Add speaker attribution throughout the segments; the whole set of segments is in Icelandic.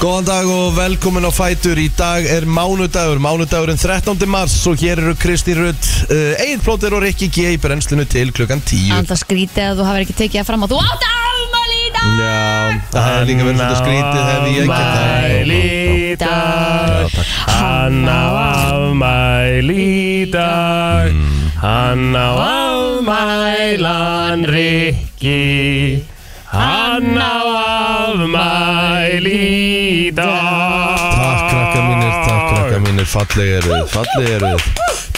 Speaker 1: Góðan dag og velkomin á Fætur Í dag er mánudagur, mánudagurinn 13. mars og hér eru Kristi Rutt uh, Egil Plóter og Rikki G í brennslinu til klukkan 10
Speaker 2: Anda skrítið að þú hafur ekki tekið það fram að þú átt afmæli í dag
Speaker 1: Já, það hefði líka verið svolítið skrítið hefði ég ekki það
Speaker 3: Afmæli í dag Hann á afmæli í dag Hann á afmælan Rikki Hann á afmæli í dag
Speaker 1: Takk krakka mínir, takk krakka mínir, falleg eru þið, falleg eru þið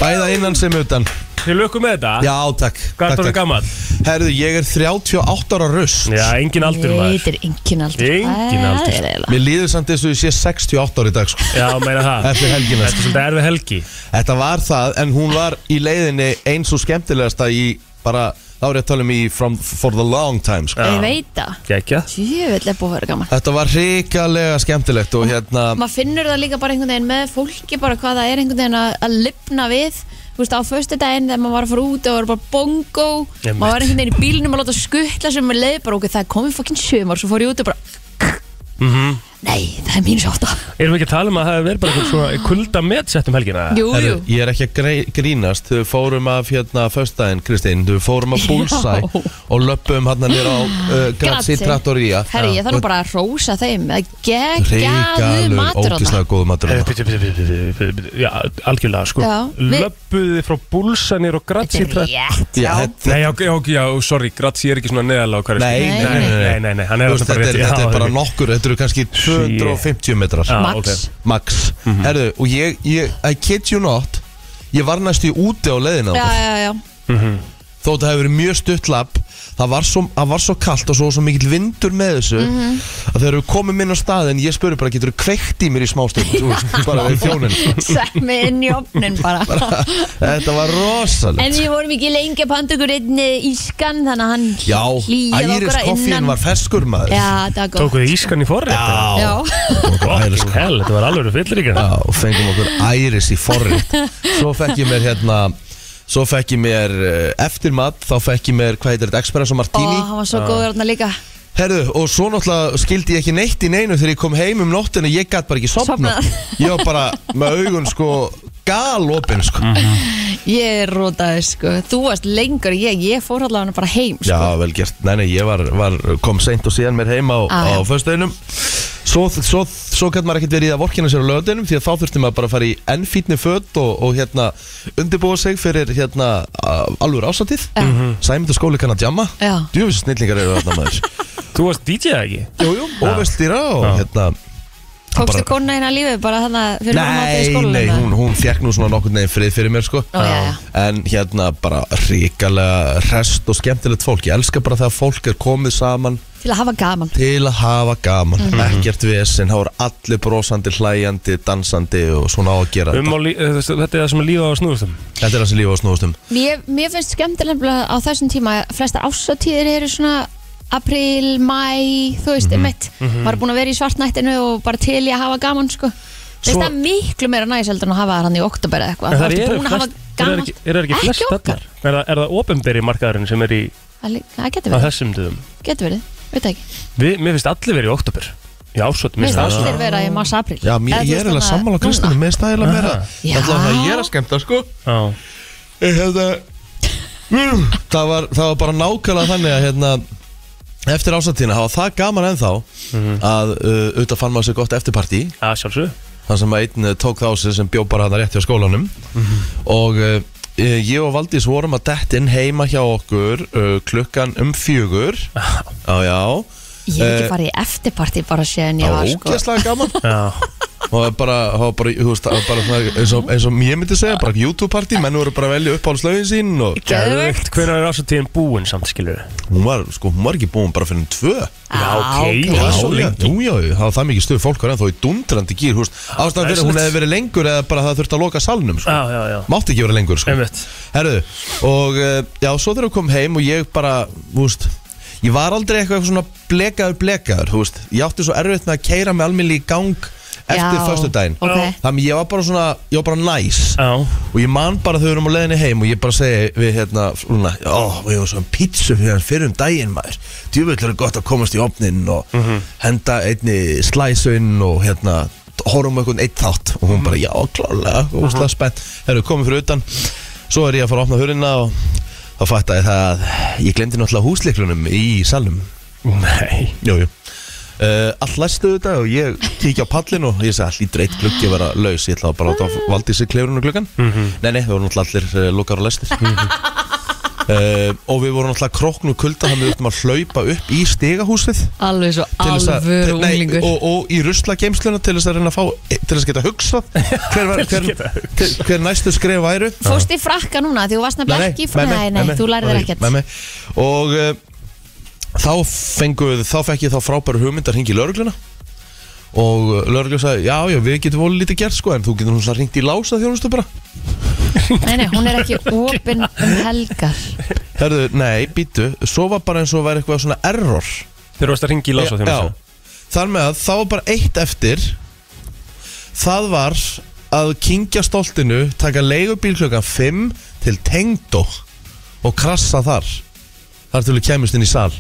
Speaker 1: Bæða innan sem utan
Speaker 3: Þið lukkum með þetta?
Speaker 1: Já, takk,
Speaker 3: Hvað er
Speaker 1: takk,
Speaker 3: það
Speaker 1: takk.
Speaker 3: gammal?
Speaker 1: Herðu, ég er 38 ára rust
Speaker 3: Já, engin aldur maður
Speaker 2: Þetta er engin aldur
Speaker 3: Engin aldur.
Speaker 2: Það er eiginlega.
Speaker 1: Mér líður samt eins og ég sé 68 ára í dag sko.
Speaker 3: Já, meina það
Speaker 1: Eftir helgina,
Speaker 3: Þetta er svolítið erfið helgi
Speaker 1: Þetta var það, en hún var í leiðinni eins og skemmtilegasta í bara, þá er ég að tala um í from, For the long time sko.
Speaker 2: Ég veit það
Speaker 3: Gekja
Speaker 2: Jöfell er búið að vera gaman
Speaker 1: Þetta var hrikalega skemmtilegt og hérna
Speaker 2: Maður finnur það líka bara einhvern veginn með fólki bara hvað það er einhvern veginn að, að lifna við Þú veist á föstu daginn þegar maður var að fara út og var bara bongo
Speaker 3: Einmitt.
Speaker 2: Maður var einhvern veginn í bílnum að láta skuttla sem maður leið bara okkur það er komið fokkin sumar Svo fór ég út og bara
Speaker 3: Mhm.
Speaker 2: Nei, það er mínus átta
Speaker 3: Erum við ekki að tala um að það hefur verið bara einhver svona kulda medsett um helgina?
Speaker 2: Jú,
Speaker 1: Herru,
Speaker 2: jú
Speaker 1: ég er ekki að grei- grínast, þau fórum af hérna föstudaginn, Kristín, þau fórum af Bullseye
Speaker 2: Já.
Speaker 1: og löpum hérna nýra á uh, Grazi
Speaker 2: Grazie.
Speaker 1: Trattoria
Speaker 2: Herri, ég þarf nú bara að rósa þeim Það er geggjaðu
Speaker 1: Ríkalur,
Speaker 2: matur þarna.
Speaker 1: ógislega góðu matur
Speaker 3: Herri,
Speaker 1: þarna.
Speaker 3: byrju, byrju, byrju, byrju, byrju, byrju, Já, algjörlega sko
Speaker 2: Já, við-
Speaker 3: Löppuðu þið frá búlsanir og gratsi
Speaker 2: Þetta er rétt
Speaker 1: Já, þetta-
Speaker 3: Nei, já, já, já, sorry, gratsi er ekki svona neðalega á hverju
Speaker 1: Nei,
Speaker 3: sko.
Speaker 1: nei, nei, nei.
Speaker 3: nei, nei, nei, hann er
Speaker 1: Þú veist,
Speaker 3: alltaf bara
Speaker 1: Þetta
Speaker 3: rétt
Speaker 1: er-
Speaker 3: já,
Speaker 1: þetta er bara
Speaker 3: ok.
Speaker 1: nokkur, þetta eru kannski 250 metrar
Speaker 3: Já,
Speaker 2: Max.
Speaker 3: ok.
Speaker 1: Max
Speaker 2: Mhm.
Speaker 1: Herðu, og ég, ég, I kid you not Ég var næstu í úti á leiðina
Speaker 2: Já,
Speaker 1: ja.
Speaker 2: já, já
Speaker 1: Þó þetta hefur verið mjög stutt lapp Það var svo, það var svo kalt og svo, svo mikill vindur með þessu
Speaker 2: Mhm.
Speaker 1: Að þegar við komum inn á staðin Ég spurði bara, getur þú kveikt í mér í smástund Þú veist, bara við þjónin
Speaker 2: Sett mig inn í opnin bara
Speaker 1: Þetta var rosalegt
Speaker 2: En við vorum ekki lengi að panta ykkur einn eh, ískan Þannig að hann
Speaker 1: Já,
Speaker 2: hlýjaði okkur
Speaker 1: Æris
Speaker 2: að
Speaker 1: koffín
Speaker 2: innan
Speaker 1: var ferskur maður
Speaker 2: Já, það var góð
Speaker 3: Tókuðu ískan í forrétt
Speaker 1: Já,
Speaker 2: Já,
Speaker 1: Æris
Speaker 3: Fucking hell, þetta var alveg fyllir ykkur
Speaker 1: Já, og fengum okkur æris í forrétt Svo fekk ég mér hérna Svo fekk ég mér uh, eftirmat Þá fekk ég mér, hvað heitir þetta, Expresso
Speaker 2: og
Speaker 1: Martini
Speaker 2: hann var svo góður hérna líka
Speaker 1: Herðu, og svo náttúrulega skildi ég ekki neitt í neinu Þegar ég kom heim um nóttina, ég gat bara ekki sopna
Speaker 2: Sofnað.
Speaker 1: Ég var bara með augun sko galopin sko
Speaker 2: Ég rótaði sko, þú varst lengur en ég, ég fór allavega bara heim sko.
Speaker 1: Já, vel gert, nei, nei, ég var, var kom seint og síðan mér heim á,
Speaker 2: Á, Ah, já.
Speaker 1: á föstudinum Svo, svo, svo gæti maður ekkert verið í að vorkina sér á löðinum Því að þá þurfti maður bara að fara í ennfítni föt og, og hérna undirbúa sig fyrir hérna alveg ásatið
Speaker 2: Já.
Speaker 1: Sæmyndu Mhm. skóli kann að djamma
Speaker 2: Já.
Speaker 1: Djúfis snillingar eru þarna maður
Speaker 3: Þú varst DJ eða ekki?
Speaker 1: Jú, jú, og vestýra og
Speaker 3: Já.
Speaker 1: hérna
Speaker 2: Tókstu
Speaker 1: bara-
Speaker 2: kona hérna lífið bara þannig að fyrir að mata í
Speaker 1: Nei,
Speaker 2: skólan
Speaker 1: nei, hún, hún fekk nú svona nokkur neginn frið fyrir mér sko
Speaker 2: Ó, já, já.
Speaker 1: En hérna bara ríkalega rest og skemmtilegt fólk Ég elska bara þegar fólk er komið saman
Speaker 2: Til að hafa gaman
Speaker 1: til að hafa gaman
Speaker 2: Mhm.
Speaker 1: ekkert vesen, þá er allir brosandi hlæjandi, dansandi og svona á að gera
Speaker 3: Um
Speaker 1: þetta,
Speaker 3: á lí- eh, þessi- Þetta er það sem er lífa á snúðustum
Speaker 1: þetta er það sem lífa á snúðustum
Speaker 2: Mér, mér finnst skemmtilega á þessum tíma að flestar ásatíðir eru svona april, mæ, þú
Speaker 3: Mhm.
Speaker 2: veist, einmitt maður er búin að vera í svartnættinu og bara til í að hafa gaman, sko Svo...
Speaker 3: Svo-
Speaker 2: það er miklu meira næs heldur en að hafa það hann í oktober eða eitthvað,
Speaker 3: En
Speaker 2: það
Speaker 3: það
Speaker 2: ertu
Speaker 3: eru
Speaker 2: búin að hafa
Speaker 3: flest- eru
Speaker 2: gaman
Speaker 3: ekki- Eru ekki
Speaker 2: Ekki
Speaker 3: flest
Speaker 2: okkar.
Speaker 3: þarna? Er það- er það ofinberi markaðurinn sem er í
Speaker 2: það, lí- það getur
Speaker 3: að
Speaker 2: verið,
Speaker 3: þessum döðum?
Speaker 2: getur verið, veit ekki
Speaker 3: Við- Mér finnst allir verið í oktober Já, svo
Speaker 2: mér finnst
Speaker 3: það
Speaker 2: allir vera í mars april
Speaker 1: Já, mér, ég
Speaker 2: Eða þú
Speaker 1: er
Speaker 2: veist,
Speaker 1: eiginlega
Speaker 2: þannig að
Speaker 1: sammála
Speaker 2: núna.
Speaker 1: Kristina, mér finnst það eiginlega meira
Speaker 2: Já.
Speaker 1: Alltaf að ég er að skemmta sko
Speaker 3: Já.
Speaker 1: Ég, hérna, mm, það, var, það var bara nákvæmlega þannig að hérna, eftir ásatíðina, það var það gaman ennþá að uh, auðvitað fann maður sér gott eftirparti
Speaker 3: Já, sjálfsög
Speaker 1: þar sem að einn eh, tók þá sér sem bjó bara hann rétt hjá skólanum og uh, ég og Valdís vorum að dett inn heima hjá okkur uh, klukkan um fjögur á já
Speaker 2: ég hef ekki
Speaker 1: Eh,
Speaker 2: farið í eftirparti bara séðan ég
Speaker 1: það
Speaker 2: var,
Speaker 1: var
Speaker 2: sko
Speaker 1: ógeðslega gaman
Speaker 3: Já,
Speaker 1: og það var bara, það var bara, þú veist, það var bara svona, eins, og, eins og ég myndi segja, bara YouTube party menn voru bara að velja upp á slögin sín og
Speaker 2: Geðveikt.
Speaker 3: Hvernig er ásatíðin búin samt, skilur við?
Speaker 1: hún var, sko, hún var ekki búin bara fyrir um tvö
Speaker 3: Já, ok,
Speaker 1: Já,
Speaker 3: Það er
Speaker 1: já,
Speaker 3: svo lengi.
Speaker 1: jú, já, það var það mikið stuð fólk var ennþá í dundrandi gýr, þú veist ástæðan fyrir að hún hefði verið lengur eða bara það þurfti að loka salnum, sko,
Speaker 3: Já, já, já
Speaker 1: mátti ekki vera lengur, sko
Speaker 3: Einmitt
Speaker 1: Herðu, og eh, já, svo þegar við komum heim og ég bara, þú veist Ég var aldrei eitthvað svona blekaður blekaður, þú veist Ég átti svo erfitt með að keira með almenni í gang eftir
Speaker 2: Já,
Speaker 1: föstudaginn
Speaker 2: ok.
Speaker 1: Þannig ég var bara svona, ég var bara næs
Speaker 3: Já,
Speaker 1: Og ég man bara þau erum á leiðinni heim Og ég bara segi við hérna Luna, Ó, við erum svona pítsu fyrir hann fyrir um daginn maður Djúvill er gott að komast í opnin Og henda einni slæsun Og hérna, horfum á einhvern eitt þátt Og hún bara, já, klálega Úslega spennt, herru, komið fyrir utan Svo er ég að fara að opna hurðina Og þá fatta ég það að Ég glemdi náttúrulega húsleiklunum í salnum
Speaker 3: nei
Speaker 1: Jú, jú Uh, allt læstu þetta og ég kíkja á pallin og ég segi allir dreitt gluggi að vera laus ég ætlaði bara að
Speaker 4: Mm.
Speaker 1: láta valdi sér klefurinn og gluggan
Speaker 4: Mhm.
Speaker 1: nei, nei, við vorum náttúrulega allir uh, lukar og læstir uh, og við vorum náttúrulega kroknu kulda þannig við ættum að hlaupa upp í stigahúsið
Speaker 4: Alveg svo
Speaker 1: til þess að-
Speaker 4: alvöru
Speaker 1: nei,
Speaker 4: unglingur
Speaker 1: og, og í ruslageimsluna til þess að reyna að fá til þess að geta hugsað hver, var, hver, hver, hver næstu skref væru
Speaker 2: Fórst í frakka núna því þú varst nefnilega ekki frá Nei, nei, þú lærið ekkert
Speaker 1: nei, nei. Og uh, þá fengu þá fekk ég þá frábæru hugmynd að ringi í laurugluna og uh, lauruglu sagði, já, já, við getum volið lítið gert sko, en þú getur náttúrulega ringt í lása þjónustu bara
Speaker 2: Nei, nei, hún er ekki opinn um helgar
Speaker 1: Herðu, nei, býtu, svo var bara eins og væri eitthvað svona error
Speaker 3: Þeir varst að ringi í lása
Speaker 1: Já, já. Þar með að þá var bara eitt eftir það var að kingja stoltinu taka leigubíl klukkan 5 til tengdó og krassa þar þar til við kemist inn í sal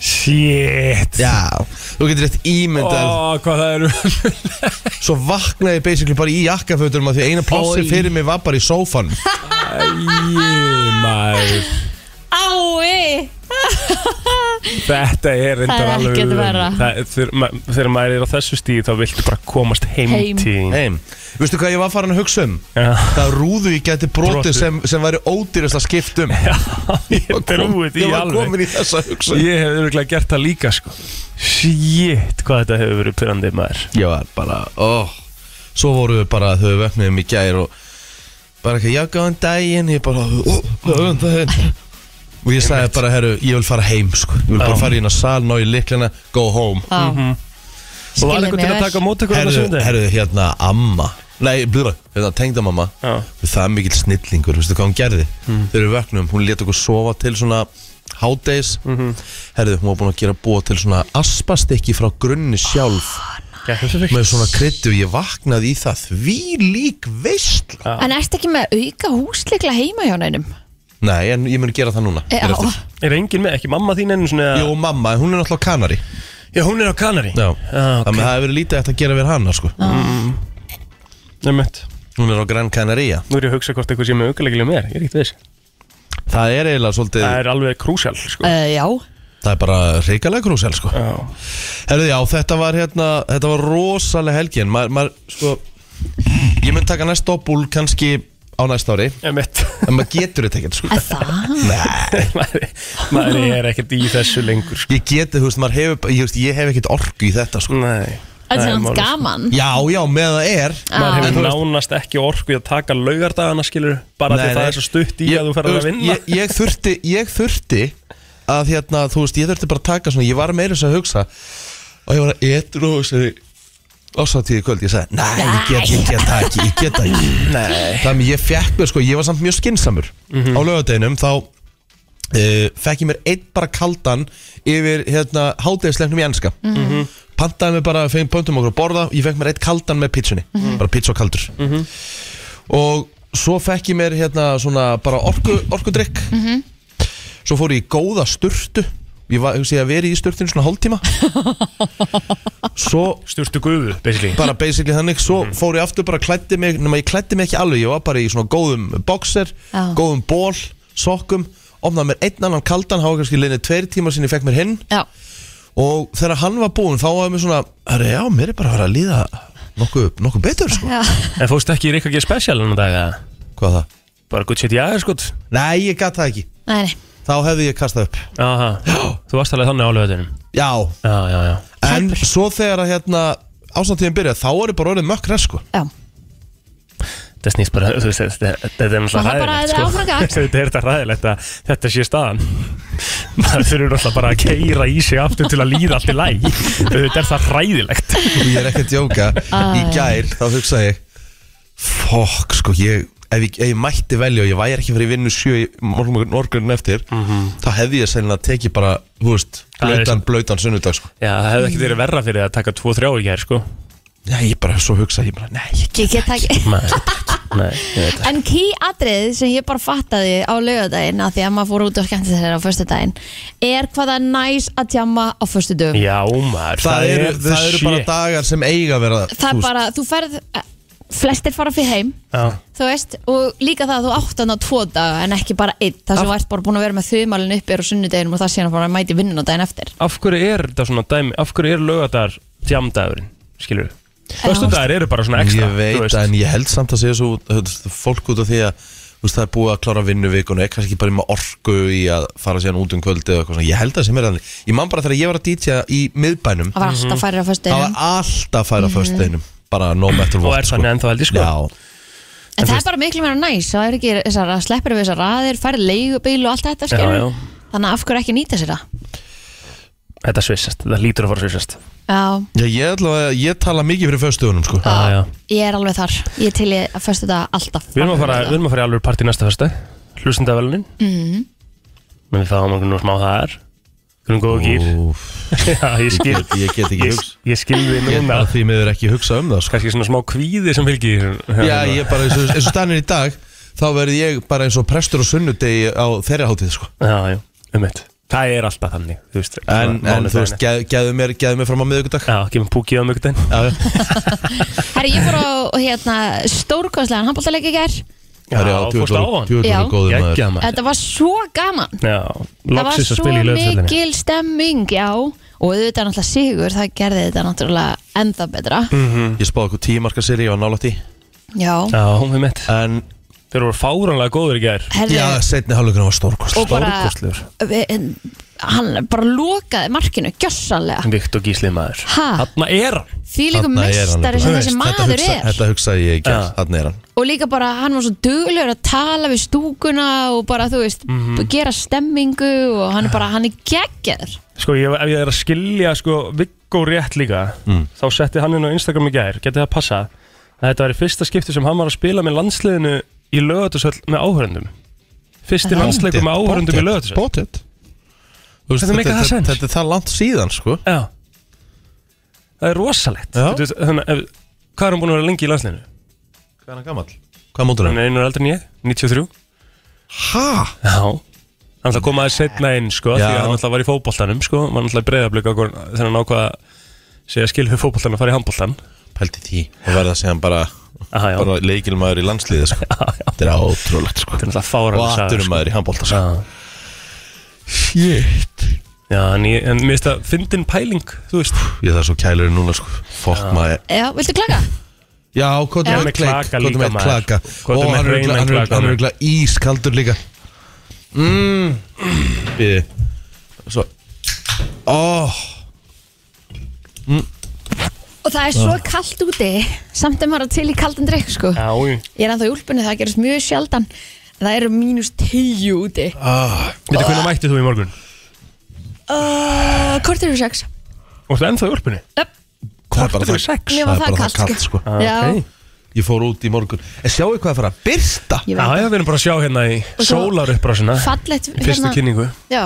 Speaker 3: Shit
Speaker 1: Já, þú getur rétt
Speaker 3: Ó,
Speaker 1: ímyndað
Speaker 3: hvað það eru
Speaker 1: Svo vaknaði ég basically bara í jakkafötunum að því eina plassi
Speaker 4: Oj.
Speaker 1: fyrir mig var bara í sófanum
Speaker 3: Æ, maður
Speaker 2: Ái
Speaker 3: Þetta er reyndar
Speaker 4: er
Speaker 3: alveg
Speaker 4: ekkert verra.
Speaker 3: Það- þegar ma- Þegar maður er á þessu stíð þá viltu bara komast heim,
Speaker 4: Heim.
Speaker 3: til
Speaker 1: Heim, veistu hvað ég var farin að hugsa um?
Speaker 3: Já.
Speaker 1: Það rúðu ég geti brotið
Speaker 3: Brotið.
Speaker 1: sem, sem væri ódýrast að skiptum Já,
Speaker 3: Ég trúi því
Speaker 1: Ég var
Speaker 3: alveg
Speaker 1: komin í þessa hugsa
Speaker 3: Ég hef örgulega gert það líka sko Shit, hvað þetta hefur verið pyrrandi maður
Speaker 1: Ég var bara, óh Svo voru við bara, þau vefnum í gær og bara ekki, já, góðan daginn ég bara, ó, góðan daginn og ég sagði bara, herru, ég vil fara heim sko. ég vil bara
Speaker 3: Já.
Speaker 1: fara í hérna sal, ná í liklina go home
Speaker 2: Já,
Speaker 3: Og var
Speaker 2: Skilja
Speaker 3: eitthvað
Speaker 2: mig
Speaker 3: til að
Speaker 2: vel.
Speaker 3: taka á mót ykkur annars
Speaker 1: Herðu,
Speaker 3: undir?
Speaker 1: herðu, hérna, amma Nei, blöða, hérna, tengdamamma
Speaker 3: Já. Hmm.
Speaker 1: Það er mikill snillingur, veistu hvað hún gerði mm. Þegar við vöknum, hún lét okkur sofa til svona Hádegis
Speaker 3: Mhm.
Speaker 1: Herðu, hún var búin að gera búa til svona Aspastekki frá grunni sjálf
Speaker 3: Ah, Gekk þessu fyrir?
Speaker 1: Með svona kryddu, ég vaknaði í það Því lík veist
Speaker 2: en ertu ekki með auka húsleikla heima hjá nænum?
Speaker 1: Nei, en ég mun gera það núna
Speaker 2: Já,
Speaker 1: hér eftir.
Speaker 3: Er engin með, ekki mamma þín enn svona
Speaker 1: Jú, mamma, hún er náttúrulega kanari
Speaker 3: Já, hún er á Kanari
Speaker 1: Já,
Speaker 3: Já,
Speaker 1: Þannig að það hefur verið lítið eftir að gera verið hana sko.
Speaker 3: Nei, mitt
Speaker 1: Hún er á Gran Canaria
Speaker 3: Nú er ég að hugsa hvort eitthvað sé með aukulegilega mér Ég er ekkert viss
Speaker 1: Það er eiginlega svolítið,
Speaker 3: Það er alveg krúsjál sko
Speaker 2: Eh,
Speaker 4: Uh, já,
Speaker 1: það er bara hrikalega krúsel sko.
Speaker 3: Já
Speaker 1: Herðu, já, þetta var hérna, þetta var rosalega helgin Maður, maður, sko Ég mun taka næst doppul kannski á næsta ári
Speaker 3: Ég mitt
Speaker 1: En maður getur þetta ekkert, sko
Speaker 2: Er það?
Speaker 3: Maður er ekkert í þessu lengur sko
Speaker 1: Ég geti, þú veist, maður hefur, ég, veist, ég hef ekkert orku í þetta, sko
Speaker 3: Nei
Speaker 2: Það er hans
Speaker 3: málið, sko.
Speaker 2: gaman
Speaker 1: Já, já, með það er
Speaker 3: Ah. Maður
Speaker 1: En þú
Speaker 3: hefur
Speaker 1: veist-
Speaker 3: nánast ekki orku í að taka laugardagana skilur Bara
Speaker 1: Nei,
Speaker 3: því það
Speaker 1: nei.
Speaker 3: er svo stutt í
Speaker 1: Ég-
Speaker 3: að þú ferð
Speaker 1: þú
Speaker 3: að
Speaker 1: veist,
Speaker 3: vinna
Speaker 1: ég, ég þurfti, ég þurfti að hérna, þú veist, ég þurfti bara að taka svona Ég var meira þess að hugsa Og ég var að etru og þessari Ásáttíði kvöld, ég sagði, nei, ég get, ég get það ekki, ég get það ekki
Speaker 3: Nei
Speaker 1: Þannig ég fekk mér sko, ég var samt mjög skinsamur Á lögadeginum þá uh, Fekk ég mér einn bara kaldan Yfir hérna hátegislegnum í enska Pantaði mér bara, fegin pöntum okkur að borða Ég fekk mér einn kaldan með pítsunni Bara pítsu og kaldur Og svo fekk ég mér hérna svona Bara orku, orkudrykk Svo fór ég í góða sturtu Ég var, hugsi, ég að veri í sturtinu svona hálftíma Svo
Speaker 3: Stjórstu guðu, basically
Speaker 1: bara basically þannig svo fór ég aftur bara klætti mig nema ég klætti mig ekki alveg, ég var bara í svona góðum boxer,
Speaker 2: Já.
Speaker 1: góðum ból sokkum, opnaði mér einn annan kaldan hafa kannski leginni tveir tíma sinni ég fekk mér hinn
Speaker 2: Já,
Speaker 1: og þegar hann var búinn þá var mér svona, herri já, mér er bara að fara að líða nokkuð nokku betur sko
Speaker 2: já
Speaker 3: En fóstu ekki í Rikka G Special en dag eða?
Speaker 1: hvað það?
Speaker 3: Bara gutt shit, já, sko
Speaker 1: Nei, ég gat það ekki,
Speaker 2: Nei, nei
Speaker 1: þá hefði ég kastað upp
Speaker 3: Aha, þú varst alveg þannig á lögatunum
Speaker 1: já,
Speaker 3: Já, já, já
Speaker 1: en svo þegar að hérna ástandtíðin byrjaði, þá er ég bara orðið mökk sko
Speaker 2: Já,
Speaker 3: Þetta snýst bara, þú veist, þetta þetta er
Speaker 2: Maður
Speaker 3: náttúrulega
Speaker 2: bara
Speaker 3: ræðilegt
Speaker 2: að áfram gakk.
Speaker 3: Þetta er þetta ræðilegt að þetta sé staðan Maður þurfur alltaf bara að keira í sig aftur til að líða allt í læg Þetta er það ræðilegt
Speaker 1: og ég er ekki að djóka í gær þá hugsa ég fokk sko ég ef ég, ef ég mætti velja og ég væri ekki fyrir vinnu sjö í morgun, morgunin eftir þá hefði ég sennilega tekið bara þú veist,
Speaker 3: Mhm. Það er
Speaker 1: blautan, blautan sunnudag sko.
Speaker 3: Já, það hefði ekki verið verra fyrir að taka 2-3 í hér, sko
Speaker 1: Nei, ég bara svo hugsa Ég bara, nei, ég
Speaker 2: Ég get það ekki
Speaker 3: Nei, þetta ekki. Nei, ég veit það.
Speaker 2: En ký atrið sem ég bara fattaði á lögadaginn að því að maður fór út og skemmti þeirra á föstudaginn er hvað það er næs að tjama á föstudögum
Speaker 3: Já, maður,
Speaker 1: það, eru,
Speaker 3: the
Speaker 1: það eru bara
Speaker 3: shit.
Speaker 1: dagar sem eiga að vera
Speaker 2: Það er bara, þú ferð flestir fara fyrir heim
Speaker 3: Já,
Speaker 2: þú veist, og líka það að þú átt hann á tvo daga en ekki bara einn, það sem þú ert bara búin að vera með þauðmálinn uppi á sunnudeginum og það sé hann bara að mæti vinnun á daginn eftir
Speaker 3: af hverju er þetta svona dæmi, af hverju er lögadar tjamdagurinn, skilur við? Föstudagar eru bara svona ekstra,
Speaker 1: Ég veit,
Speaker 3: þú veist.
Speaker 1: en ég held samt að segja svo þú veist, fólk út af því að þú veist, það er búið að klára vinnu vikun og er kannski bara með orku í að fara síðan út um kvöldi og eitthvað svona, ég held að það sem er þannig ég man bara þegar ég var að dítja í miðbænum
Speaker 2: það var
Speaker 3: Mhm.
Speaker 2: alltaf færri á
Speaker 1: það
Speaker 2: föstudeginum
Speaker 1: var alltaf
Speaker 2: Mhm.
Speaker 1: færa mm -hmm. föstudinum bara no matter
Speaker 3: Og
Speaker 1: what
Speaker 3: er þannig ennþá held ég, sko.
Speaker 1: Já,
Speaker 2: En það er bara miklu meira næs, það er ekki þessar að sleppir við þessar raðir, færði leigubíl og allt þetta
Speaker 3: Já,
Speaker 2: skilur.
Speaker 3: já.
Speaker 2: Þannig að af hverju ekki nýta sér það?
Speaker 3: Þetta svissast, þetta lítur að fara svissast.
Speaker 2: Já,
Speaker 1: já ég, ætla, að- ég tala mikið fyrir föstudunum sko.
Speaker 3: Já, já.
Speaker 2: ég er alveg þar, ég er til ég að föstu þetta alltaf.
Speaker 3: Við erum að fara, við erum að fara í alveg partí næsta fyrstu, hlustendavelunin. Mm.
Speaker 2: Mhm.
Speaker 3: Men við fáum okkur nú smá það er. Grunn góðu gýr.
Speaker 1: Úf,
Speaker 3: Já, ég skil,
Speaker 1: ég, ég get ekki
Speaker 3: ég,
Speaker 1: hugsa
Speaker 3: ég skil við
Speaker 1: Ég
Speaker 3: núna.
Speaker 1: bara því miður ekki hugsa um það sko.
Speaker 3: Kanski svona smá kvíði sem fylgir.
Speaker 1: Já, ég bara, eins og, eins og stannir í dag þá verð ég bara eins og prestur og sunnudegi á þeirra hátíð sko.
Speaker 3: Já, já, um eitt. Það er alltaf þannig, þú veist.
Speaker 1: En,
Speaker 3: svona
Speaker 1: en þú veist,
Speaker 3: mánudaginn.
Speaker 1: geð, geðu, mér, geðu mér fram á miðugudag
Speaker 3: Já, kemur púkið á mjögdæn.
Speaker 1: Já, já.
Speaker 2: Herri, ég fór á hérna, stórkostlegan handbóltaleik í gær.
Speaker 3: Já, fórst á hann.
Speaker 2: Já.
Speaker 1: góður maður
Speaker 3: Gekkja maður.
Speaker 2: Þetta var svo gaman.
Speaker 3: Já,
Speaker 2: Það var
Speaker 3: loksis að
Speaker 2: svo
Speaker 3: spila í lögfjöldinni.
Speaker 2: mikil stemming, já. Og auðvitað náttúrulega sigur, það gerði þetta náttúrulega ennþá betra.
Speaker 1: Ég spáði okkur tíu marka seri, ég var nálægt í
Speaker 2: Já,
Speaker 3: Já, við mitt.
Speaker 1: En,
Speaker 3: Þeir voru fáranlega góður í gær.
Speaker 2: herri,
Speaker 1: já, setni hálfleikurinn var sko. stórkost
Speaker 2: og bara,
Speaker 3: stórkostlegur.
Speaker 2: við, en, hann bara lokaði markinu, gjössanlega.
Speaker 3: Viktor Gísli maður.
Speaker 2: Ha?
Speaker 3: Þarna er hann.
Speaker 2: því líka
Speaker 1: Þarna er hann
Speaker 2: mestari sem
Speaker 1: nefnilega.
Speaker 2: þessi
Speaker 1: Þetta
Speaker 2: maður
Speaker 1: hugsa-
Speaker 2: er
Speaker 1: Þetta hugsaði ég ekki,
Speaker 3: Já.
Speaker 1: þannig er hann
Speaker 2: og líka bara hann var svo duglegur að tala við stúkuna og bara þú veist gera stemmingu og hann er bara hann er geggjör
Speaker 3: Sko, ég, ef ég er að skilja sko, Viggo rétt líka þá setti hann inn á Instagram í gær, geti það passa að þetta var í fyrsta skipti sem hann var að spila með landsliðinu í lögatushöll með áhörundum Fyrsti landsleikum með áhörundum í lögatushöll
Speaker 1: Bótið Þetta
Speaker 3: Þetta make a sense.
Speaker 1: Þetta er það langt síðan, sko
Speaker 3: Já Það er rosalegt
Speaker 1: Já.
Speaker 3: Þú veist, þannig, að ef, Hvað er hann búin að vera lengi í landsliðinu?
Speaker 1: Hvað er hann gammal? Hvað mótur
Speaker 3: Hann
Speaker 1: hann?
Speaker 3: er einu eldri en ég, 93
Speaker 1: Ha?
Speaker 3: Já Hann ætla að koma aðeins setna inn sko
Speaker 1: Já.
Speaker 3: Því að hann ætla að var í fótboltanum sko Hann ætla að breyðablika okkur þegar hann ákvað að segja skil við fótboltan að fara í handboltan
Speaker 1: Pældi því Og verða að segja hann bara
Speaker 3: Aha, já.
Speaker 1: Bara leikilmaður í landsliði, sko Þetta er ótrúlegt, sko
Speaker 3: Þetta er náttúrulega
Speaker 1: Og
Speaker 3: fáranlega
Speaker 1: atturumaður í handbólta, sko
Speaker 3: Já
Speaker 1: Shit
Speaker 3: Já, en, ég, en mér finnst það fyndin pæling, þú veist
Speaker 1: Ég þarf svo kælurinn núna, sko Fokk maður
Speaker 2: já, viltu klaka?
Speaker 1: Já, kvotum
Speaker 2: Já.
Speaker 1: með
Speaker 3: Með
Speaker 1: kleik,
Speaker 3: klaka
Speaker 1: kvotum
Speaker 3: líka,
Speaker 1: með
Speaker 3: maður.
Speaker 1: klaka
Speaker 3: Kvotum
Speaker 1: Og
Speaker 3: með
Speaker 1: hann er örugglega-
Speaker 3: hreinan
Speaker 1: hann er örugglega- hann
Speaker 3: klaka,
Speaker 1: er
Speaker 3: maður.
Speaker 1: örugglega ískaldur líka Mmm Býði Svo Ó,
Speaker 2: og það er svo kallt úti samt er maður til í kaldan drikk sko
Speaker 3: Já, veitu
Speaker 2: ég er ennþá í úlpunni það gerist mjög sjaldan það eru mínus tíu úti
Speaker 3: Ah.
Speaker 1: ah.
Speaker 3: hvernig mættið þú í morgun?
Speaker 2: uh, kortur og sex
Speaker 3: Og það ennþá í úlpunni?
Speaker 2: Öpp,
Speaker 1: Hvað er bara
Speaker 3: Kortur
Speaker 1: það
Speaker 3: í sex?
Speaker 2: Mér
Speaker 1: Það
Speaker 2: var
Speaker 1: er
Speaker 2: það
Speaker 1: bara það
Speaker 2: kalt,
Speaker 1: kallt
Speaker 2: sko.
Speaker 1: sko
Speaker 2: Já.
Speaker 3: ok.
Speaker 1: Ég fór út í morgun En sjáu hvað það fara að byrsta
Speaker 2: ég
Speaker 3: Já,
Speaker 2: veit
Speaker 3: já, við erum bara að sjá hérna í
Speaker 2: svo-
Speaker 3: sólaruppbrásina
Speaker 2: fallegt
Speaker 3: Í fyrstu
Speaker 2: hérna-
Speaker 3: kynningu
Speaker 2: já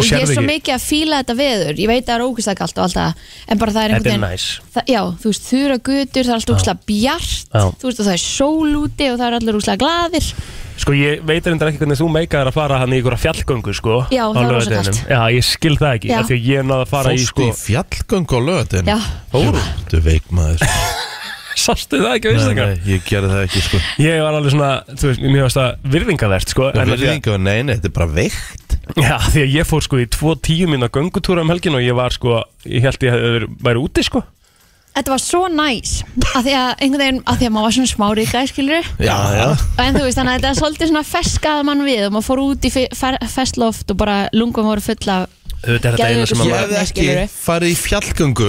Speaker 2: og ég er
Speaker 3: sérð
Speaker 2: svo
Speaker 3: ekki
Speaker 2: mikið að fíla þetta veður ég veit að það er ógustlega kalt og allt það en bara það er
Speaker 3: Þetta er
Speaker 2: einhvern
Speaker 3: næs
Speaker 2: það, já, þú veist, þurra gutur, það er allt úrslega bjart
Speaker 3: Já.
Speaker 2: þú veist, og það er sól úti og það er allir úrslega glaðir
Speaker 3: Sko, ég veit reyndar ekki hvernig þú meikaðir að fara hann í ykkur fjallgöngu, sko
Speaker 2: Já,
Speaker 3: á
Speaker 2: það var rosa
Speaker 3: laugardeginum.
Speaker 2: kalt.
Speaker 3: Já, ég skil það ekki
Speaker 2: Já.
Speaker 3: af Því að ég náði að fara í,
Speaker 1: Fórstu
Speaker 3: sko
Speaker 1: í fjallgöng á löðin
Speaker 2: Já.
Speaker 1: Fóru Þú veik maður
Speaker 3: Sástu það ekki, veist
Speaker 1: Nei,
Speaker 3: það
Speaker 1: nei, ég gerði það ekki sko
Speaker 3: Ég var alveg svona, þú veist, mér varst það virðingavert, sko en
Speaker 1: Það
Speaker 3: af því
Speaker 1: verður
Speaker 3: að-
Speaker 1: enga Nei, nei, þetta er bara veikt
Speaker 3: Já, því að ég fór sko í tvo tíu minna göngutúra um helgin og ég var sko, ég held ég hefði verið- væri úti sko
Speaker 2: þetta var svo næs að því að einhvern veginn, að því að maður var svona smá ríka skilur
Speaker 1: Já, já
Speaker 2: en þú veist, þannig að þetta er svolítið svona feskaði mann við og maður fór út í fe- fer- festloft og bara lungum voru full af
Speaker 3: Þetta er þetta eina sem að
Speaker 1: Ég
Speaker 3: maður
Speaker 1: hefði ekki
Speaker 2: Skilurðu?
Speaker 1: farið í fjallgöngu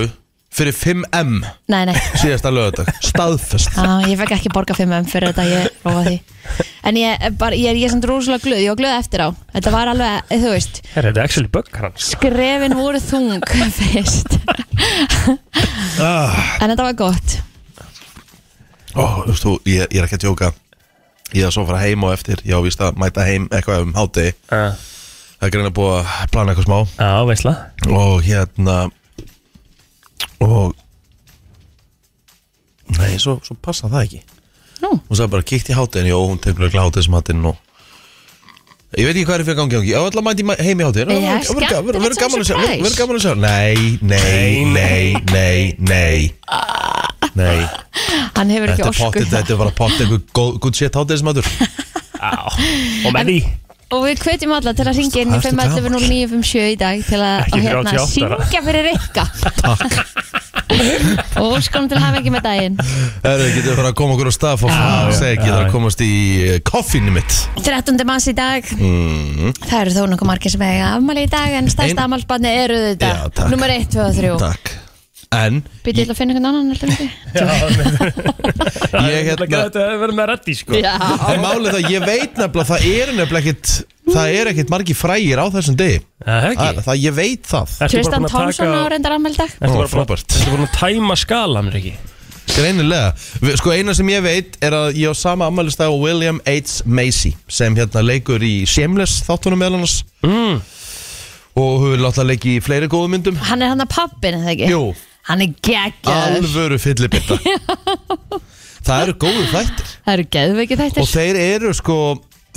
Speaker 1: fyrir 5M
Speaker 2: nei, nei,
Speaker 1: síðasta lögadag staðfest
Speaker 2: á, ég fekk ekki borga fyrir mögum fyrir þetta, ég róa því en ég, er bara, ég, er- ég er samt rosalega glöð, ég var glöð eftir á þetta var alveg, eh, þú veist
Speaker 3: Herra, þetta er actually böggar hans
Speaker 1: Sko.
Speaker 2: skrefin voru þung fyrst
Speaker 3: Ah.
Speaker 2: en þetta var gott
Speaker 1: Ó, þú veist þú, ég, ég er ekki að tjóka ég er svo að fara heim og eftir ég á víst að mæta heim eitthvað um háti
Speaker 3: Já,
Speaker 1: það er greina búið að plana eitthvað
Speaker 3: ah,
Speaker 1: smá
Speaker 3: uh, veistla
Speaker 1: og hérna og Nei, svo, svo passa það ekki
Speaker 2: Nú.
Speaker 1: Hún sagði bara, kíkt í hátinn, jó, hún tegur ekki hátinn sem hátinn og Ég veit ekki hvað er fyrir gangi gangi Ég var alltaf mæti heim í hátinn
Speaker 2: Já, skemmtilegt
Speaker 1: Verður gaman að sjá
Speaker 2: surprise.
Speaker 1: Verður gaman að sjá Nei, nei, nei, nei, nei Nei,
Speaker 2: Hann hefur ekki
Speaker 1: þetta er
Speaker 2: orku
Speaker 1: potið Þetta er bara potið einhver góð- good shit hátinn sem hattur
Speaker 3: Og með því
Speaker 2: Og við hvetjum alla til að ringja inn í
Speaker 1: Hvað ertu
Speaker 2: 5.11.09.57 í dag til að
Speaker 3: Ekki
Speaker 2: og hérna,
Speaker 3: 38 ára.
Speaker 2: syngja fyrir Rikka og skoðum til að hafa ekki með daginn
Speaker 1: Erðu, getur við fara að koma okkur á stað og segja ekki það að komast í koffinu mitt
Speaker 2: 13. manns í dag
Speaker 1: Mm-hmm.
Speaker 2: Það eru þó nokkuð margir sem eiga afmæli í dag en
Speaker 1: Ein-
Speaker 2: stærsta afmælsbarni eru
Speaker 1: Já,
Speaker 2: þetta
Speaker 1: takk.
Speaker 2: Númer 1, 2 og 3
Speaker 1: Takk En
Speaker 2: Býtið til að finna einhvern annan heldur en þig.
Speaker 1: ég hérna
Speaker 3: Þetta verður með reddi sko
Speaker 2: Já
Speaker 1: En málið það, ég veit nefnilega Það er nefnilega ekkit Það er ekkit margi frægir á þessum degi
Speaker 3: Það
Speaker 1: það, það, Ég veit það
Speaker 3: Ah, Ertu bara
Speaker 2: Tristan
Speaker 3: búin að
Speaker 2: Thompson á
Speaker 3: taka
Speaker 2: reyndar afmæli í dag
Speaker 1: Ah. Ó,
Speaker 3: Ertu bara búin að-
Speaker 1: frábært.
Speaker 3: ertu búin að tæma skalan, er ekki?
Speaker 1: Greinilega Vi- Sko eina sem ég veit er að ég á sama ammælistag og William H. Macy sem hérna leikur í Shameless þáttunum meðal hans
Speaker 3: Mm.
Speaker 1: og hefur látað leiki í fleiri góðum myndum
Speaker 2: Hann er hann að pappin, eða ekki?
Speaker 1: Jú,
Speaker 2: Hann er geggjaður
Speaker 1: alvöru fyllibitta Það eru góðu þættir
Speaker 2: Það eru geðveiki
Speaker 1: og
Speaker 2: þættir
Speaker 1: þeir eru sko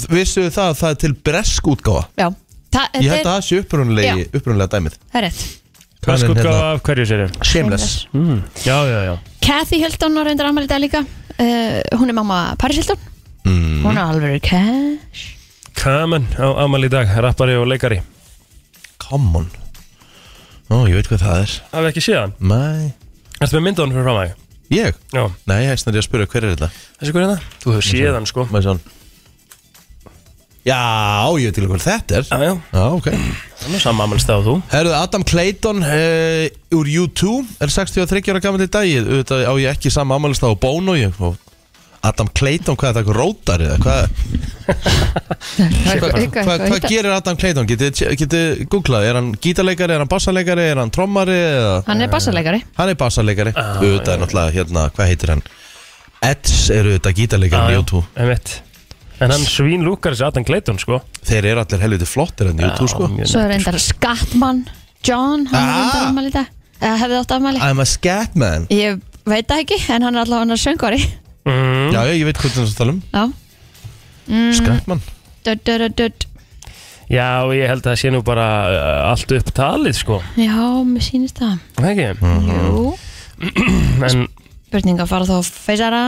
Speaker 1: vissu þið það að það er til bresk útgáfa
Speaker 2: Já Það
Speaker 1: Ég
Speaker 2: þetta
Speaker 1: held að
Speaker 2: er,
Speaker 1: það sé upprunalegi, upprunlega dæmið
Speaker 2: það er rétt
Speaker 3: Hvað sko
Speaker 1: Þannig
Speaker 3: gaf
Speaker 1: hérna-
Speaker 3: af hverju sér þau?
Speaker 1: Shameless
Speaker 3: Já, já, já
Speaker 2: Kathy Hilton á reyndar afmæli í dag líka uh, Hún er mamma Paris Hilton mm. Hún er alveg cash
Speaker 3: Kamen á amal í dag, rappari og leikari
Speaker 1: Come on Ó, ég veit hvað það er
Speaker 3: Hafið ekki séð hann?
Speaker 1: Mæ
Speaker 3: Ertu með myndaðan fyrir framæg?
Speaker 1: Ég?
Speaker 3: Já
Speaker 1: Nei, ég er snarri að spyrja hver er þetta
Speaker 3: Þessi hverju það? Þú hefur séð hann sko
Speaker 1: Mæ svo hann Já, ég veit til hvað þetta er
Speaker 3: Já, já,
Speaker 1: Já, ok
Speaker 3: hann er saman amalstæð og þú
Speaker 1: Herðu, Adam Clayton uh, úr U2 er 63 ára gammal í dag Ég- auðvitað á ég ekki sama ammælist á Bono ég, og Adam Clayton, hvað er það, eitthvað rótar eða hvað Hva- hva- Hvað gerir Adam Clayton? Getið geti googlað, er hann gítarleikari, er hann bassarleikari, er hann trommari eða
Speaker 2: Hann er bassalegari
Speaker 1: Hann er bassarleikari Auðvitað er náttúrulega hérna, hvað heitir hann? Eds eru auðvitað
Speaker 3: Ah,
Speaker 1: gítarleikari í U2
Speaker 3: En veit En hann svín lúkar þessi Adam Clayton sko
Speaker 1: Þeir eru allir helviti flottir enn í U2 sko
Speaker 3: mjög
Speaker 2: Svo
Speaker 3: nett.
Speaker 2: er reyndar Skattmann John, hann er reyndar
Speaker 1: Ah.
Speaker 2: afmæli í dag Eða hefði átt afmæli
Speaker 1: I'm a scat man
Speaker 2: Ég veit það ekki, en hann er allavega hann söngvari
Speaker 3: Mm.
Speaker 1: Já, já, ég veit hvað það er að tala um
Speaker 2: Já, Mm.
Speaker 1: Skatman
Speaker 2: dödd, dödd, dödd
Speaker 3: Já, ég held að það sé nú bara uh, allt upp talið sko
Speaker 2: Já, mér sýnist það
Speaker 3: Ekki?
Speaker 2: Jú,
Speaker 3: En,
Speaker 2: spurning að fara þá að feysara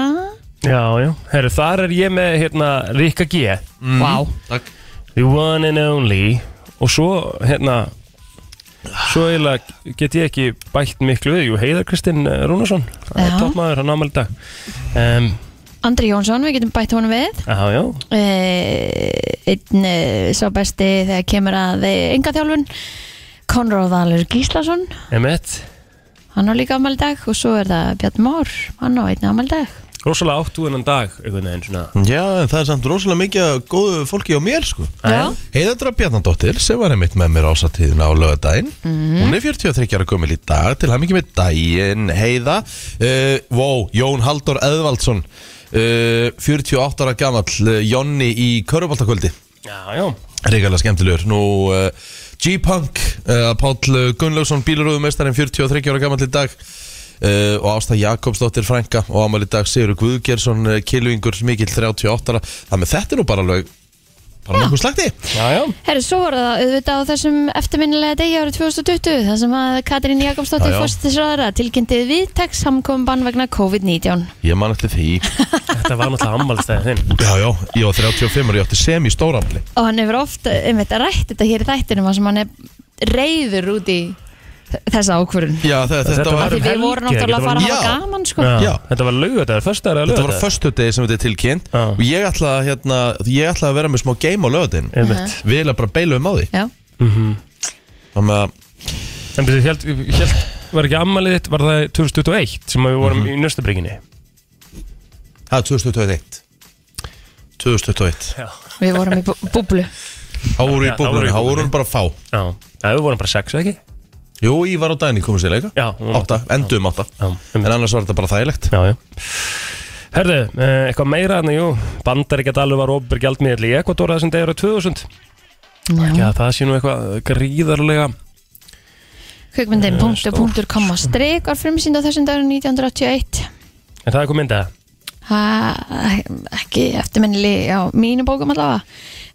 Speaker 3: já, já Herru, þar er ég með hérna Rikka G
Speaker 2: Vá,
Speaker 1: Takk
Speaker 3: The one and only Og svo, hérna Svo eiginlega get ég ekki bætt miklu við Jú, Heiðar Kristinn eh, Rúnarsson Það
Speaker 2: Já.
Speaker 3: er toppmaður, hann ámæli dag um,
Speaker 2: Andri Jónsson, við getum bætt honum við
Speaker 3: Já, já
Speaker 2: Eh, Einn eh, sá besti þegar kemur að enga þjálfun Konráð Valur Gíslason
Speaker 3: Emmett
Speaker 2: Hann á líka afmældag og svo er það Bjarn Már, hann á einni afmældag
Speaker 3: Rósalega áttu hennan dag einhvern veginn svona
Speaker 1: Já, en það er samt rosalega mikið af góðu fólki á mér sko
Speaker 2: Já,
Speaker 1: Heiðandra Bjarnandóttir sem var einmitt með mér ásatíðina á lögadaginn Hún er 43 ára gömul í dag til hann ekki með daginn Heiða uh, Wow, Jón Halldór Eðvaldsson uh, 48 ára gamall uh, Jonni í Köruboltakvöldi
Speaker 3: Já, já
Speaker 1: Ríkala skemmtilegur Nú uh, G-Punk uh, Páll Gunnlaugsson bílarúðumestarinn 43 ára gammal í dag uh, og Ásta Jakobsdóttir frænka og ámæli í dag Sigur Guðgjersson uh, kilvingur mikill 38 ára Þannig að þetta er nú bara alveg bara nokkuð slagti
Speaker 3: Já, já
Speaker 2: Herri, svo var það auðvitað á þessum eftirminnilega degi árið 2020 þar sem að Katrín Jakobsdóttir
Speaker 1: Já, já.
Speaker 2: fórstisraðara tilkynnti viðtæk samkomban vegna COVID-19.
Speaker 1: Ég man allir því
Speaker 3: Þetta var náttúrulega ammálstæðið þinn
Speaker 1: Já, já, ég var 35 ára, ég átti sem í stóramli
Speaker 2: Og hann hefur oft, eh, einmitt, rætt þetta hér í þættinum þar sem hann er reyður út í þ- þessa ákvörun.
Speaker 1: Já, þetta, þetta,
Speaker 3: Þetta
Speaker 1: var,
Speaker 3: var-
Speaker 2: Því við
Speaker 3: helgi,
Speaker 2: vorum náttúrulega
Speaker 3: þetta
Speaker 2: að fara að hafa
Speaker 1: Já.
Speaker 2: gaman, sko.
Speaker 1: Já.
Speaker 3: Þetta var laugadagur, föstudagur
Speaker 1: þetta var
Speaker 3: eða laugardagur
Speaker 1: förstu degi sem þetta er tilkynnt
Speaker 3: Já.
Speaker 1: og ég ætlaði, að, hérna, ég ætlaði að vera með smá game á löðin
Speaker 3: Einmitt
Speaker 1: Við erum bara beilum á því
Speaker 2: Já.
Speaker 1: Þannig að
Speaker 3: En betur, held, held, var ekki ammálið þitt, var það 2021 sem við vorum í nöstabrygginni
Speaker 1: Það er 2021 2021
Speaker 2: Við vorum í bú- búblu.
Speaker 1: Þá voru í
Speaker 3: Já, þá voru
Speaker 1: búblunni,
Speaker 3: í
Speaker 1: þá voru
Speaker 3: búblunni.
Speaker 1: hún bara fá
Speaker 3: Já, Já, við vorum bara sex, ekki?
Speaker 1: Jú, ég var á daginn í komið sér leika
Speaker 3: Já, hún var
Speaker 1: Átta, endum átta
Speaker 3: Já, um
Speaker 1: En annars var þetta bara þægilegt
Speaker 3: Já, já Herðu, eh, eitthvað meira en jú Bandaríkja dalur var ofur gjaldmiðl í Ekvator þessum degur á 2000 Já,
Speaker 2: Já.
Speaker 3: það sé nú eitthvað gríðarlega
Speaker 2: Kvikmyndin punktu,
Speaker 3: stórt,
Speaker 1: sko.
Speaker 2: punktur, komma, strik var frumsýnd á þessum dagur 1981.
Speaker 3: En það er komið myndað
Speaker 2: ha, ekki eftirminnileg á mínu bókum allavega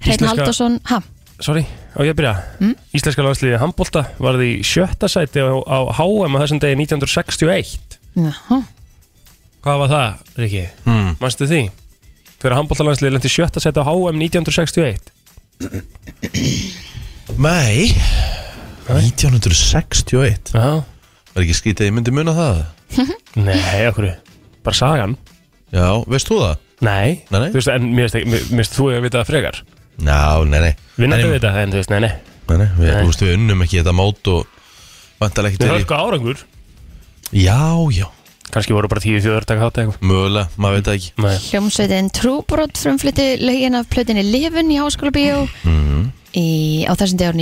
Speaker 2: Hreinn
Speaker 3: Íslenska-
Speaker 2: Halldórsson ha,
Speaker 3: Sorry, á ég að byrja Íslenska landsliðið handbólta varði í sjötta sæti á, á HM á þessum degi 1961
Speaker 2: Jaha.
Speaker 3: Hvað var það, Riki?
Speaker 1: Hmm.
Speaker 3: Mm. Manstu því? Fyrir handbólta landsliðið lendi sjötta sæti á HM 1961
Speaker 1: Nei 1961
Speaker 3: Já,
Speaker 1: Var ekki skrítið að ég myndi muna það
Speaker 3: nei, okkur Bara sagan
Speaker 1: Já, veist þú það?
Speaker 3: Nei,
Speaker 1: Nei, nei.
Speaker 3: þú veist, en mér veist, ekki- mér mér veist þú að vita það frekar
Speaker 1: Já, nei, nei
Speaker 3: Vinnandi
Speaker 1: Nei,
Speaker 3: við þetta, en þú veist, nei, nei
Speaker 1: Nei, nei, við,
Speaker 3: Nei.
Speaker 1: þú veist, við unnum ekki þetta mót og vantar ekkert
Speaker 3: Við
Speaker 1: verið-
Speaker 3: höfum sko árangur
Speaker 1: Já, já,
Speaker 3: Kanski voru bara tíu þjóður taka þátt eða eitthvað
Speaker 1: mögulega, maður veit það ekki
Speaker 3: Nei.
Speaker 2: hljómsveitin Trúbrot frumflytti lögin af plötinni Livun í Háskóla Bíó í, á þessum dagur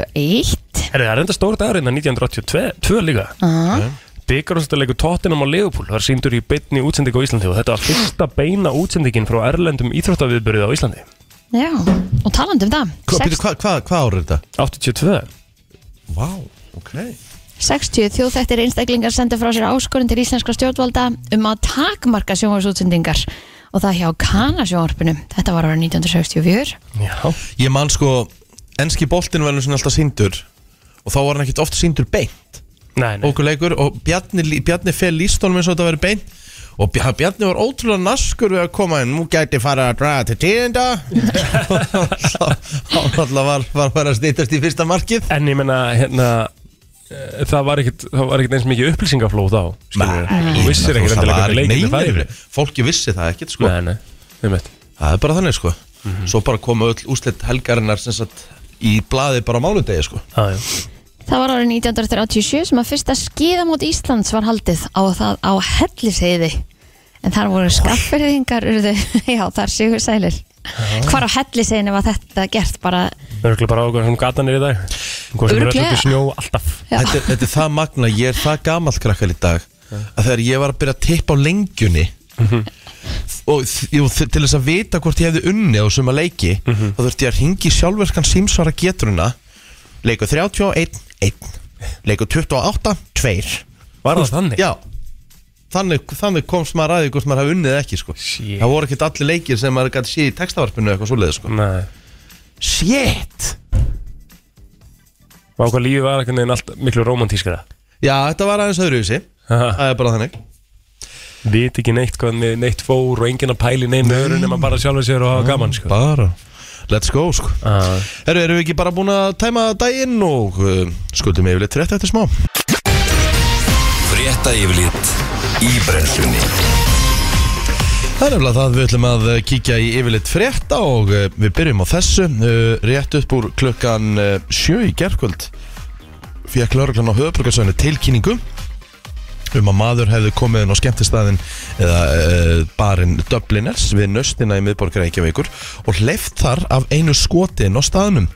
Speaker 2: 1971
Speaker 3: Herri, það er enda stór dagur hérna, innan 1982 líka
Speaker 2: ah,
Speaker 3: Byggarústæðarleikur Tottenham á Leopold var síndur í beinni útsendingu á Íslandi og þetta var fyrsta beina útsendingin frá erlendum íþróttaviðbyrðið á Íslandi
Speaker 2: Já, og talandi um það
Speaker 1: Hva,
Speaker 2: sex-
Speaker 1: Pítur, hva, hva, Hvað ár er þetta?
Speaker 3: 82
Speaker 1: Vá, ok
Speaker 2: 60 þjóðþættir einstaklingar senda frá sér áskorun til íslenskra stjórnvalda um að takmarka sjónvarsútsendingar og það hjá kanasjónvarpinu. Þetta var ára 1964.
Speaker 3: Já,
Speaker 1: Ég man sko, enski boltin var svona alltaf síndur og þá var hann ekkert oft síndur beint
Speaker 3: nei, nei
Speaker 1: okkur leikur og Bjarni, Bjarni fel lístónum eins og þetta verið beint og Bja- Bjarni var ótrúlega naskur við að koma en nú gæti fara að draga til tíðinda hann alltaf var, var, var að stýtast í fyrsta markið
Speaker 3: En ég menna, hérna eh, Það var ekkit, það var ekkit eins mikið upplýsingaflóð þá skilurðu. Þú vissir ekkit endilega hvernig leikin það
Speaker 1: leikin
Speaker 3: færi
Speaker 1: fólki vissi það ekkert sko
Speaker 3: Nei, Mhm. nei, við mitt
Speaker 1: það er bara þannig sko svo bara koma öll úsleitt helgarinnar sem sagt í blaði bara á mánudegi sko
Speaker 3: Já, já
Speaker 2: Það var ára 1937 sem að fyrsta skíðamót Íslands var haldið á það á Hellisheiði. En þar voru skafferðingar, urðu, já, þar sigur sælir. Hvar á Hellisheiðinu var þetta gert bara,
Speaker 3: Örgulega bara ákveður sem gatan er í dag Hvað sem er
Speaker 2: Örugglega.
Speaker 3: öll snjó alltaf
Speaker 2: já,
Speaker 1: þetta, er- þetta er það magna, ég er það gamall krakkar í dag að þegar ég var að byrja að tippa á lengjunni
Speaker 3: Mhm.
Speaker 1: og þ- jú, þ- til þess að vita hvort ég hefði unni á suma leiki
Speaker 3: Mhm.
Speaker 1: þá þurfti ég að ringi sjálfverkan símsvara geturuna leiku 31, 1 leiku 28, 2
Speaker 3: Var það þannig?
Speaker 1: já Þannig, þannig komst maður aðeins hvort maður hafi unnið eða ekki sko.
Speaker 3: Shit.
Speaker 1: Það voru ekkert allir leikir sem maður gæti séð í textavarpinu eða eitthvað svoleiði sko.
Speaker 3: Nei
Speaker 1: Shit
Speaker 3: Vá hvað lífið var einhvern veginn allt miklu romantískara
Speaker 1: Já, þetta var aðeins öðruvísi Það er bara þannig
Speaker 3: Vit ekki neitt hvað ne- neitt fór og enginn að pæli neinn öðru nema bara sjálfur sér og hafa gaman sko
Speaker 1: Bara Let's go sko
Speaker 3: Ah.
Speaker 1: Herru, erum við ekki bara búin að tæma daginn og uh, skuldum yfirleitt rétt eftir smá
Speaker 4: Frétta yfirlit í brennslunni
Speaker 1: Það er nefnilega það við ætlum að eh, kíkja í yfirleitt frétta og eh, við byrjum á þessu eh, rétt upp úr klukkan eh, sjö í gerkvöld fekk lauruglan á höfuborgarsvæðinu tilkynningu um að maður hefði komið inn á skemmtistæðin eða uh, barinn Dubliners við nöstina í miðborg Reykjavíkur og hleyft þar af einu skoti inn á staðnum.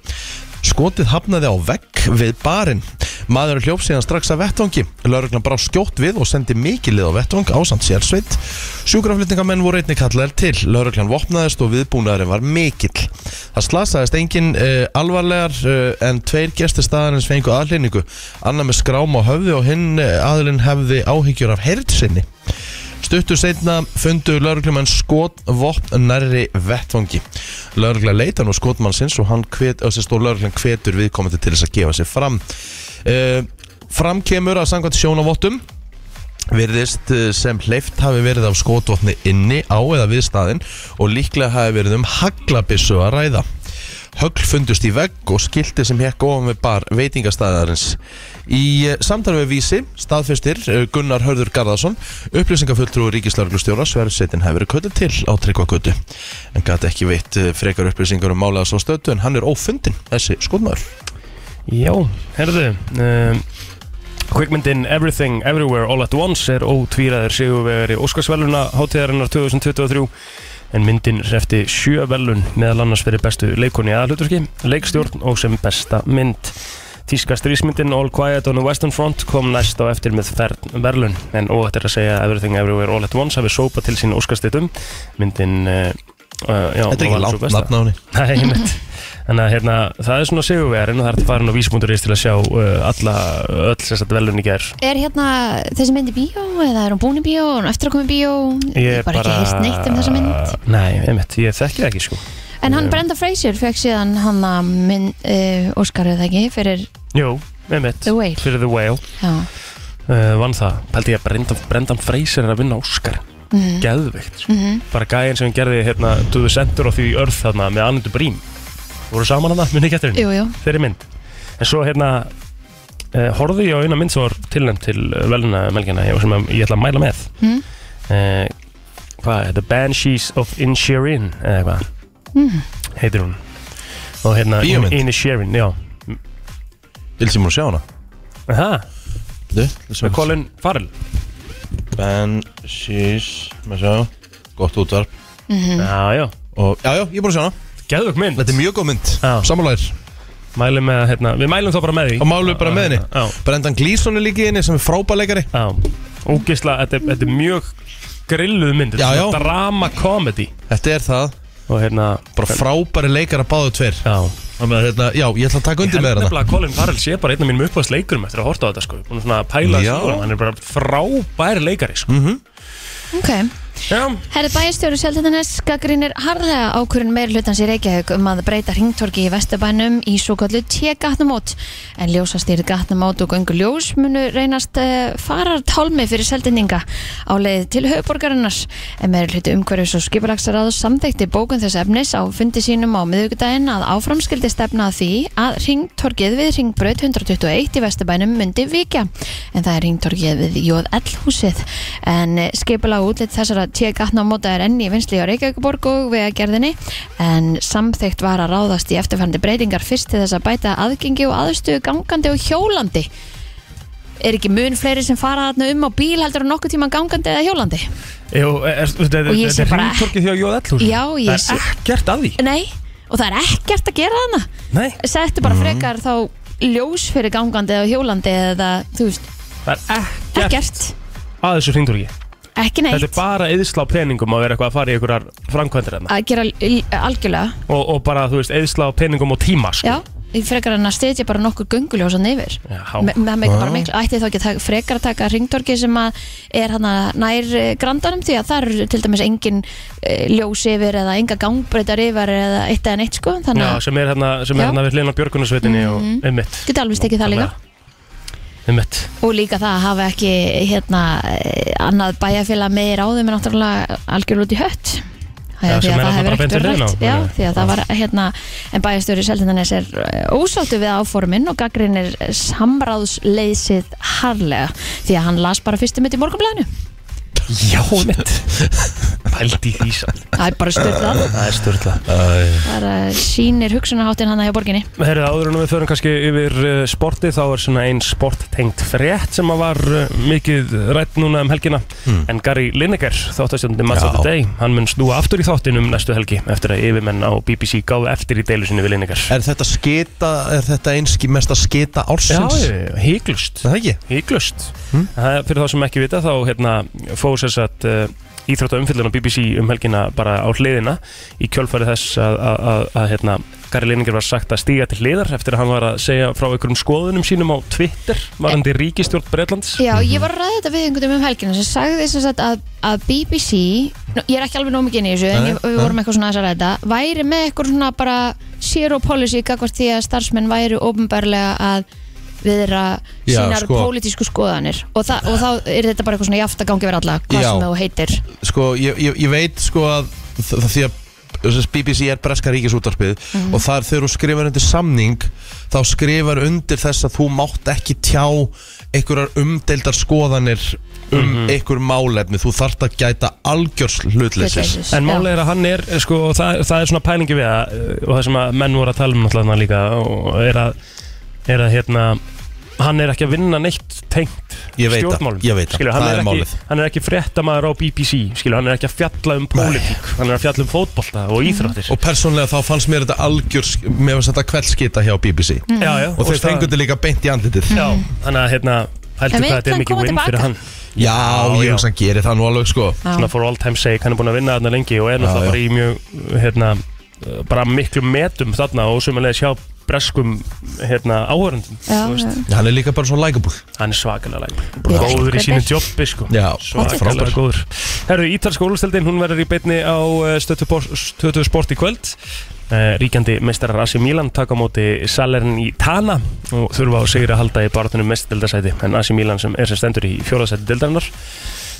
Speaker 1: Skotið hafnaði á vegg við barinn. Maður hljóf síðan strax að vettvangi. Lauruglan brá skjótt við og sendi mikið lið á vettvang ásand sérsveit. Sjúkraflytningamenn voru einnig kallaðir til. Lauruglan vopnaðist og viðbúnaðurinn var mikill. Það slasaðist engin uh, alvarlegar uh, en tveir gestir staðarins fengu aðlýningu. Anna með skrám á höfði og hinn uh, aðlinn hefði áhyggjur af herð sinni. Stuttur setna fundu lauruglumann skotvopn nærri vettvangi. Laurugla leita nú skotmannsins og hann hvet, og sérst og lauruglan hvetur viðkomandi til þess að gefa sér fram. Uh, fram kemur að samkvæmt sjónavottum virðist eh, sem hleyft hafi verið af skotvopni inni á eða við staðinn og líklega hafi verið um haglabissu að ræða. Högl fundust í vegg og skilti sem hekk ofan við bar veitingastæðarins. Í eh, samtali við vísi, staðfestir eh, Gunnar Hörður Garðarsson, upplýsingafulltrú ríkislauglustjóra Sverðsetin hefur verið köttu til á tryggvakötu. En gæti ekki veitt eh, frekar upplýsingar um málega svo stötu en hann er ófundin, þessi skotmaður.
Speaker 3: Já, herðu um, Kvikmyndin Everything Everywhere All At Once er ótvíraður sigurvegari Óskarsveluna hátíðarinnar 2023 en myndin hrefti sjö velun meðal annars fyrir bestu leikon í aðalhuturki, leikstjórn og sem besta mynd. Tíska strísmyndin All Quiet on the Western Front kom næst á eftir með fern verlun en óhætt er að segja að Everything Everywhere All At Once hafi sópa til sín Óskarstitum myndin uh, uh,
Speaker 1: Þetta er
Speaker 3: já, var
Speaker 1: ekki
Speaker 3: sú
Speaker 1: langt
Speaker 3: besta.
Speaker 1: nafn á henni.
Speaker 3: Nei, einmitt Þannig að hérna, það er svona sigurverðin og það er að fara inn á vísbúnduris til að sjá uh, alla, öll sérstætt velun í gær.
Speaker 2: Er hérna þessi mynd í bíó eða er hún búin í bíó, er hún eftir að koma í bíó Ég hef bara ekki heist neitt um þessa mynd
Speaker 3: Nei, einmitt, ég þekki það ekki sko.
Speaker 2: En hann Brenda Fraser fekk síðan hann að mynd uh, Óskar eða ekki fyrir
Speaker 3: Jú, einmitt.
Speaker 2: The Whale.
Speaker 3: Fyrir The Whale.
Speaker 2: já,
Speaker 3: uh, vann það, pældi ég að Brendan, Brendan Fraser er að vinna Óskar
Speaker 2: Mhm.
Speaker 3: mm. geðvikt, sko. bara gæðin sem hann gerði hérna, To the Center of the Earth þarna, með Anundu Brím, voru saman hann minni ekki eftir henni,
Speaker 2: jú, jú,
Speaker 3: þeirri mynd en svo hérna uh, horfði ég á eina mynd sem var tilnæmt til veluna melgina, ég, sem ég ætla að mæla með
Speaker 2: Mm.
Speaker 3: uh, hvað, The Banshees of Inisherin eða eitthvað, heitir hún og hérna,
Speaker 1: Bíómynd?
Speaker 3: Inisherin, já
Speaker 1: Vilsið múin að sjá hana
Speaker 3: Aha,
Speaker 1: Bíddu, vil sem
Speaker 3: með
Speaker 1: ég-
Speaker 3: Colin Farrell
Speaker 1: Ben, she's, maður sjá Gott útvarp
Speaker 3: Já, já,
Speaker 1: og, Já, já, ég er búin að sjá hana
Speaker 3: geðvögg mynd
Speaker 1: Þetta er mjög góð mynd,
Speaker 3: Já.
Speaker 1: sammálaðir
Speaker 3: Mælum með, hérna, við mælum þá bara með því
Speaker 1: Og málum bara með henni
Speaker 3: Já,
Speaker 1: Brendan Gleeson er líka í henni sem er frábæleikari
Speaker 3: já Ógisla, þetta, er- þetta er mjög grilluð mynd Þetta
Speaker 1: Já,
Speaker 3: er
Speaker 1: já.
Speaker 3: svona Drama comedy
Speaker 1: Þetta er það,
Speaker 3: Og hérna,
Speaker 1: bara frábæri leikar að báðu tver
Speaker 3: já
Speaker 1: hérna, Já, ég ætla að taka
Speaker 3: Ég
Speaker 1: undir
Speaker 3: held
Speaker 1: með
Speaker 3: nefnilega
Speaker 1: hana
Speaker 3: að Colin Farrell sé bara einn af mínum uppáðast leikurum eftir að horta á þetta sko Búin svona að pæla
Speaker 1: Já.
Speaker 3: þessu Hann er bara frábær leikari sko
Speaker 2: ok
Speaker 3: Já,
Speaker 2: Herri bæjarstjóri Seltjarnes gaggrínir harðlega ákvörun meir hlutans í Reykjavík um að breyta hringtorki í Vesturbænum í svo kallu T-gatnamót en ljósastýrið gatnamót og göngu ljós munu reynast uh, farartálmi fyrir Seltjarninga á leið til höfuborgarinnars en meir hluti umhverfis og skipulagsraðu samþekti bókun þess efnis á fundi sínum á miðvikudaginn að áframskildi stefna að því að hringtorkið við hringbraut 121 í Vesturbænum myndi vikja en það er hringtorkið við Jóðell húsið en skipula og útlitt þessara tjegatnamóta er enn í vinsli á Reykjavíkuborg og vegagerðinni en samþygt var að ráðast í eftirfærandi breytingar fyrst til þess að bæta aðgengi og aðstöðu gangandi og hjólandi er ekki mun fleiri sem fara þarna um á bíl heldur á nokkuð tíma gangandi eða hjólandi
Speaker 3: Jú, er, er, þetta er
Speaker 2: Og ég sé
Speaker 3: þetta er
Speaker 2: bara-
Speaker 3: hringtorkið því á Jóð Ellhús
Speaker 2: Já, ég
Speaker 3: Það
Speaker 2: sé-
Speaker 3: er ekkert að því
Speaker 2: nei, og það er ekkert að gera þarna
Speaker 3: Nei,
Speaker 2: settu
Speaker 3: Mhm.
Speaker 2: bara frekar þá ljós fyrir gangandi eða hjólandi eða þú veist,
Speaker 3: það er ekkert
Speaker 2: ekkert
Speaker 3: að þessu hringtorki
Speaker 2: ekki
Speaker 3: Þetta er
Speaker 2: neitt
Speaker 3: bara yðsla á peningum að vera eitthvað að fara í einhverjar framkvæmdir þarna
Speaker 2: að gera algjörlega
Speaker 3: og, og bara, þú veist, yðsla á peningum og tíma sko.
Speaker 2: Já, í frekar en að stedja bara nokkuð gönguljósan yfir
Speaker 3: Já.
Speaker 2: Me- með mig bara miklu, ætti þá ekki að taka- frekar að taka ringdorki sem að er hana nær eh, grandanum því að það eru til dæmis engin eh, ljós yfir eða enga gangbreytar yfir eða eitt eða neitt sko þannig
Speaker 3: Já,
Speaker 2: að
Speaker 3: sem er hérna, sem er
Speaker 2: Já.
Speaker 3: hérna við hlina björgunarsveitinni og ummitt
Speaker 2: geta alveg stekið það líka
Speaker 3: Ummitt
Speaker 2: og líka það að hafa ekki hérna eh, annað bæjarfélag með í ráðum er náttúrulega algjörlega út í hött Það
Speaker 3: Já,
Speaker 2: er því
Speaker 3: sem
Speaker 2: að það
Speaker 3: er þarna
Speaker 2: hefur
Speaker 3: bara
Speaker 2: ekkert
Speaker 3: beint
Speaker 2: verið
Speaker 3: við
Speaker 2: rætt
Speaker 3: hliðina á.
Speaker 2: Já, því að það var hérna en bæjarstjóri Seltindanes er eh, ósáttu við áformin og gaggrinir samráðsleysið harlega því að hann las bara fyrstum mitt í morgunblæðinu
Speaker 3: Já, ummitt Pældi í því sann
Speaker 2: Það er bara styrlað
Speaker 3: Það er störtla
Speaker 2: Það er eh, sínir hugsunaháttin hann að hjá borginni
Speaker 3: Herrið, áður en við förum kannski yfir uh, sporti þá er svona ein sporttengt frétt sem að var uh, mikið rætt núna um helgina en Gary Lineker, þáttastjóndi Match of the
Speaker 1: Hmm. Já.
Speaker 3: Day hann mun snúa aftur í þáttinum næstu helgi eftir að yfirmenn á BBC gáðu eftir í deilu sinni við Lineker
Speaker 1: Er þetta skita, er þetta einski mesta skita ársins?
Speaker 3: híklust
Speaker 1: Er Það ekki?
Speaker 3: Híklust Það er fyrir þá sem ekki vita þá hérna, fóðu sér satt uh, íþrótta umfyllun á BBC um helgina bara á hliðina í kjölfæri þess að, að, að, að hérna, Gary Lininger var sagt að stíga til hliðar eftir að hann var að segja frá einhverjum skoðunum sínum á Twitter varandi ríkistjórn Bretlands
Speaker 2: Já,
Speaker 1: Mhm.
Speaker 2: ég var að ræða þetta við einhvern veginn um helgina sem sagði sem sagt að, að BBC nú, ég er ekki alveg nóg mikið inn í þessu en
Speaker 1: Nei,
Speaker 2: ég, við
Speaker 1: nei.
Speaker 2: vorum eitthvað svona aðeins að ræða þetta, væri með eitthvað svona bara zero policy gagvart því að starfsmenn væri ofnbarlega að viðra
Speaker 1: Já,
Speaker 2: sínar
Speaker 1: sko.
Speaker 2: pólitísku skoðanir og, þa og þá er þetta bara eitthvað svona jaft að gangi verið alla hvað
Speaker 1: Já.
Speaker 2: sem þú heitir
Speaker 1: Sko, ég, ég, ég veit sko að þ- það því að þess að BBC er breska ríkisútarpið
Speaker 3: Mhm.
Speaker 1: og þar þegar þú skrifar undir samning þá skrifar undir þess að þú mátt ekki tjá einhverjar umdeildar skoðanir um
Speaker 3: Mhm.
Speaker 1: einhver málefni, þú þart að gæta algjörs hlutleysis
Speaker 2: Hlutleysis.
Speaker 3: En
Speaker 2: Já.
Speaker 3: málið er að hann er, sko, og það, það er svona pælingi við að, eh, og það sem að menn voru að tala um alltaf hann líka, og er að, er að, hérna, hann er ekki að vinna neitt tengt
Speaker 1: Ég veit það,
Speaker 3: stjórnmálum.
Speaker 1: ég veit það,
Speaker 3: skilur, hann
Speaker 1: það er
Speaker 3: ekki,
Speaker 1: málið.
Speaker 3: Hann er ekki fréttamaður á BBC, skilur, hann er ekki að fjalla um pólitík, hann er að fjalla um fótbolta
Speaker 2: Mm.
Speaker 3: og íþróttir.
Speaker 1: og persónlega þá fannst mér þetta algjörs mér finnst þetta kveldskita hjá BBC
Speaker 2: Mm.
Speaker 3: já, já,
Speaker 1: og þeir fengur þetta líka beint í andlitið
Speaker 3: Já, þannig að, hérna,
Speaker 2: En
Speaker 3: heldur
Speaker 2: vill
Speaker 3: hvað þetta
Speaker 2: hann
Speaker 3: er mikið
Speaker 2: koma
Speaker 3: win
Speaker 2: tilbaka?
Speaker 3: fyrir hann.
Speaker 1: Já,
Speaker 3: já.
Speaker 1: ég hugsa hann gerir það nú alveg sko
Speaker 2: Já.
Speaker 3: Svona for all time sake, hann er búin að vinna þarna lengi og er
Speaker 1: já.
Speaker 3: náttúrulega bara í mjög, hérna, eh, bara miklum metum þarna og sömulegis hjá breskum hérna, áhörundum
Speaker 2: Já, já.
Speaker 1: Hann er líka bara svo likeable
Speaker 3: hann er svakalega læk
Speaker 2: Ég veit
Speaker 3: góður í
Speaker 2: ekki
Speaker 3: sínu
Speaker 2: hvernig.
Speaker 3: jobbi sko
Speaker 1: Já,
Speaker 3: svakalega
Speaker 1: frábær.
Speaker 3: góður Herru, Ítalska úrlustildin, hún verður í beinni á eh, Stötu Bor- Stötu sport í kvöld Eh, Ríkjandi mestarar Asi Milan taka á móti Salern í Tana og þurfa á sigur að halda í baratunum mestildasæti en Asi Milan sem er sem stendur í fjóðasæti dildarinnar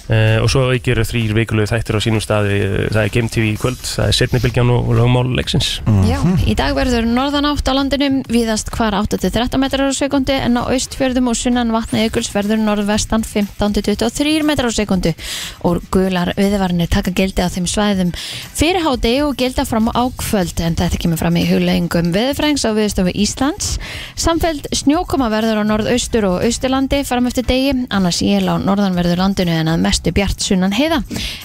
Speaker 3: Uh, og svo aukir þrýr vikulegu þættir á sínum staði eh, það er Game TV í kvöld, það er setnibylgjan og lögmál leiksins
Speaker 1: Mm.
Speaker 2: Já, í dag verður norðanátt á landinum víðast hvar 8-13 metrar á sekundi en á austfjörðum og sunnan vatna ykkuls verður norðvestan 15-23 metrar á sekundu og gular viðvarnir taka gildi á þeim svæðum fyrir hádegi og gilda fram á ákvöld en þetta kemur fram í hugleggingum viðfrængs á viðstofu Íslands samfeld snjókoma verður á norðaustur og austurlandi fram eftir degi annars él á norðanverður landinu en að mestu bjart sunnan heiða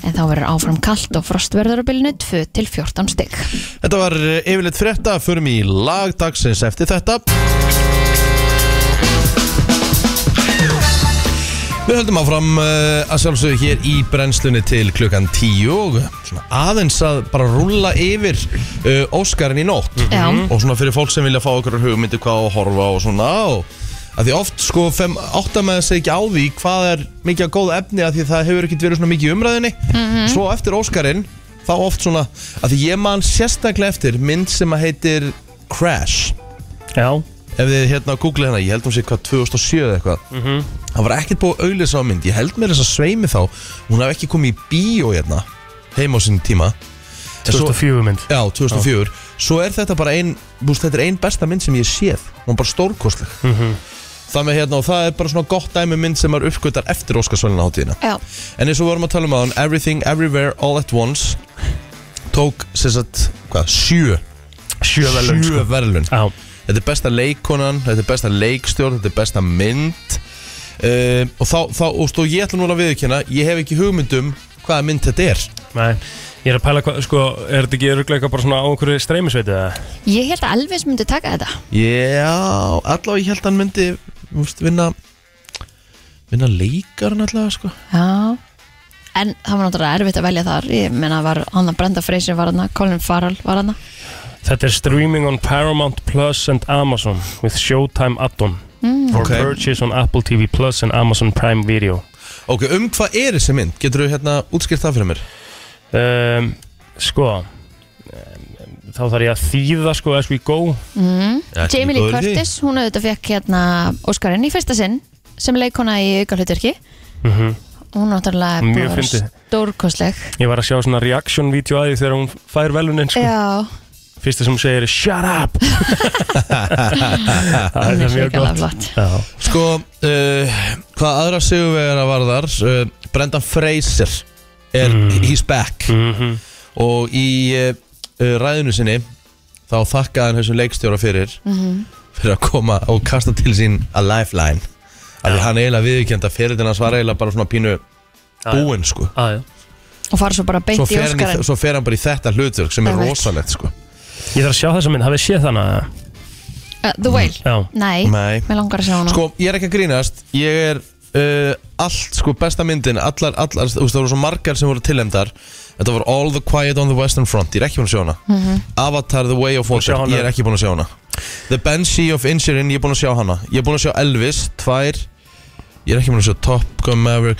Speaker 2: en þá verður áfram kalt og frost verður á bylnu 2-14 stygg
Speaker 1: Þetta var eh, yfirleitt frétta, förum í lagdagsins eftir þetta Við höldum áfram uh, að sjálfsögðu hér í brennslunni til klukkan 10 og svona aðeins að bara rúlla yfir uh, Óskarinn í nótt
Speaker 2: Já.
Speaker 1: og svona fyrir fólk sem vilja fá okkur hugmyndi hvað á að horfa og svona og að því oft sko fem, átta með sig ekki á því hvað er mikið að góð efni að því það hefur ekkert verið svona mikið í umræðinni svo eftir Óskarinn þá oft svona að því ég man sérstaklega eftir mynd sem að heitir Crash
Speaker 3: Já,
Speaker 1: ef þið hérna googlið hérna, ég held hún sé hvað 2007 eða eitthvað það var ekkert búið að auðlýsa á mynd ég held mér þess að sveimi þá hún hafði ekki komið í bíó hérna heim á sinni tíma En svo-
Speaker 3: 2004 mynd
Speaker 1: Já, 2004 Svo er þetta bara ein búst, Þetta er ein besta mynd sem ég séð Hún er bara stórkostleg mm Það með hérna og það er bara svona gott dæmi mynd sem er uppgötar eftir Óskarsvælina hátíðina
Speaker 2: Já,
Speaker 1: En eins og við vorum að tala um aðan Everything, Everywhere, All at Once Tók sér satt, hvað, sjö
Speaker 3: Sjövelun
Speaker 1: Sjö sko. verðlun
Speaker 3: Já,
Speaker 1: Þetta er besta leikkonan, þetta er besta leikstjórn Þetta er besta mynd uh, Og þá, þá og stóð ég ætla núna að viðurkenna Ég hef ekki hugmyndum hvaða mynd þetta er
Speaker 3: nei Ég er að pæla hvað, sko, er þetta ekki örugglega eitthvað bara svona á einhverju streymisveiti eða?
Speaker 2: ég held að Elvis myndi taka þetta
Speaker 1: Já, allavega ég held að hann myndi úst, vinna vinna leikarinn allavega sko
Speaker 2: Já En það var náttúrulega erfitt að velja þar Ég meina var hann að Brenda Fraser var hann Colin Farrell var hann
Speaker 3: Þetta er streaming on Paramount Plus and Amazon with Showtime add-on for
Speaker 1: Ok.
Speaker 3: purchase on Apple TV Plus and Amazon Prime Video
Speaker 1: Ok, um hvað er þessi mynd? Getur þú hérna útskýrt það fyrir mér?
Speaker 3: um, Sko um, þá þarf ég að þýða sko as we go
Speaker 2: Mhm. Jamie Lee Curtis, hún auðvitað fekk hérna Óskarinn í fyrsta sinn sem leikona í auka hluturki
Speaker 3: mm
Speaker 2: Hún náttúrulega búin
Speaker 3: Mjög
Speaker 2: að vera
Speaker 3: fyndið.
Speaker 2: stórkostleg
Speaker 3: Ég var að sjá svona reaction video að því þegar hún fær velunin sko.
Speaker 2: Já,
Speaker 3: Fyrsta sem hún segir er shut up
Speaker 2: hún
Speaker 3: Það
Speaker 2: er hrikalega flott
Speaker 3: Já,
Speaker 1: Sko, uh, hvað aðra sigurvegara varðar uh, Brendan Fraser er
Speaker 3: Mm.
Speaker 1: He's Back
Speaker 3: Mhm.
Speaker 1: og í uh, uh, ræðinu sinni þá þakkaði hann þessum leikstjóra fyrir fyrir að koma og kasta til sín a lifeline af því hann eiginlega viðurkjönda fyrir þennan svara eiginlega bara svona pínu
Speaker 3: já.
Speaker 1: búinn sko
Speaker 3: Ah, já, já.
Speaker 2: og fara svo bara beint
Speaker 1: svo
Speaker 2: í
Speaker 1: fer, hann í,
Speaker 2: Óskarinn
Speaker 1: svo fer hann bara í þetta hlutverk sem er
Speaker 2: Einmitt.
Speaker 1: rosalegt sko
Speaker 3: Ég þarf að sjá þessa mynd, hafið þið séð þannig að
Speaker 2: uh, The Whale
Speaker 3: Já,
Speaker 2: Nei,
Speaker 1: Nei.
Speaker 2: mér langar að sjá hana
Speaker 1: sko ég er ekki að grínast ég er uh, allt sko besta myndin allar, allar, þú veist það voru svo margar sem voru tilhemdar þetta var All the Quiet on the Western Front ég er ekki búin að sjá hana
Speaker 2: Mhm.
Speaker 1: Avatar The Way of
Speaker 3: sjá
Speaker 1: Water
Speaker 3: hana.
Speaker 1: ég er ekki búin að sjá hana The Banshee of Inisherin ég er búin að sjá hana ég er búin að sjá Elvis tvær ég er ekki búin að sjá Top Gun Maverick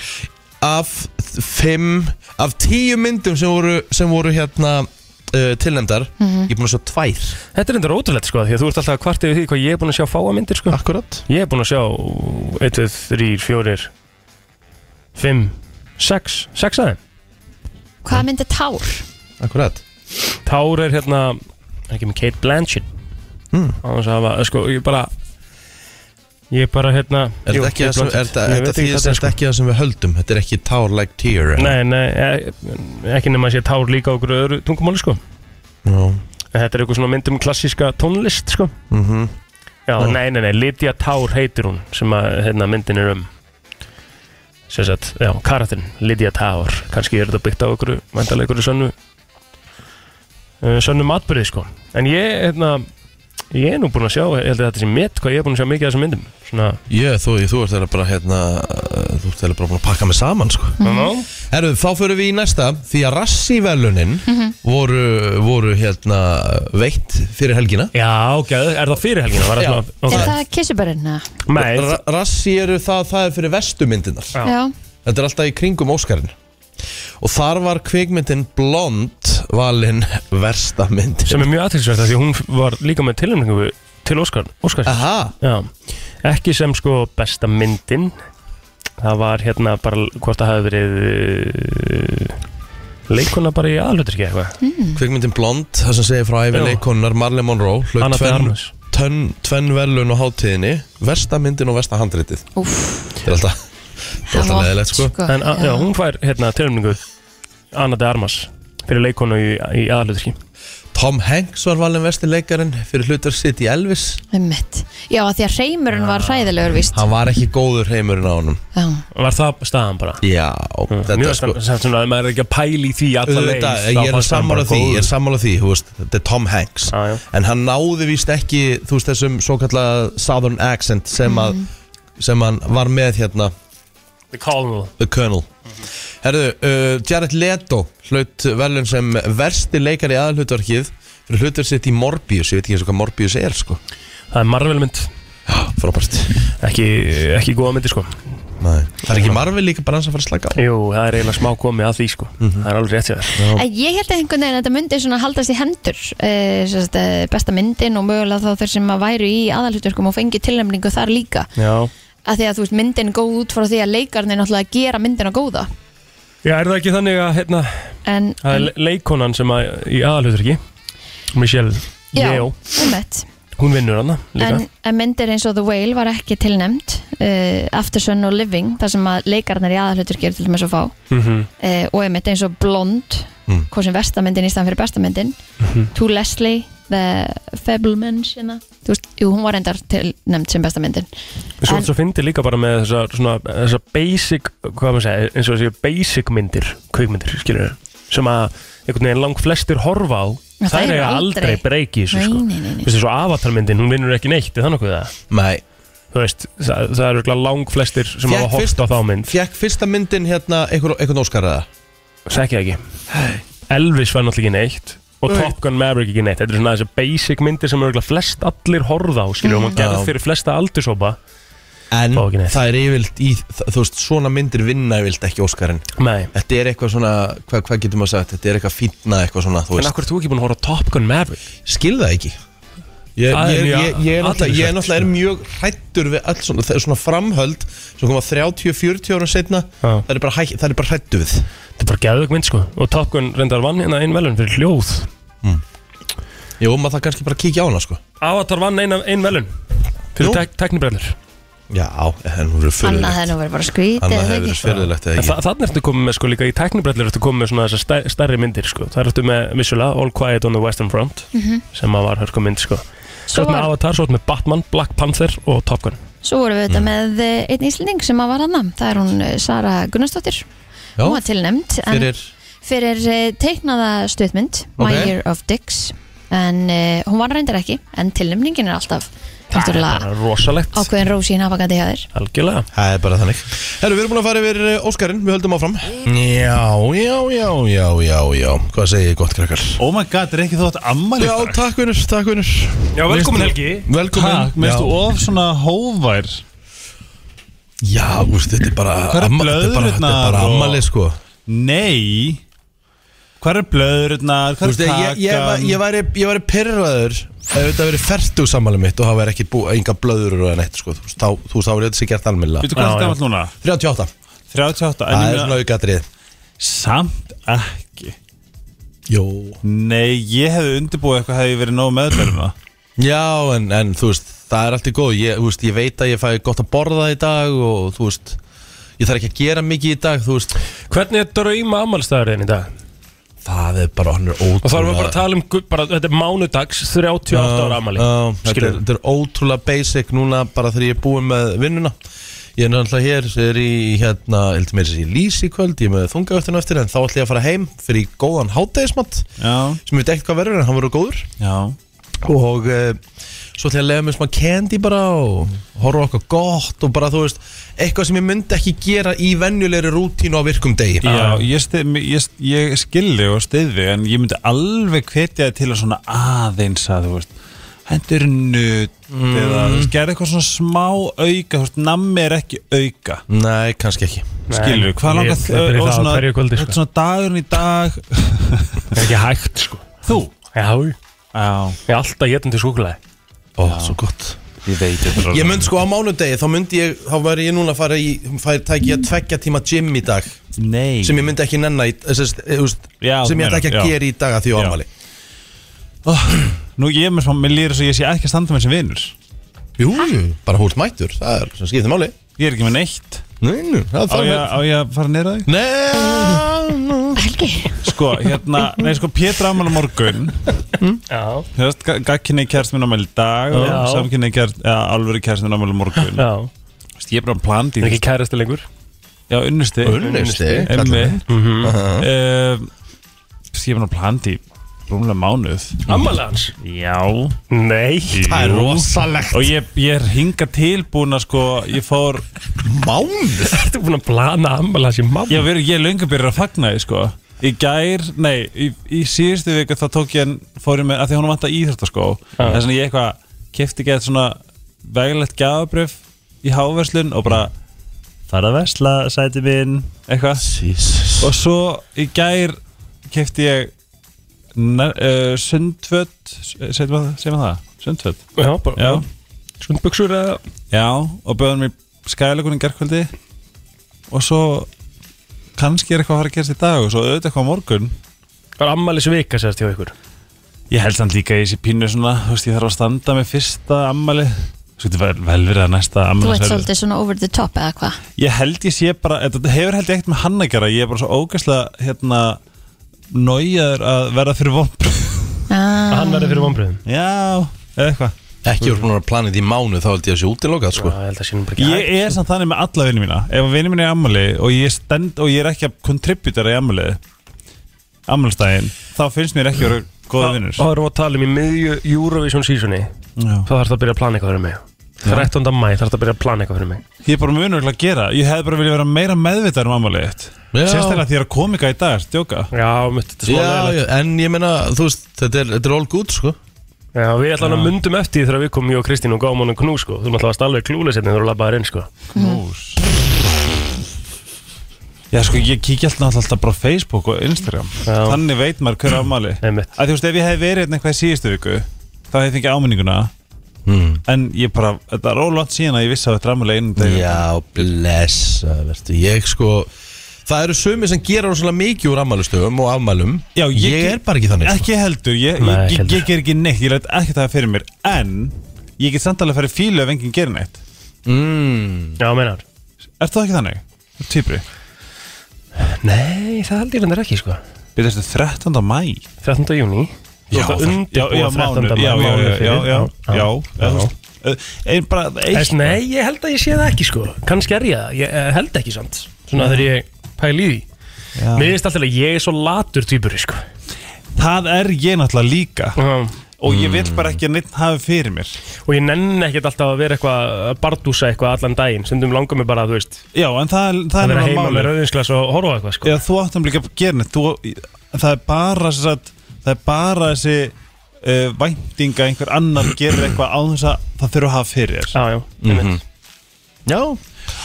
Speaker 1: af þ- fimm af tíu myndum sem voru sem voru hérna uh, tilnefndar
Speaker 2: Mhm.
Speaker 1: ég er búin að sjá tvær
Speaker 3: Þetta er endur ótrúlegt sko, því að þú ert alltaf að kvarta yfir því hvað ég er búin að sjá fáa myndir sko.
Speaker 1: akkurat
Speaker 3: Ég er búin að sjá 1, 2, 3, 4, 5, 6, 6 aðeins.
Speaker 2: Hvað myndi Tár?
Speaker 1: akkurat
Speaker 3: Tár er hérna, er ekki með Kate Blanchett.
Speaker 1: Mm.
Speaker 3: Á þess að hafa, sko, ég bara, ég bara hérna.
Speaker 1: Er
Speaker 3: jú,
Speaker 1: þetta ekki,
Speaker 3: Kate
Speaker 1: það sem- er
Speaker 3: Blanchett.
Speaker 1: þetta-
Speaker 3: Ég
Speaker 1: þetta því-
Speaker 3: veit hvað
Speaker 1: þetta
Speaker 3: þetta
Speaker 1: er
Speaker 3: sko.
Speaker 1: ekki það sem við höldum Þetta er ekki Tower Like Tear eða?
Speaker 3: Nei, nei, e- ekki nema að sé tár líka á okkur öðru tungumáli sko.
Speaker 1: Já.
Speaker 3: En Þetta er eitthvað svona mynd um klassíska tónlist sko.
Speaker 1: Mhm.
Speaker 3: Já,
Speaker 1: Já.
Speaker 3: nei, nei, nei, Lydia Tár heitir hún sem að hérna, myndin er um sem sagt, já, karatinn Lydia Tár, kannski er þetta byggt á okkur væntalega ykkur sönnu uh, sönnu matbyrði, sko en ég, hérna, Ég er nú búin að sjá, ég held að þetta sé mitt hvað ég er búin að sjá mikið af þessum myndum Svona,
Speaker 1: Ég, þú, þú ert þeirra bara hérna uh, Þú ert þeirra bara búin að pakka mig saman sko.
Speaker 3: mm.
Speaker 1: Herru, þá förum við í næsta Því að rassivelunin voru, voru hérna veitt fyrir helgina
Speaker 3: Já, ok, er það fyrir helgina? Var
Speaker 1: Já.
Speaker 3: það
Speaker 2: Er
Speaker 3: svona,
Speaker 2: það kissubörinn? Já.
Speaker 3: ok Nei,
Speaker 1: Ra- Rassi eru það, það er fyrir vestumyndinar
Speaker 3: Já.
Speaker 2: Já.
Speaker 1: Þetta er alltaf í kringum Óskarinn Og þar var kvikmyndin Blond valin versta myndin
Speaker 3: sem er mjög aðtilsvægt því að hún var líka með tilhengu til Óskar, Óskar.
Speaker 1: Aha,
Speaker 3: Já, ekki sem sko besta myndin það var hérna bara hvort það hafi verið uh, leikuna bara í aðlutur ekki eitthvað
Speaker 1: kvikmyndin Blond Það sem segir frá æfi
Speaker 3: Já.
Speaker 1: leikonar Marley Monroe Hlaut
Speaker 3: Anna de
Speaker 1: tvenn,
Speaker 3: Armas.
Speaker 1: tönn, tvenn velun á hátíðinni Versta myndin og versta handritið
Speaker 2: Úff.
Speaker 1: Þetta er alltaf, þetta er
Speaker 2: Það
Speaker 1: alltaf
Speaker 2: var
Speaker 1: leðilegt sko
Speaker 3: en já. Já, hún fær hérna tilhengu Anna de Armas fyrir leikonu í, í aðlutur
Speaker 1: Tom Hanks var valin versti leikarinn Fyrir hlutar sitt í Elvis
Speaker 2: Einmitt. Já, af því að reymurinn var hræðilegur, víst.
Speaker 1: Hann var ekki góður heimurinn á honum
Speaker 2: Já.
Speaker 3: var það staðan bara
Speaker 1: Já, þetta
Speaker 3: mjög
Speaker 1: er sko
Speaker 3: sko, svona að maður er ekki að pæli því alla leið
Speaker 1: auðvitað, ég er sammála því, ég er sammála því, þú veist, þetta er Tom Hanks
Speaker 3: Já, já.
Speaker 1: en hann náði víst ekki, þú veist, þessum svo kallað Southern accent sem að sem hann var með hérna
Speaker 3: The Colonel
Speaker 1: The Colonel Herðu, uh, Jared Leto hlaut velun sem versti leikari í aðalhlutverkið fyrir hlutverk sitt í Morbius, ég veit ekki eins og hvað Morbius er sko,
Speaker 3: það er Marvel mynd
Speaker 1: frábært
Speaker 3: ekki, ekki góða myndi sko
Speaker 1: Nei. Það er ekki Marvel líka bara hans að fara að slaka á
Speaker 3: Jú, það er eiginlega smá komið að því sko
Speaker 1: Mhm.
Speaker 3: Það er alveg rétt hjá þér
Speaker 2: En ég held einhvern veginn að þetta myndi svona haldast í hendur eh, sem sagt, eh, besta myndin og mögulega þá þeir sem að væru í aðalhuturkum og fengi tilnæmningu þar líka
Speaker 3: Já
Speaker 2: að því að þú veist myndin er góð út frá því að leikarnir náttúrulega gera myndina góða
Speaker 3: Já, er það ekki þannig að hérna
Speaker 2: en,
Speaker 3: Það er
Speaker 2: en
Speaker 3: le- leikkonan sem að, í aðalhutur Michelle
Speaker 2: já,
Speaker 3: Yeoh
Speaker 2: einmitt.
Speaker 3: Hún vinnur hana líka
Speaker 2: en, en myndir eins og The Whale var ekki tilnæmt uh, After Sun og Living þar sem að leikarnir í aðalhuturkir til þess að fá
Speaker 3: mm
Speaker 2: uh, og einmitt eins og Blond
Speaker 1: Mm.
Speaker 2: hvað sem vestamyndin í staðan fyrir bestamyndin To Leslie, The Fablemans hérna. Þú veist, jú, hún var endar tilnæmt sem bestamyndin
Speaker 3: Svo,
Speaker 2: en-
Speaker 3: svo fyndi líka bara með þessar svona, þessar basic, hvað maður segja eins og þessi basic myndir, kvikmyndir skilur við, sem að einhvern veginn lang flestir horfa á
Speaker 2: Já,
Speaker 3: Það
Speaker 2: þær
Speaker 3: er
Speaker 2: eru
Speaker 3: aldrei
Speaker 2: aldrei-
Speaker 3: breyki þessu
Speaker 2: Nei,
Speaker 3: sko
Speaker 2: nei, nei, nei.
Speaker 3: Þessi svo avatarmyndin, hún vinnur ekki neitt er það nokkuð það?
Speaker 1: Nei,
Speaker 3: Þú veist, það, það eru lang flestir sem
Speaker 1: Fékk
Speaker 3: hafa hort
Speaker 1: fyrst-
Speaker 3: á þá mynd
Speaker 1: fekk fyrsta myndin hérna einhver- einhvern óskar eða?
Speaker 3: Sækja ekki Elvis var náttúrulega ekki neitt Og Top Gun Maverick ekki neitt Þetta er svona þessi basic myndir sem örgulega flest allir horða á Skiljum, mm. og
Speaker 1: Já.
Speaker 3: gerð fyrir flesta aldursópa
Speaker 1: En
Speaker 3: Fá ekki neitt.
Speaker 1: það er yfirlt í, það- þú veist, svona myndir vinna yfirlt ekki Óskarinn
Speaker 3: Nei
Speaker 1: Þetta er eitthvað svona, hvað hva getur maður sagt, þetta er eitthvað fínna eitthvað svona, þú
Speaker 3: En
Speaker 1: veist
Speaker 3: akkur þú ekki búin að horfa á Top Gun Maverick
Speaker 1: Skil það ekki Ég,
Speaker 3: Það er
Speaker 1: ég,
Speaker 3: mjög
Speaker 1: ég, ég, er sko. náttúrulega, ég er
Speaker 3: athyglisvert,
Speaker 1: náttúrulega er mjög hrættur við allt svona, það er svona framhöld sem koma 30-40 ára setna
Speaker 3: Já.
Speaker 1: það er bara, hæ- það er bara hrættu við
Speaker 3: Þetta er bara geðug mynd sko Og Top Gun reyndar vann hérna einn velun fyrir hljóð
Speaker 1: Jó, maður það kannski bara að kíkja á hana sko
Speaker 3: Avatar vann einn ein velun Fyrir
Speaker 1: Nú?
Speaker 3: tek, teknibrellur
Speaker 1: Já, en hún verður
Speaker 2: Annað
Speaker 1: fyrirlegt
Speaker 2: hefði nú verið bara skrítið
Speaker 1: Annað
Speaker 2: eða
Speaker 1: hefur
Speaker 2: ekki?
Speaker 1: verið fyrirlegt eða
Speaker 3: En
Speaker 1: ekki
Speaker 3: þa þannig ertu komið með sko líka í teknibrellur Ertu komið með svona þessar stær, stærri myndir sko Það ertu með vissulega All Quiet on the Western Front Sem að var hörku mynd sko
Speaker 2: Mhm. Svo
Speaker 3: Svo ertu með
Speaker 2: var-
Speaker 3: Avatar, svo ertu með Batman, Black Panther og Top Gun
Speaker 2: Svo vorum
Speaker 1: Mm.
Speaker 2: við auðvitað með eh, einn íslending sem að var hann það er hún eh, Sara Gunnarsdóttir
Speaker 1: Já,
Speaker 2: hún var tilnæmt en
Speaker 1: fyrir,
Speaker 2: fyrir eh, teiknaða stuðmynd My
Speaker 1: Ok.
Speaker 2: Year of Dicks en eh, hún var reyndar ekki en tilnæmningin er alltaf
Speaker 3: Það
Speaker 2: náttúrulega
Speaker 3: er rosalegt
Speaker 2: ákveðin rósi í nafagandi hjá þér
Speaker 3: Algjörlega
Speaker 1: það er bara þannig Herru, við erum búin að fara yfir eh, Óskarinn, við höldum áfram Já, já, já, já, já, já Hvað segir gott krakkar?
Speaker 5: Oh my god, er ekki þú átt ammali
Speaker 1: Já, takk vinnur, takk vinnur
Speaker 3: Já, velkomin Helgi
Speaker 1: Velkomin
Speaker 5: Takk, mér finnst þú
Speaker 1: Já.
Speaker 5: of svona hóvær
Speaker 1: Já, úst, þetta er bara
Speaker 5: Hvar er
Speaker 1: amma- Þetta er bara, þetta er bara
Speaker 5: blöðrurnar og-
Speaker 1: ammali sko
Speaker 5: Nei Hvað er blöðurinnar,
Speaker 1: Þú
Speaker 5: hvað
Speaker 1: veist,
Speaker 5: er
Speaker 1: ég, ég, var-
Speaker 5: takan
Speaker 1: ég væri, ég væri pyrraður ef þetta verið fertu sammali mitt og það væri ekki bú, enga blöður og neitt sko, þú veist, þá, þú veist, þá er þetta sér gert almennilega
Speaker 5: Veitu hvað
Speaker 3: Já,
Speaker 5: er
Speaker 3: já.
Speaker 5: þetta núna?
Speaker 1: 38, það
Speaker 5: 38 en ég
Speaker 1: er
Speaker 5: meina-
Speaker 1: svona aukaðrið
Speaker 5: Samt ekki
Speaker 1: Jó
Speaker 5: Nei, ég hefði undirbúið eitthvað hefði ég verið nóg meðbæruna
Speaker 1: Já, en, en þú veist, það er allt í góð ég, þú veist, ég veit að ég fæ gott að borða í dag og þú veist, ég þarf ekki að gera mikið í dag, þú veist
Speaker 3: Hvernig er drauma afmælstæðurinn í dag?
Speaker 1: Það er bara, hann er
Speaker 3: Og
Speaker 1: ótrúlega
Speaker 3: þá erum við bara að tala um, gu- bara, þetta er mánudags 38 ára afmæli
Speaker 1: Já, þetta er,
Speaker 3: Skilurðu?
Speaker 1: þetta er ótrúlega basic núna bara þegar ég er búin með vinnuna Ég er náttúrulega hér, ég er í hérna, heldur mér þessi lýs í kvöld, ég er með þungaöftinu eftir en þá ætla ég að fara heim fyrir góðan hátegismat
Speaker 5: Já,
Speaker 1: sem ég veit ekkert hvað verður en hann verður góður
Speaker 5: já
Speaker 1: og uh, svo til að lega mér smá candy bara og horfa á eitthvað gott og bara þú veist, eitthvað sem ég myndi ekki gera í venjulegri rútínu á virkum degi
Speaker 5: Já, ég, styð, ég, ég skilði og styði en ég myndi alveg hvetja þig til að svona aðeins að þú veist hendur nutt eða þú veist, gerði eitthvað svona smá auka þú veist, nammi er ekki auka
Speaker 1: Nei, kannski ekki
Speaker 5: skilur, hvað
Speaker 3: ég-
Speaker 5: langar
Speaker 3: ég fer í
Speaker 5: og
Speaker 3: það á
Speaker 5: svona,
Speaker 3: hverju kvöldi,
Speaker 5: þetta
Speaker 3: sko.
Speaker 5: er svona dagurinn í dag
Speaker 3: Það er ekki hægt sko
Speaker 5: þú
Speaker 3: Já, ég
Speaker 5: Já,
Speaker 3: er alltaf getandi súkulega
Speaker 1: Ó, svo gott
Speaker 5: ég veit þetta
Speaker 1: Ég mynd sko á mánudegi, þá myndi ég, þá væri ég núna að fara í, fær, tæki ég tveggja tíma gym í dag
Speaker 5: Nei
Speaker 1: sem ég myndi ekki nenna í, þess, þess,
Speaker 5: Já,
Speaker 1: sem
Speaker 5: þú
Speaker 1: ég ætla ekki
Speaker 5: meinar,
Speaker 1: að
Speaker 5: já.
Speaker 1: gera í dag að því á
Speaker 5: Já.
Speaker 1: afmæli
Speaker 5: Nú ég er með svona, mér lýður svo ég sé ekki að standa með sem vinnur
Speaker 1: Jú, jú, bara húrt mættur, það er sem skiptir máli
Speaker 5: Ég er ekki með neitt
Speaker 1: Nei, nú, það er
Speaker 5: Á
Speaker 1: það
Speaker 5: ég, á ég að fara neyra þig?
Speaker 1: Nei,
Speaker 2: Helgi
Speaker 5: Sko, hérna, nei sko, Pétur Amal á morgun
Speaker 3: Já,
Speaker 5: Þú veist, gagkinni kjærst minn ámæli í dag og
Speaker 3: Já.
Speaker 5: samkynni kjærst, eða alvöru kjærst minn ámæli á morgun
Speaker 3: já
Speaker 5: Þú veist, ég er bara að plana
Speaker 3: Það
Speaker 5: því
Speaker 3: er ekki kærasti lengur
Speaker 5: Já, unnusti
Speaker 1: Unnusti,
Speaker 5: Emmi
Speaker 1: kallar
Speaker 5: Þú
Speaker 3: Mhm.
Speaker 5: Ehm, veist, ég er bara að plana því rúmlega mánuð
Speaker 3: Ammali hans
Speaker 5: Já
Speaker 3: Nei
Speaker 1: það er rosalegt
Speaker 5: Og ég, ég er hinga tilbúin að sko, ég fór
Speaker 1: Mánuð
Speaker 3: Ertu búin að plana ammali hans í mamma?
Speaker 5: Já, við erum, ég er löngu byrjar að fagna því, sko Í gær, nei, í, í síðustu viku þá tók ég hann, fór ég með, að því hún vant að íþróttaskó
Speaker 3: Já.
Speaker 5: Þess vegna ég eitthvað, kefti ekki eitthvað svona veglegt gjafabrif í háverslun og bara Fara að versla, sæti minn, eitthvað
Speaker 1: Jesus
Speaker 5: Og svo í gær kefti ég nar, uh, sundfött, segir maður segir maður eh, það? Sundfött,
Speaker 3: Já, bara
Speaker 5: já
Speaker 3: Sundbuxur eða
Speaker 5: Já, og bauðan mér skæðilegunin gerkvöldi og svo kannski er eitthvað að fara að gerast í dag og svo auðvitað eitthvað á morgun
Speaker 3: Það er ammali svika sérst hjá ykkur
Speaker 5: Ég held samt líka í þessi pínu svona þú veist, ég þarf að standa með fyrsta ammali Svo getur vel, vel verið að næsta
Speaker 2: Þú ert
Speaker 5: ammali
Speaker 2: svolítið svona over the top eða hvað
Speaker 5: Ég held ég sé bara, þetta hefur held ég ekkert með hann að gera Ég er bara svo ógæslega hérna Nójaður að verða fyrir vombr
Speaker 3: Að
Speaker 2: ah,
Speaker 3: Hann verður fyrir vonbröðum
Speaker 5: Já, eða eitthvað
Speaker 1: Ekki voru búin að plana þetta í mánuð, þá held ég að sé útilokað
Speaker 3: Já,
Speaker 1: sko
Speaker 3: ég held að sínum bara ekki
Speaker 5: Ég er samt þannig með alla vinni mína Ef vinni mín er í ammali og ég, stend, og ég er ekki að kontributera í ammali Ammalstæðin Þá finnst mér ekki að vera góða vinnur
Speaker 3: Það erum við að tala um í miðju Eurovision seasoni
Speaker 5: Já.
Speaker 3: Það þarf að byrja að plana eitthvað fyrir mig 13. mæ þarf að byrja að plana eitthvað fyrir mig
Speaker 5: Ég er bara mjög unverulega að gera Ég hefði bara viljað vera meira meðvitað um ammali þitt
Speaker 1: Já.
Speaker 5: Sérstaklega því ég er að komika í dag, ertu að djóka
Speaker 3: Já, mitt, þetta er smá
Speaker 1: Já,
Speaker 3: leiðilegt.
Speaker 1: já, en ég meina, þú veist, þetta er, þetta er all good sko
Speaker 3: Já, við ætlum að myndum eftir því þegar við komum ég og Kristín og gáum honum knú sko Þú ætlum að alveg klúlega setni þegar þú labbaðir inn sko
Speaker 5: Knús Já sko, ég kíkja alltaf náttúrulega bara á Facebook og Instagram
Speaker 3: Já.
Speaker 5: Þannig veit maður hver er ammali
Speaker 3: Einmitt.
Speaker 5: Að þú veist, ef ég hef verið hérna eitthvað í síðustu viku Þá hef ég fengið áminninguna
Speaker 1: mm.
Speaker 5: En ég bara, þetta er ólátt síðan að ég vissi að þetta er ammali einum dag
Speaker 1: Já, blessa, verður Ég sko, það eru sumi sem gera rosalega mikið úr afmælustöfum og afmælum
Speaker 5: Já,
Speaker 1: ég, er bara ekki þannig sko.
Speaker 5: Ekki heldur, ég, ég,
Speaker 3: Nei,
Speaker 5: ég,
Speaker 3: heldur.
Speaker 5: ég ger ekki neitt, ég læt ekki það fyrir mér En ég get samt alveg að fara í fílu ef enginn gerir neitt
Speaker 1: mm.
Speaker 3: Já, meinar
Speaker 5: Ert það ekki þannig? Týpri
Speaker 3: Nei, það held ég hendur ekki sko
Speaker 5: Við þessum 13. mæ
Speaker 3: 13. júni
Speaker 5: Já, já, já, mánuð, já, já, já, já, já, já, já, já. Einn bara,
Speaker 3: Þess,
Speaker 5: eitt
Speaker 3: Nei, ég held að ég sé það ekki sko Kannski er ég það, ég eh, held ekki samt Svona þegar ég pæli í því
Speaker 5: Já.
Speaker 3: Mér finnst alltaf að ég er svo latur týpuri sko
Speaker 5: Það er ég náttúrulega líka
Speaker 3: Já.
Speaker 5: Og ég vil
Speaker 3: Mm.
Speaker 5: bara ekki að neitt hafi fyrir mér
Speaker 3: Og ég nenni ekkert alltaf að vera eitthvað að bardúsa eitthvað allan daginn Stundum langar mig bara, þú veist
Speaker 5: Já, en það, er- það
Speaker 3: að
Speaker 5: er
Speaker 3: vera heima
Speaker 5: náttúrulega
Speaker 3: með
Speaker 5: málið
Speaker 3: rauðinsglas og horfa á eitthvað sko
Speaker 5: Já, þú áttum líka að gera neitt þú, Það er bara þess að Það er bara þessi uh, vænting að einhver annar gerir eitthvað á þess að það þurfa að hafa fyrir þér
Speaker 3: Já, já, einmitt
Speaker 1: Mhm. Já,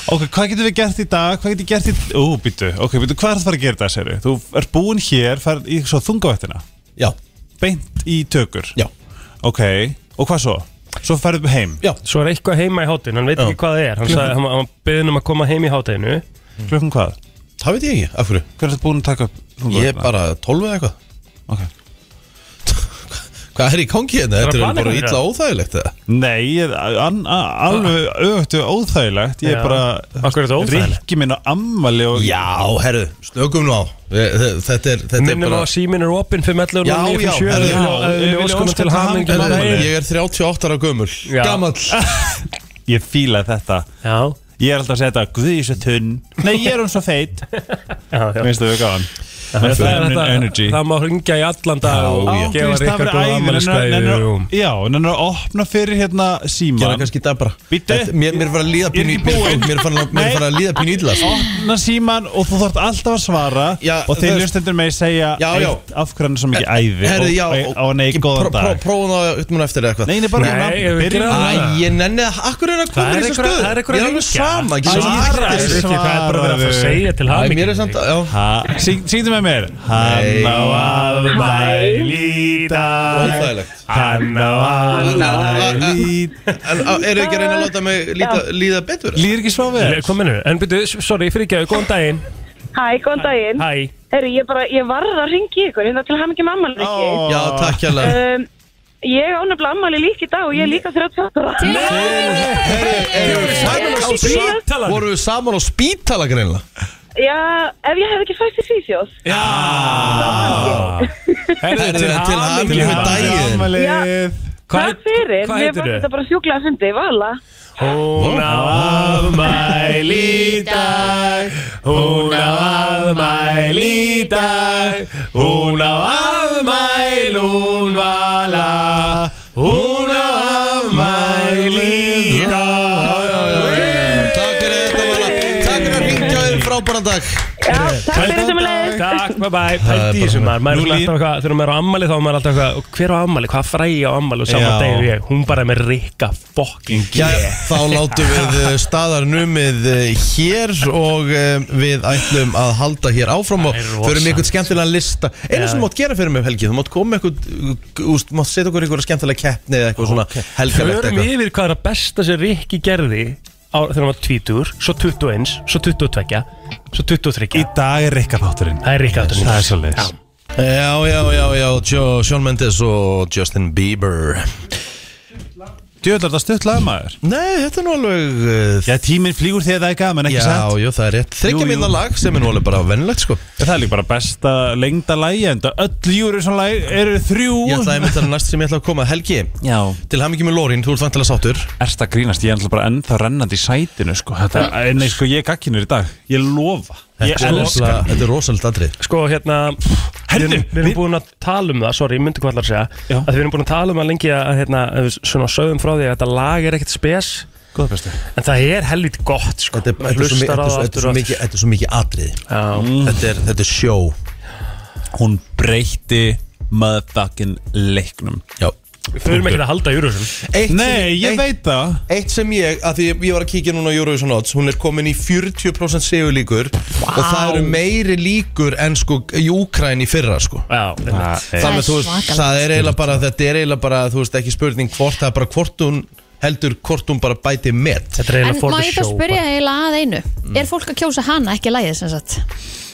Speaker 5: Ok, hvað getum við gert í dag? Hvað getum við gert í... Ú, býtu, ok, býtu, hvað er það að fara að gera í dag, segir Þú ert búinn hér, farið í svo þungavættina
Speaker 1: já,
Speaker 5: Beint í tökur
Speaker 1: já,
Speaker 5: Ok, og hvað svo? Svo færðu heim
Speaker 1: já
Speaker 3: Svo er eitthvað heima í hátinn, hann veit
Speaker 1: Já.
Speaker 3: ekki hvað það er Hann sagði, hann, hann beðin um að koma heim í hátinu
Speaker 5: Klukkan hvað?
Speaker 1: Það veit ég ekki, af hverju
Speaker 5: Hvernig er þetta búin að taka upp
Speaker 1: Ég er bara 12 eða eitthvað
Speaker 5: Ok.
Speaker 1: Hvað er í gangi hérna?
Speaker 3: Það er
Speaker 1: Þetta er
Speaker 3: að plana
Speaker 1: bara
Speaker 3: eitthvað
Speaker 1: illa óþægilegt eða?
Speaker 5: Nei, ég er an, a, alveg auðvitað óþægilegt Ég
Speaker 3: Ah. Já.
Speaker 5: er bara
Speaker 3: Akkur er þetta óþægilegt?
Speaker 5: Rikki minn á ammali og
Speaker 1: Já, herru, slökum nú á Þetta er, þetta er
Speaker 3: Minnum á
Speaker 1: bara
Speaker 3: að símin er opinn 511
Speaker 1: Já, já, herðu, já,
Speaker 3: Við
Speaker 5: við
Speaker 3: óskum
Speaker 5: óskum
Speaker 3: til
Speaker 5: til
Speaker 3: hamingju
Speaker 5: hamingju
Speaker 3: með
Speaker 5: með
Speaker 3: það.
Speaker 5: daginn.
Speaker 1: Ég er 38 ára gömul
Speaker 3: Já.
Speaker 1: Gamall
Speaker 5: Ég fílaði þetta
Speaker 3: Já,
Speaker 5: Ég er alltaf að segja þetta Guð, ég er svo tunn Nei, ég er hún svo feit
Speaker 3: já, já
Speaker 5: Minnstu við gáðan
Speaker 3: Það
Speaker 5: Það er
Speaker 3: er
Speaker 5: feminine
Speaker 3: þetta,
Speaker 5: energy.
Speaker 3: það má hringja í allan dag og
Speaker 1: Já, já.
Speaker 3: gefa
Speaker 5: Ángríns, það
Speaker 3: Rikka
Speaker 5: verður
Speaker 3: góða
Speaker 5: æði,
Speaker 3: ammæliskveðju
Speaker 5: nennirðu-
Speaker 3: og-
Speaker 5: Já, en hann er að opna fyrir hérna
Speaker 1: Gera
Speaker 5: síman
Speaker 1: kannski það bara
Speaker 5: Bíddu.
Speaker 1: Þetta- Mér mér er farið að líða pínu
Speaker 5: Ég er ekki búinn.
Speaker 1: Mér er farið að- mér er farið að líða pínu illa sko.
Speaker 5: Opna síman og þú þarft alltaf að svara
Speaker 1: Já,
Speaker 5: Og
Speaker 1: þú
Speaker 5: þeir
Speaker 1: veist-
Speaker 5: lustendur með að segja
Speaker 1: Já, já.
Speaker 5: eitt, Af hverju hann er svo mikið æði
Speaker 1: Herðu, já
Speaker 5: Og, og nei, góðan dag
Speaker 1: Prófum það upp núna eftir eða eitthvað
Speaker 5: Nei, nei, bara
Speaker 3: Nei,
Speaker 5: núna,
Speaker 3: ég vil
Speaker 5: byrjum
Speaker 3: gera
Speaker 5: núna.
Speaker 3: það.
Speaker 1: Æ, ég nenni það, akkur er að koma
Speaker 3: Það
Speaker 1: í
Speaker 3: er
Speaker 1: þessu
Speaker 3: einhver-
Speaker 1: stöð
Speaker 3: það er einhver
Speaker 1: Ég er
Speaker 3: að
Speaker 1: alveg
Speaker 3: ringja.
Speaker 1: sama, ekki
Speaker 5: Æ,
Speaker 1: svo
Speaker 5: ég-
Speaker 3: Það er
Speaker 1: artist
Speaker 3: ekki, það er bara verið að fara að segja til
Speaker 1: Æ,
Speaker 3: hamingi
Speaker 1: mér er samt, já
Speaker 5: Ha- syng- Syngdu með mér Hann á afmæli í dag
Speaker 1: Óþægilegt
Speaker 5: Hann á afmæli í dag
Speaker 1: En á- eru ekki að reyna að láta mig líta, líða betur?
Speaker 5: Lýðir ekki svá við
Speaker 3: Hvað mennur? En byrju, sorry, fyrir ekki góðan daginn
Speaker 6: Hæ, góðan daginn.
Speaker 3: Hæ,
Speaker 6: Herri, ég bara, ég varð að ringi ykkur, hérna til hamingi mamman ekki. Oh.
Speaker 1: Já, takk hérlega
Speaker 6: Um, ég ánafla ammali líka í dag og ég er líka 38. Nei!
Speaker 1: Erum við saman á spítala? Vorum við saman á spítala greinlega?
Speaker 6: Já, ef ég hef ekki fætt í Svíþjóð.
Speaker 3: Herðu,
Speaker 1: Herðu, til hamingju með
Speaker 3: hamingju.
Speaker 1: daginn
Speaker 5: Afmælið
Speaker 3: Eh, Hvað
Speaker 6: Takk fyrir,
Speaker 3: hvað
Speaker 6: mér fannst
Speaker 3: heitirðu?
Speaker 6: þetta bara sjúklega fundi, vala.
Speaker 3: Hún á afmæli í dag Hún á afmæli í dag Hún á afmæli, hún vala Hún á afmæli í
Speaker 1: Takk fyrir þetta Vala Takk fyrir að ringja þér frábæran dag
Speaker 6: Já,
Speaker 3: Eh,
Speaker 6: takk fyrir sem við leiðist.
Speaker 3: Takk, bye bye, pælti í þessu maður Maður er svona alltaf eitthvað, þegar maður er á ammali þá er maður alltaf eitthvað "Og Hver á ammali, hvað fræði á ammali og saman
Speaker 5: Já.
Speaker 3: degi ég Hún bara er með rikka fucking
Speaker 1: Já, þá látum við eh, staðar numið eh, hér og eh, við ætlum að halda hér áfram og
Speaker 3: Það er rosa.
Speaker 1: förum í einhvern skemmtilegan lista einu sem þú mátt gera fyrir mig um helgi, þú mátt koma með einhvern eh, úst, mátt setja okkur einhverja skemmtilega keppni eða eitthvað svona helgalegt
Speaker 3: Förum
Speaker 1: eitthvað
Speaker 3: yfir hvað er að besta sem Rikki gerði á, þegar hann var tvítur, svo 21, svo 22, svo 23
Speaker 5: Í dag er Rikka þátturinn
Speaker 3: Það er Rikki áttur
Speaker 5: Það er svolítið
Speaker 1: Já, já, já, já, jo, Sean Mendes og Justin Bieber
Speaker 5: Djöðlar það stutt lagmaður
Speaker 1: Nei, þetta er nú alveg eh,
Speaker 5: Já, tíminn flýgur þegar það er gaman, ekki
Speaker 1: Já,
Speaker 5: satt?
Speaker 1: já, það er rétt
Speaker 5: Jú,
Speaker 1: Þryggja
Speaker 5: jú.
Speaker 1: minna lag sem er nú alveg bara vennilegt sko
Speaker 5: Það er líka bara besta lengda lægi En öll júri svona lægi eru þrjú
Speaker 1: Ég ætla að það er næst sem ég ætla að koma Helgi,
Speaker 5: Já
Speaker 1: til hamingi með Lórin, þú ert vantilega sáttur
Speaker 5: Erst að grínast, ég er alltaf bara ennþá rennandi í sætinu sko. Þetta, Nei, sko, ég er gagkinur í dag Ég lofa Ég
Speaker 1: Þetta er
Speaker 5: elska
Speaker 1: rosalega- Þetta er rosalega atrið
Speaker 3: Sko hérna, við erum, við
Speaker 5: við-
Speaker 3: erum búin að tala um það, sorry, ég myndi hvað allar að segja
Speaker 5: Já.
Speaker 3: að Við erum búin að tala um það lengi að hérna, að við svona sögum frá því að þetta lag er ekkert spes
Speaker 5: Góða bestu
Speaker 3: En það er helvít gott sko,
Speaker 1: Þetta er- þetta er svo mi-
Speaker 3: Hlustar á
Speaker 1: þetta er svo-
Speaker 3: það
Speaker 1: þetta er
Speaker 3: aftur
Speaker 1: svo
Speaker 3: og
Speaker 1: mikið- þetta er svo mikið atrið
Speaker 3: aftur Já.
Speaker 1: Þetta er, þetta er sjó
Speaker 5: Hún breytti motherfucking leiknum
Speaker 1: Já
Speaker 3: Við þurfum ekkert að halda júruðum
Speaker 1: eitt
Speaker 5: Nei, ég
Speaker 1: eitt,
Speaker 5: veit það
Speaker 1: Eitt sem ég, að því ég var að kíkja núna á Eurovision Odds Hún er komin í 40% segulíkur Og það eru meiri líkur en sko í Úkræn í fyrra sko
Speaker 3: Já, einmitt.
Speaker 2: Það er
Speaker 1: Þannig að þú veist,
Speaker 2: svakalegt.
Speaker 1: það er eiginlega bara, þetta er eiginlega bara, þú veist, ekki spurning hvort, það er bara hvort hún heldur, hvort hún bara bæti met.
Speaker 3: þetta er
Speaker 2: En
Speaker 3: eiginlega
Speaker 2: má
Speaker 3: for the
Speaker 2: ég þá
Speaker 3: show
Speaker 2: spyrja eiginlega að einu Er fólk að kjósa hana ekki lægið sem sagt?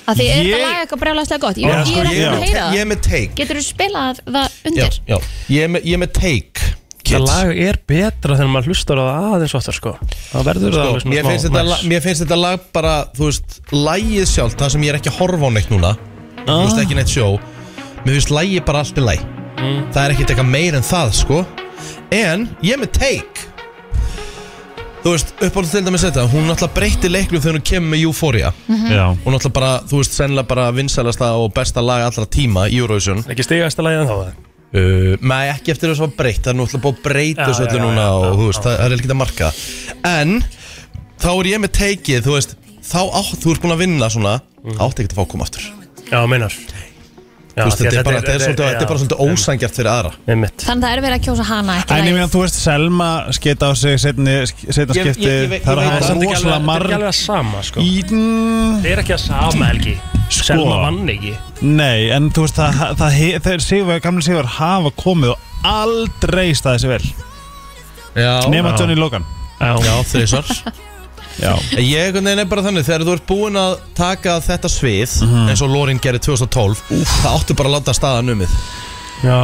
Speaker 2: Af því er
Speaker 5: Ég-
Speaker 2: þetta lag eitthvað brjálæslega gott Ég,
Speaker 3: Já,
Speaker 2: ég er
Speaker 1: Ég
Speaker 2: ekki
Speaker 1: er
Speaker 2: að
Speaker 1: með
Speaker 2: heyra
Speaker 1: te- ég
Speaker 2: það
Speaker 1: er með take.
Speaker 2: Getur þú spilað það
Speaker 1: Já,
Speaker 2: undir?
Speaker 1: já. Ég er með, ég er með take,
Speaker 3: Það
Speaker 1: kids.
Speaker 3: lag er betra þegar maður hlustar á það aðeins oftar sko Það verður það
Speaker 1: Sko,
Speaker 3: alveg svona
Speaker 1: mér,
Speaker 3: smá
Speaker 1: finnst þetta,
Speaker 3: næs.
Speaker 1: lag- mér finnst þetta lag bara, þú veist, lagið sjálf, það sem ég er ekki að horfa á neitt núna, þú
Speaker 3: Ah.
Speaker 1: veist, ekki neitt sjó, mér finnst lagið bara allt í lagi.
Speaker 3: Mm.
Speaker 1: Það er ekkert eitthvað meir en það, sko. En, ég er með take. Þú veist, uppáldið til dæmis þetta, hún náttúrulega breytti leiklu þegar hún kemur með Euphoria.
Speaker 5: Já
Speaker 1: og náttúrulega bara, þú veist, sennilega bara vinsælasta og besta lag allra tíma í Eurovision
Speaker 3: Ekki stigast að lægja þá
Speaker 1: uh, Nei, ekki eftir þess að breytt það er náttúrulega búið að breyta
Speaker 3: Já,
Speaker 1: þessu
Speaker 3: já,
Speaker 1: öllu
Speaker 3: já,
Speaker 1: núna
Speaker 3: já,
Speaker 1: og
Speaker 3: já,
Speaker 1: þú veist, það, það er ekki að marka en, þá er ég með teikið þú veist, þá átt, þú ert búin að vinna svona, þá átt ekki að fá að koma aftur
Speaker 3: Mhm. Já, meinar
Speaker 1: þú veist, þetta er bara, þetta er svolítið, þetta er bara svolítið ósangjart fyrir aðra
Speaker 3: Einmitt
Speaker 2: Þannig að það er verið að kjósa hana ekki
Speaker 5: En ég
Speaker 2: lægið
Speaker 5: meina, þú veist, Selma skita á sig setna
Speaker 1: Ég- ég-
Speaker 5: skipti
Speaker 1: ég veit- ég veit
Speaker 5: Það er að hafa
Speaker 1: það.
Speaker 3: Samt ekki alveg-
Speaker 5: rosalega
Speaker 3: Þetta er
Speaker 5: marg
Speaker 3: ekki alveg að sama sko
Speaker 5: Í, mm,
Speaker 3: Það er ekki að sama Helgi
Speaker 5: Sko.
Speaker 3: Selma vann ekki
Speaker 5: Nei, en þú veist, það, það, það, þeir Sigur, gamli Sigur hafa komið og aldrei staði sig vel
Speaker 1: Já,
Speaker 5: Nema
Speaker 3: Já.
Speaker 5: Johnny Logan
Speaker 1: já þrísvar
Speaker 5: Já
Speaker 1: En Ég einhvern veginn er bara þannig, þegar þú ert búin að taka þetta svið, eins og Lorin gerði 2012, þá áttu bara að láta staðan umið.
Speaker 3: Já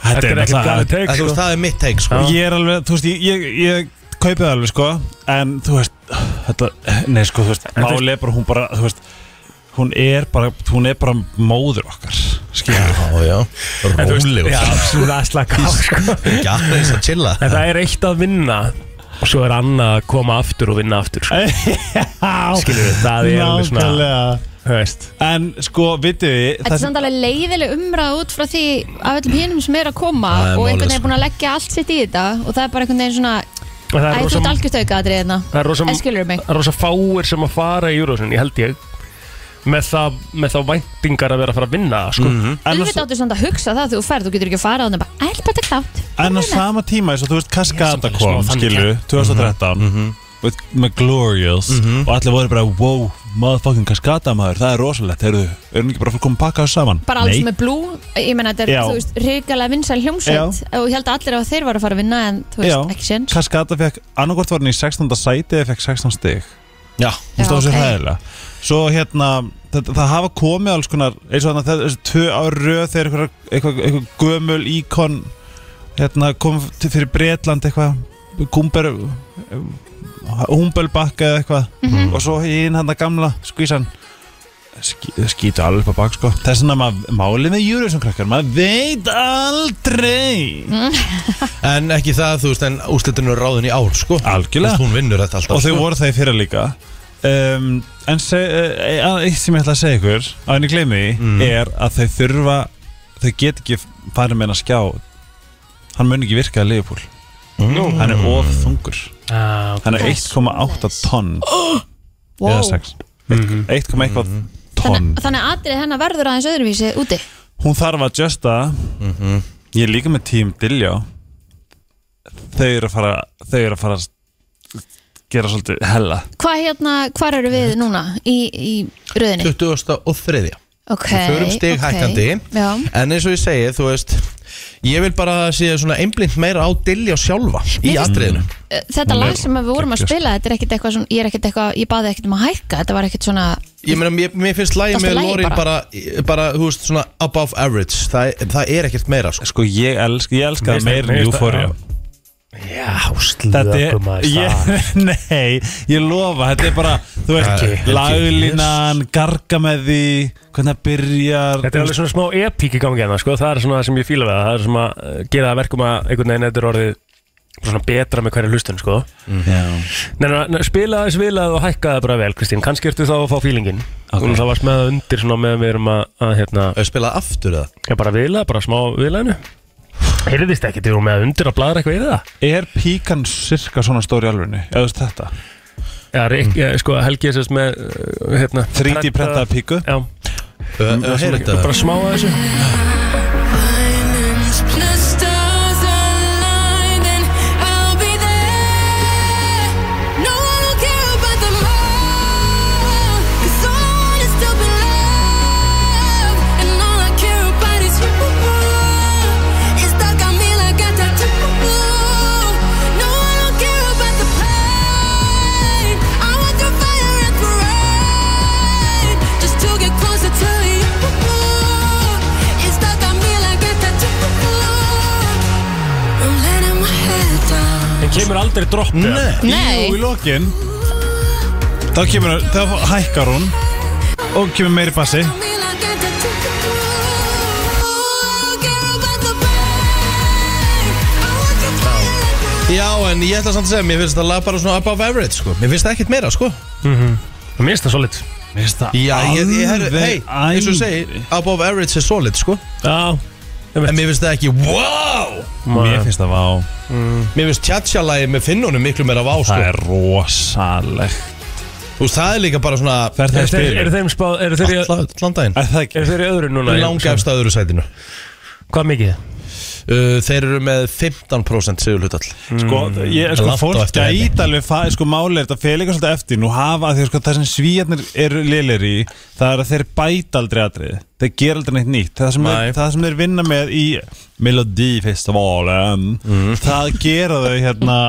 Speaker 5: Þetta er náttúrulega
Speaker 1: En
Speaker 3: teik
Speaker 1: þú veist, það er mitt teik, sko.
Speaker 5: Og Ég er alveg, þú veist, ég, ég, ég kaupi það alveg, sko En þú veist, þetta, nei, sko, þú veist Máli er bara, hún bara, þú veist Hún er bara, hún er bara móður okkar Skilur
Speaker 1: Já, já, rólegur
Speaker 3: Já, absolutt að slaka á sko.
Speaker 1: Ekki aðeins að chilla
Speaker 3: En það er eitt að vinna Og svo er annað að koma aftur og vinna aftur sko.
Speaker 5: Já,
Speaker 3: Skilur við, það er alveg svona
Speaker 5: nákvæmlega
Speaker 3: þú veist
Speaker 5: En sko, vitið þið
Speaker 2: Þetta er samt alveg leiðileg umræð út frá því af öllum hinum sem er að koma
Speaker 1: Það er
Speaker 2: og einhvern
Speaker 1: málið,
Speaker 2: veginn er
Speaker 1: sko.
Speaker 2: búin að leggja allt sitt í þetta og það er bara einhvern veginn svona
Speaker 3: Og það
Speaker 2: Æ,
Speaker 3: er
Speaker 2: þú ert
Speaker 3: rosa,
Speaker 2: algjörðauka aðrið hérna
Speaker 3: það er rosa,
Speaker 2: En skilurðu mig?
Speaker 3: það er rosa fáir sem að fara í Eurovision, ég held ég með, það, með þá væntingar að vera að fara að vinna það, sko.
Speaker 1: Mhm.
Speaker 5: En á-
Speaker 2: Auðvitað áttu samt að hugsa það þegar þú ferð, þú getur ekki að fara á þannig bara, æll bara klátt
Speaker 5: En á sama tíma eins og þú veist Kaskata
Speaker 3: Ég er samt alveg
Speaker 5: kom,
Speaker 3: smá þannig Mhm,
Speaker 5: skilju, 2013 with, með Glorious og allir voru bara, wow, motherfucking Kaskata maður, það er rosalegt, heyrðu, erum við ekki bara að fara að koma að pakka þessu saman?
Speaker 2: Bara alls
Speaker 5: Nei.
Speaker 2: með blú, ég menna þetta er,
Speaker 5: Já.
Speaker 2: þú veist, ríkalega vinsæl hljómsveit og ég held að allir að þeir var að fara að vinna en þú
Speaker 5: Já,
Speaker 2: veist, ekki séns
Speaker 5: Kaskata fekk, annarkort var hann í 16. sæti eða fekk 16 stig
Speaker 1: Já,
Speaker 5: Þú veist, það var svo
Speaker 2: ok.
Speaker 5: hræðilega Svo hérna, það, það hafa komið alls konar eins og þannig að þessi tvö ár röð þegar eitthvað, eitthvað, eitthvað gömul íkon hérna, kom til, fyrir Bretland eitthvað Gumber Humbelbakka eða eitthvað og svo hinn hann að gamla skvísan Ski, skýtu alveg upp á bak sko þess vegna maður málið með Júriðsson krakkar maður veit aldrei
Speaker 1: En ekki það, þú veist, en úrslitinu er ráðin í ár, sko
Speaker 5: Algjörlega.
Speaker 1: Þú veist, Hún vinnur þetta alltaf
Speaker 5: og þau
Speaker 1: sko.
Speaker 5: voru það í fyrra líka um, en se, uh, eitt sem ég ætla að segja ykkur á henni gleymi því
Speaker 3: Mm.
Speaker 5: er að þau þurfa þau get ekki farið með henn að skjá hann mun ekki virka að liðupúl mm. hann er of þungur
Speaker 3: Ah,
Speaker 5: hann er
Speaker 2: Það er
Speaker 5: 1,8 tonn eða
Speaker 2: Wow.
Speaker 5: 6
Speaker 3: Mhm.
Speaker 5: 1,1 tonn
Speaker 2: Þannig þannig að atrið hennar verður aðeins öðruvísi úti
Speaker 5: hún þarf að justa
Speaker 3: Mhm.
Speaker 5: ég er líka með tím Dilljá þau eru að fara þau eru að fara að gera svolítið hella
Speaker 2: Hvað hérna, hvar eru við núna í, í röðinni?
Speaker 1: 20. og 3.
Speaker 2: Ok,
Speaker 1: Við förum stig
Speaker 2: ok.
Speaker 1: hækkandi.
Speaker 2: Já,
Speaker 1: En eins og ég segi, þú veist Ég vil bara að sé svona einblind meira á Dilljá sjálfa Í
Speaker 2: Mér finnst-
Speaker 1: atriðinu
Speaker 2: þetta lag sem við vorum að
Speaker 5: Gekkjast.
Speaker 2: spila þetta er ekkert eitthvað svona, ég er ekkert eitthvað ég baði ekkert um að hækka, þetta var ekkert svona
Speaker 1: Ég meina, mér, mér finnst lægi
Speaker 2: Fyrsta
Speaker 1: með
Speaker 2: lagið
Speaker 1: Lori
Speaker 2: bara.
Speaker 1: bara, bara, þú veist, svona above average Það, það er ekkert meira, sko
Speaker 5: Sko ég elska, ég elska
Speaker 3: Mér
Speaker 5: það
Speaker 3: finnst
Speaker 5: meira
Speaker 3: það-
Speaker 5: en
Speaker 3: mér finnst það-
Speaker 5: Euphoria
Speaker 3: Já,
Speaker 5: Þetta
Speaker 3: slökum
Speaker 5: er,
Speaker 3: maður
Speaker 5: ég,
Speaker 3: það.
Speaker 5: nei, ég lofa, þetta er bara, þú veist,
Speaker 1: Ekki, ekki,
Speaker 5: laglínan, garga með því, hvernig það byrjar
Speaker 3: Þetta er alveg svona smá epík í gangi hérna, sko. það er svona það sem ég fíla við það, það er svona að gera það að verkum að einhvern veginn þetta er orðið bara svona betra með hverja hlustun sko.
Speaker 5: Já,
Speaker 3: Nei, nei, nei, spila það, spila það og hækka það bara vel Kristín, kannski ertu þá að fá fílingin
Speaker 5: Ok.
Speaker 3: og það varst með það undir svona meðan við erum að, að hérna,
Speaker 1: Að spila aftur eða
Speaker 3: ég bara vila, bara smá vilaðinu Heyrðist ekki, þú erum með það undir að bladra eitthvað í það
Speaker 5: er píkan sirka svona stór í alvegni, eða þú veist þetta
Speaker 3: Já, Rik, ég, sko, Helgi er sérst með uh, hérna,
Speaker 5: 3D Mm. prentaða píku
Speaker 3: Já,
Speaker 5: Mm,
Speaker 1: Ö, ö, Heyrðu þetta
Speaker 3: bara smá að þessu
Speaker 7: Just to get closer to you It's stuck on me like a tattoo I'm letting my head down
Speaker 3: En kemur aldrei droppið
Speaker 5: Nei,
Speaker 2: Nei.
Speaker 5: Jú, í lokin Þá kemur, þá hækkar hún og kemur meiri bassi
Speaker 7: on me like a tattoo I don't care about the pain I want your fire like a
Speaker 1: Já, en ég ætla samt að segja, mér finnst það lag bara svona above average, sko Mér finnst það ekkert meira, sko
Speaker 3: Mér finnst það svolít
Speaker 1: Já, ég, ég herru, hei,
Speaker 5: Alveg
Speaker 1: eins og ég
Speaker 5: æði.
Speaker 1: segi Above average er solid, sko
Speaker 3: Já,
Speaker 1: En mér finnst það ekki, wow
Speaker 5: Mér finnst það vá,
Speaker 1: Mér finnst tjatsjalagi með finnunum miklu meira vá, sko
Speaker 5: það er rosalegt
Speaker 1: Þú veist, það er líka bara svona
Speaker 5: Fer það
Speaker 3: Er
Speaker 5: að
Speaker 3: þeir, er
Speaker 5: spila?
Speaker 3: þeim spáð, er þeir,
Speaker 1: alla- Allan daginn
Speaker 5: Er það ekki?
Speaker 3: er þeir í öðru núna?
Speaker 1: Langa efst að öðru sætinu
Speaker 3: Hvað mikið?
Speaker 1: uh, Þeir eru með 15% sigurhlutall
Speaker 5: sko, ég, sko
Speaker 1: Langt á
Speaker 5: fólk
Speaker 1: Mm, eftir henni.
Speaker 5: gæti alveg fa- sko, máli er þetta fel eitthvað svolítið eftir nú hafa því sko, það sem svíjarnir eru liðlir í það er að þeir bæta aldrei atrið þeir gera aldrei neitt nýtt það sem,
Speaker 1: Nei.
Speaker 5: þeir, það sem þeir vinna með í Melodifestivalen það gera þau hérna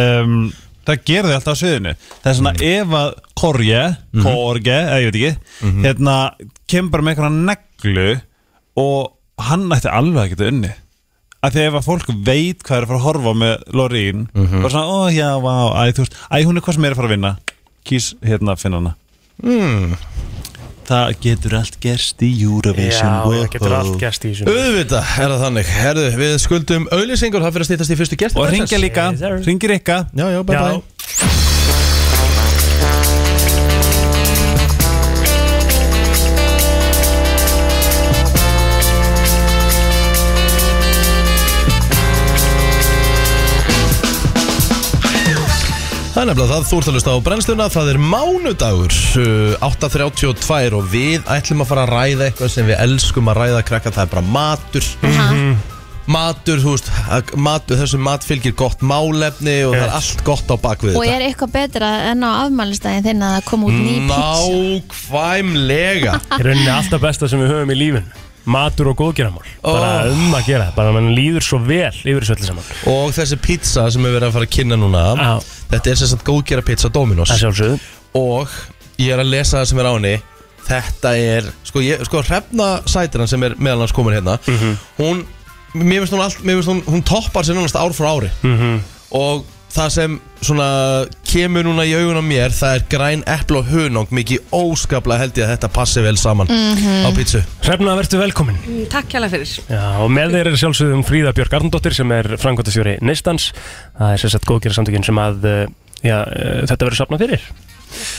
Speaker 5: um, það gera þau alltaf á sviðinu það er svona ef að Korge Korge, eða ég veit ekki hérna, kemur bara með einhverja neglu og hann ætti alveg að geta unni að því ef að fólk veit hvað er að fara að horfa á með Lorín bara svona, ó já, vá, æ, þú veist æ, hún er hvað sem er að fara að vinna kýs hérna að finna hana mm. það getur allt gerst í Eurovision
Speaker 3: það getur allt gæst í þessu
Speaker 1: Auðvitað er það þannig Herðu, við skuldum auðlýsingur Það fyrir að stýttast í fyrstu gert
Speaker 5: og ringja líka,
Speaker 3: Yes, sir.
Speaker 5: ringir ykkar
Speaker 1: Já, já, bye
Speaker 3: Já.
Speaker 1: bye
Speaker 7: It's
Speaker 1: Það er nefnilega það, þú ert að lusta á brennsluna, það er mánudagur, uh, 8.32 og við ætlum að fara að ræða eitthvað sem við elskum að ræða krakka, það er bara matur. Matur, þú veist, að- matur, þessum mat fylgir gott málefni og það er
Speaker 3: Yes.
Speaker 1: allt gott á bakvið
Speaker 2: Og er eitthvað betra en á afmælistæðin þinn að það kom út ný pizza?
Speaker 1: Nákvæmlega
Speaker 3: Í rauninni alltaf besta sem við höfum í lífin Matur og góðgeramál Bara
Speaker 1: Oh.
Speaker 3: um að gera, bara mann líður svo vel yfir þessu öllu saman
Speaker 1: Og þessi pizza sem við verðum að fara að kynna núna
Speaker 3: Já.
Speaker 1: Þetta er sem sagt góðgera pizza Dominos
Speaker 3: Það sjálfsögðu
Speaker 1: og ég er að lesa það sem er á henni þetta er, sko, ég, sko hrefna sætina sem er meðal hans komin hérna hún, mér finnst hún allt mér finnst hún, hún toppar sér nánast ár frá ári -hmm. og það sem svona kemur núna í augun á mér það er græn epl og hunang mikið óskaplega held ég að þetta passi vel saman
Speaker 2: Mhm.
Speaker 1: -hmm. á pítsu
Speaker 3: Hrefna, verður velkomin
Speaker 8: Mm, Takk hjá fyrir.
Speaker 3: Já, og með þeir eru sjálfsögðum um Fríða Björk Arndóttir sem er frangotastjóri Neistans. Það er sérstætt góðgerðarsamtökin sem að uh, já, uh, þetta verður safnað fyrir.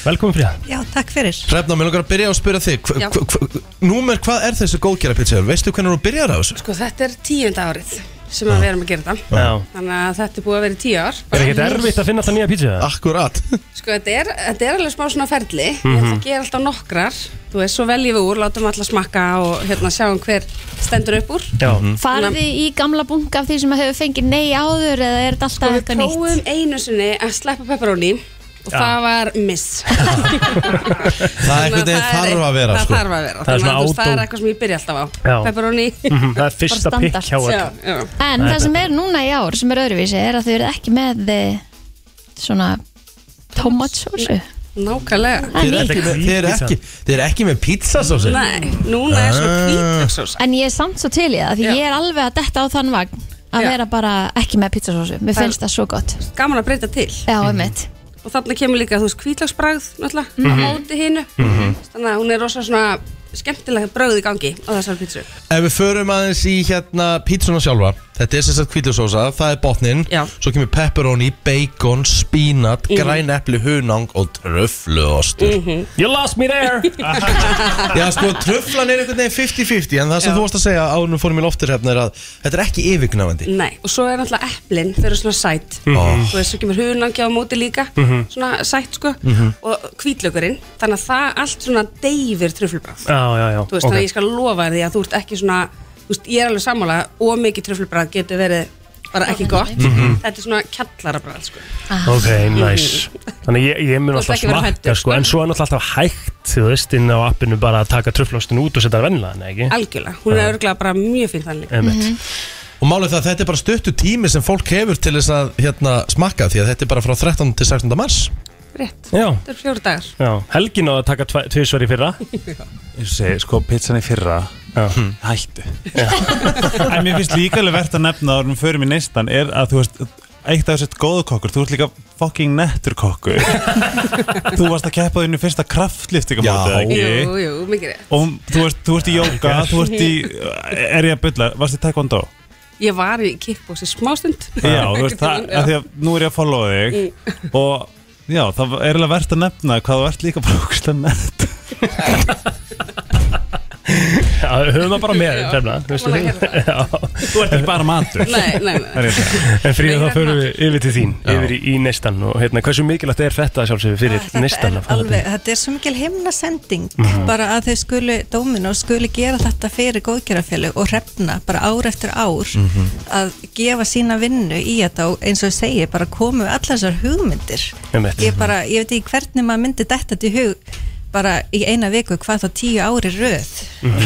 Speaker 3: Velkomin Fríða.
Speaker 8: Já, takk fyrir.
Speaker 1: Hrefna, mér langar að byrja á að spyrja þig hva,
Speaker 8: Já.
Speaker 1: hva, hva, Númer, hvað er þessi góðgera pítsa? Veistu hvernig þú byrjar á þessu?
Speaker 8: Sko, þetta er tíunda árið sem að við erum að gera þetta.
Speaker 3: Já.
Speaker 8: Þannig að þetta er búið að vera í tíu ár.
Speaker 3: Er ekkert erfitt að finna alltaf nýja pítsu? Ah.
Speaker 1: Akkurat
Speaker 8: Sko, þetta er, þetta er alveg smá svona ferli. Ég
Speaker 1: Mhm.
Speaker 8: ætla að gera alltaf nokkrar. Þú veist, svo veljum við úr, látum alla smakka og hérna sjáum hver stendur upp úr.
Speaker 3: Já,
Speaker 2: Farið þið í gamla bunga af því sem að hefur fengið nei áður eða er þetta alltaf
Speaker 8: Og Sko, við
Speaker 2: eitthvað nýtt?
Speaker 8: prófum einu sinni að sleppa pepperoni og það var miss.
Speaker 1: Það er
Speaker 8: Þannig
Speaker 1: einhvern
Speaker 8: að
Speaker 1: veginn þarf að vera
Speaker 8: Það
Speaker 1: sko.
Speaker 8: þarf að vera.
Speaker 3: Það er
Speaker 8: Þannig
Speaker 3: svona
Speaker 8: að þú veist, Það
Speaker 3: auto-
Speaker 8: er eitthvað sem ég byrja alltaf á.
Speaker 3: Já.
Speaker 8: Pepperoni.
Speaker 3: Mhm, það er fyrsta
Speaker 2: Bara
Speaker 3: pikk hjá
Speaker 2: standard.
Speaker 8: Já,
Speaker 3: öll.
Speaker 8: já.
Speaker 2: En það sem er núna í ár sem er öðruvísi er að þau eru ekki með eh, svona tomatsósu.
Speaker 8: Nákvæmlega.
Speaker 2: Það er
Speaker 1: Þeir eru
Speaker 2: nýtt.
Speaker 1: ekki, er ekki, þeir eru ekki með pizzasósi
Speaker 8: Nei, núna er svo
Speaker 1: Ah.
Speaker 8: kvítlöksós.
Speaker 2: En ég er samt svo til í það því
Speaker 8: Já.
Speaker 2: ég er alveg að detta á þann vagn að
Speaker 8: Já.
Speaker 2: vera bara ekki með pizzasósu. Mér
Speaker 8: Það-
Speaker 2: finnst það svo gott.
Speaker 8: gaman að breyta til
Speaker 2: Já,
Speaker 3: Mm.
Speaker 2: einmitt.
Speaker 8: og þarna kemur líka, þú veist, hvítlagsbragð náttúrulega, á móti hinnu þannig að hún er rosa svona skemmtilega bragð í gangi á þessari pítsu
Speaker 1: Ef við förum aðeins í hérna pítsuna sjálfa Þetta er sérstætt kvítusósa, það er botnin
Speaker 8: Já. Mhm.
Speaker 1: Svo kemur pepperoni, bacon, spínat, græn epli, hunang og tröfluostur
Speaker 3: You lost me there!
Speaker 1: Já sko, tröflan er einhvern veginn 50-50 En það sem þú varst að segja ánum fórum í loftir hérna er að Þetta er ekki yfirgnafandi
Speaker 8: Nei, og svo er náttúrulega eplin, þau eru svona sæt
Speaker 1: Ó.
Speaker 8: þú veist, svo kemur hunangi á móti líka svona sætt sko og hvítlökurinn, þannig að það allt svona deyfir tröflbragð
Speaker 3: já, já, já.
Speaker 8: þú veist, þannig að ég skal lofa því að þú ert ekki svona þú veist, ég er alveg sammála, of mikið tröflbragð getur verið bara ekki gott þetta er svona kjallarabragð sko.
Speaker 3: Ok, nice. Þannig ég, ég mun
Speaker 8: Þú ert
Speaker 3: alltaf
Speaker 8: ekki að vera
Speaker 3: smakka
Speaker 8: hræddur,
Speaker 3: sko,
Speaker 8: sko.
Speaker 3: en svo er náttúrulega alltaf hægt, þú veist, inn á appinu bara að taka tröflóstin út og setja það vennilega, nei ekki?
Speaker 8: algjörlega, hún er örglega bara mjög fín þannig
Speaker 3: Einmitt.
Speaker 1: Og málið það að þetta er bara stuttu tími sem fólk hefur til þess að hérna, smakka Því að þetta er bara frá 13. til 16. mars
Speaker 8: rétt,
Speaker 3: Já,
Speaker 8: þetta er fjóru dagar
Speaker 3: já. Helgin á að taka tve- tvisvar í fyrra.
Speaker 5: Ég segi, sko, pizzan í fyrra Hmm.
Speaker 3: Já.
Speaker 5: hættu en mér finnst líka alveg verðt að nefna árum fyrir mig neistan er að þú veist eitt af þessert góðu kokkur, þú ert líka fucking nettur kokkur þú varst að keppa þínu fyrsta kraftliftingamóti
Speaker 1: Já.
Speaker 5: eða ekki?
Speaker 8: Jú, jú, mikið rétt.
Speaker 5: og þú ert, þú ert í jóka þú ert í, er ég að bylla varst í taekwondo?
Speaker 8: Ég var í kickbósi smástund.
Speaker 5: já, þú veist það, af því að nú er ég að followa þig og já, það er alveg verðt að nefna hvað þú ert líka bara okkur nett
Speaker 3: Já, höfum það bara með trefna veistu
Speaker 8: gaman að
Speaker 3: þig? Já.
Speaker 5: þú ert ekki bara matur
Speaker 8: Nei, nei, nei.
Speaker 5: Það er ég að segja.
Speaker 3: En fríða þá
Speaker 8: Meira
Speaker 3: förum við yfir til þín yfir í, í neistan og hérna hversu mikilvægt er þetta sjálfsögur fyrir
Speaker 9: Ah, Þetta
Speaker 3: neistan
Speaker 9: er
Speaker 3: að fara
Speaker 9: alveg, þetta er svo mikil himnasending bara að þau skuli, Dóminó skuli gera þetta fyrir góðgerafjölu og hrefna bara ár eftir ár að gefa sína vinnu í þetta og eins og ég segi, bara komu allar þessar hugmyndir
Speaker 3: Einmitt.
Speaker 9: ég bara, ég veit ekki hvernig maður myndi þetta til hug bara í eina viku hvað þá tíu ári röð
Speaker 3: Það er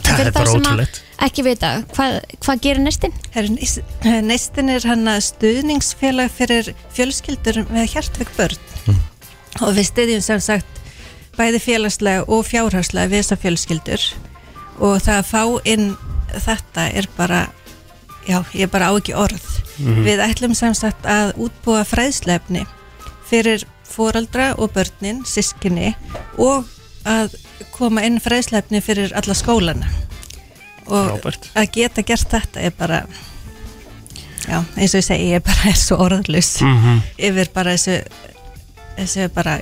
Speaker 2: Fyrir þá
Speaker 3: bara
Speaker 2: sem að
Speaker 3: ótrúlegt
Speaker 2: ekki vita, hvað, hvað gerir næstinn?
Speaker 9: Herra, neist- Neistin er hann að stuðningsfélag fyrir fjölskyldur með hjartveik börn og við stuðjum sem sagt bæði félagslega og fjárhagslega við þessar fjölskyldur og það að fá inn þetta er bara já, ég bara á ekki orð við ætlum sem sagt að útbúa fræðslefni fyrir fóraldra og börnin, sískinni og að koma inn fræðslefni fyrir alla skólana og
Speaker 3: Frábært.
Speaker 9: að geta gert þetta er bara já, eins og ég segi, ég er bara er svo orðlust yfir bara þessu þessu bara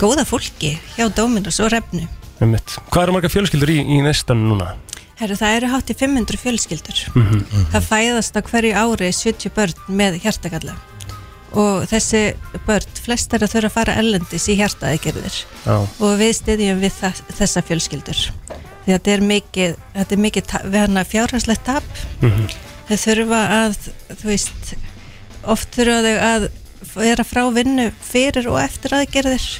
Speaker 9: góða fólki hjá Dóminus og Refnu
Speaker 3: Einmitt. Hvað eru marga fjölskyldur í, í neistan núna?
Speaker 9: Herru, það eru hátt í 500 fjölskyldur. Það fæðast á hverju ári 70 börn með hjartakalla og þessi börn, flest er að þurfa að fara ellendis í hjartaðegerðir
Speaker 3: Já.
Speaker 9: og við styðjum við það, þessa fjölskyldur því að þetta er mikið, þetta er mikið ta- við hann að fjárhagslegt tap þau þurfa að þú veist, oft þurfa þau að vera frá vinnu fyrir og eftir aðgerðir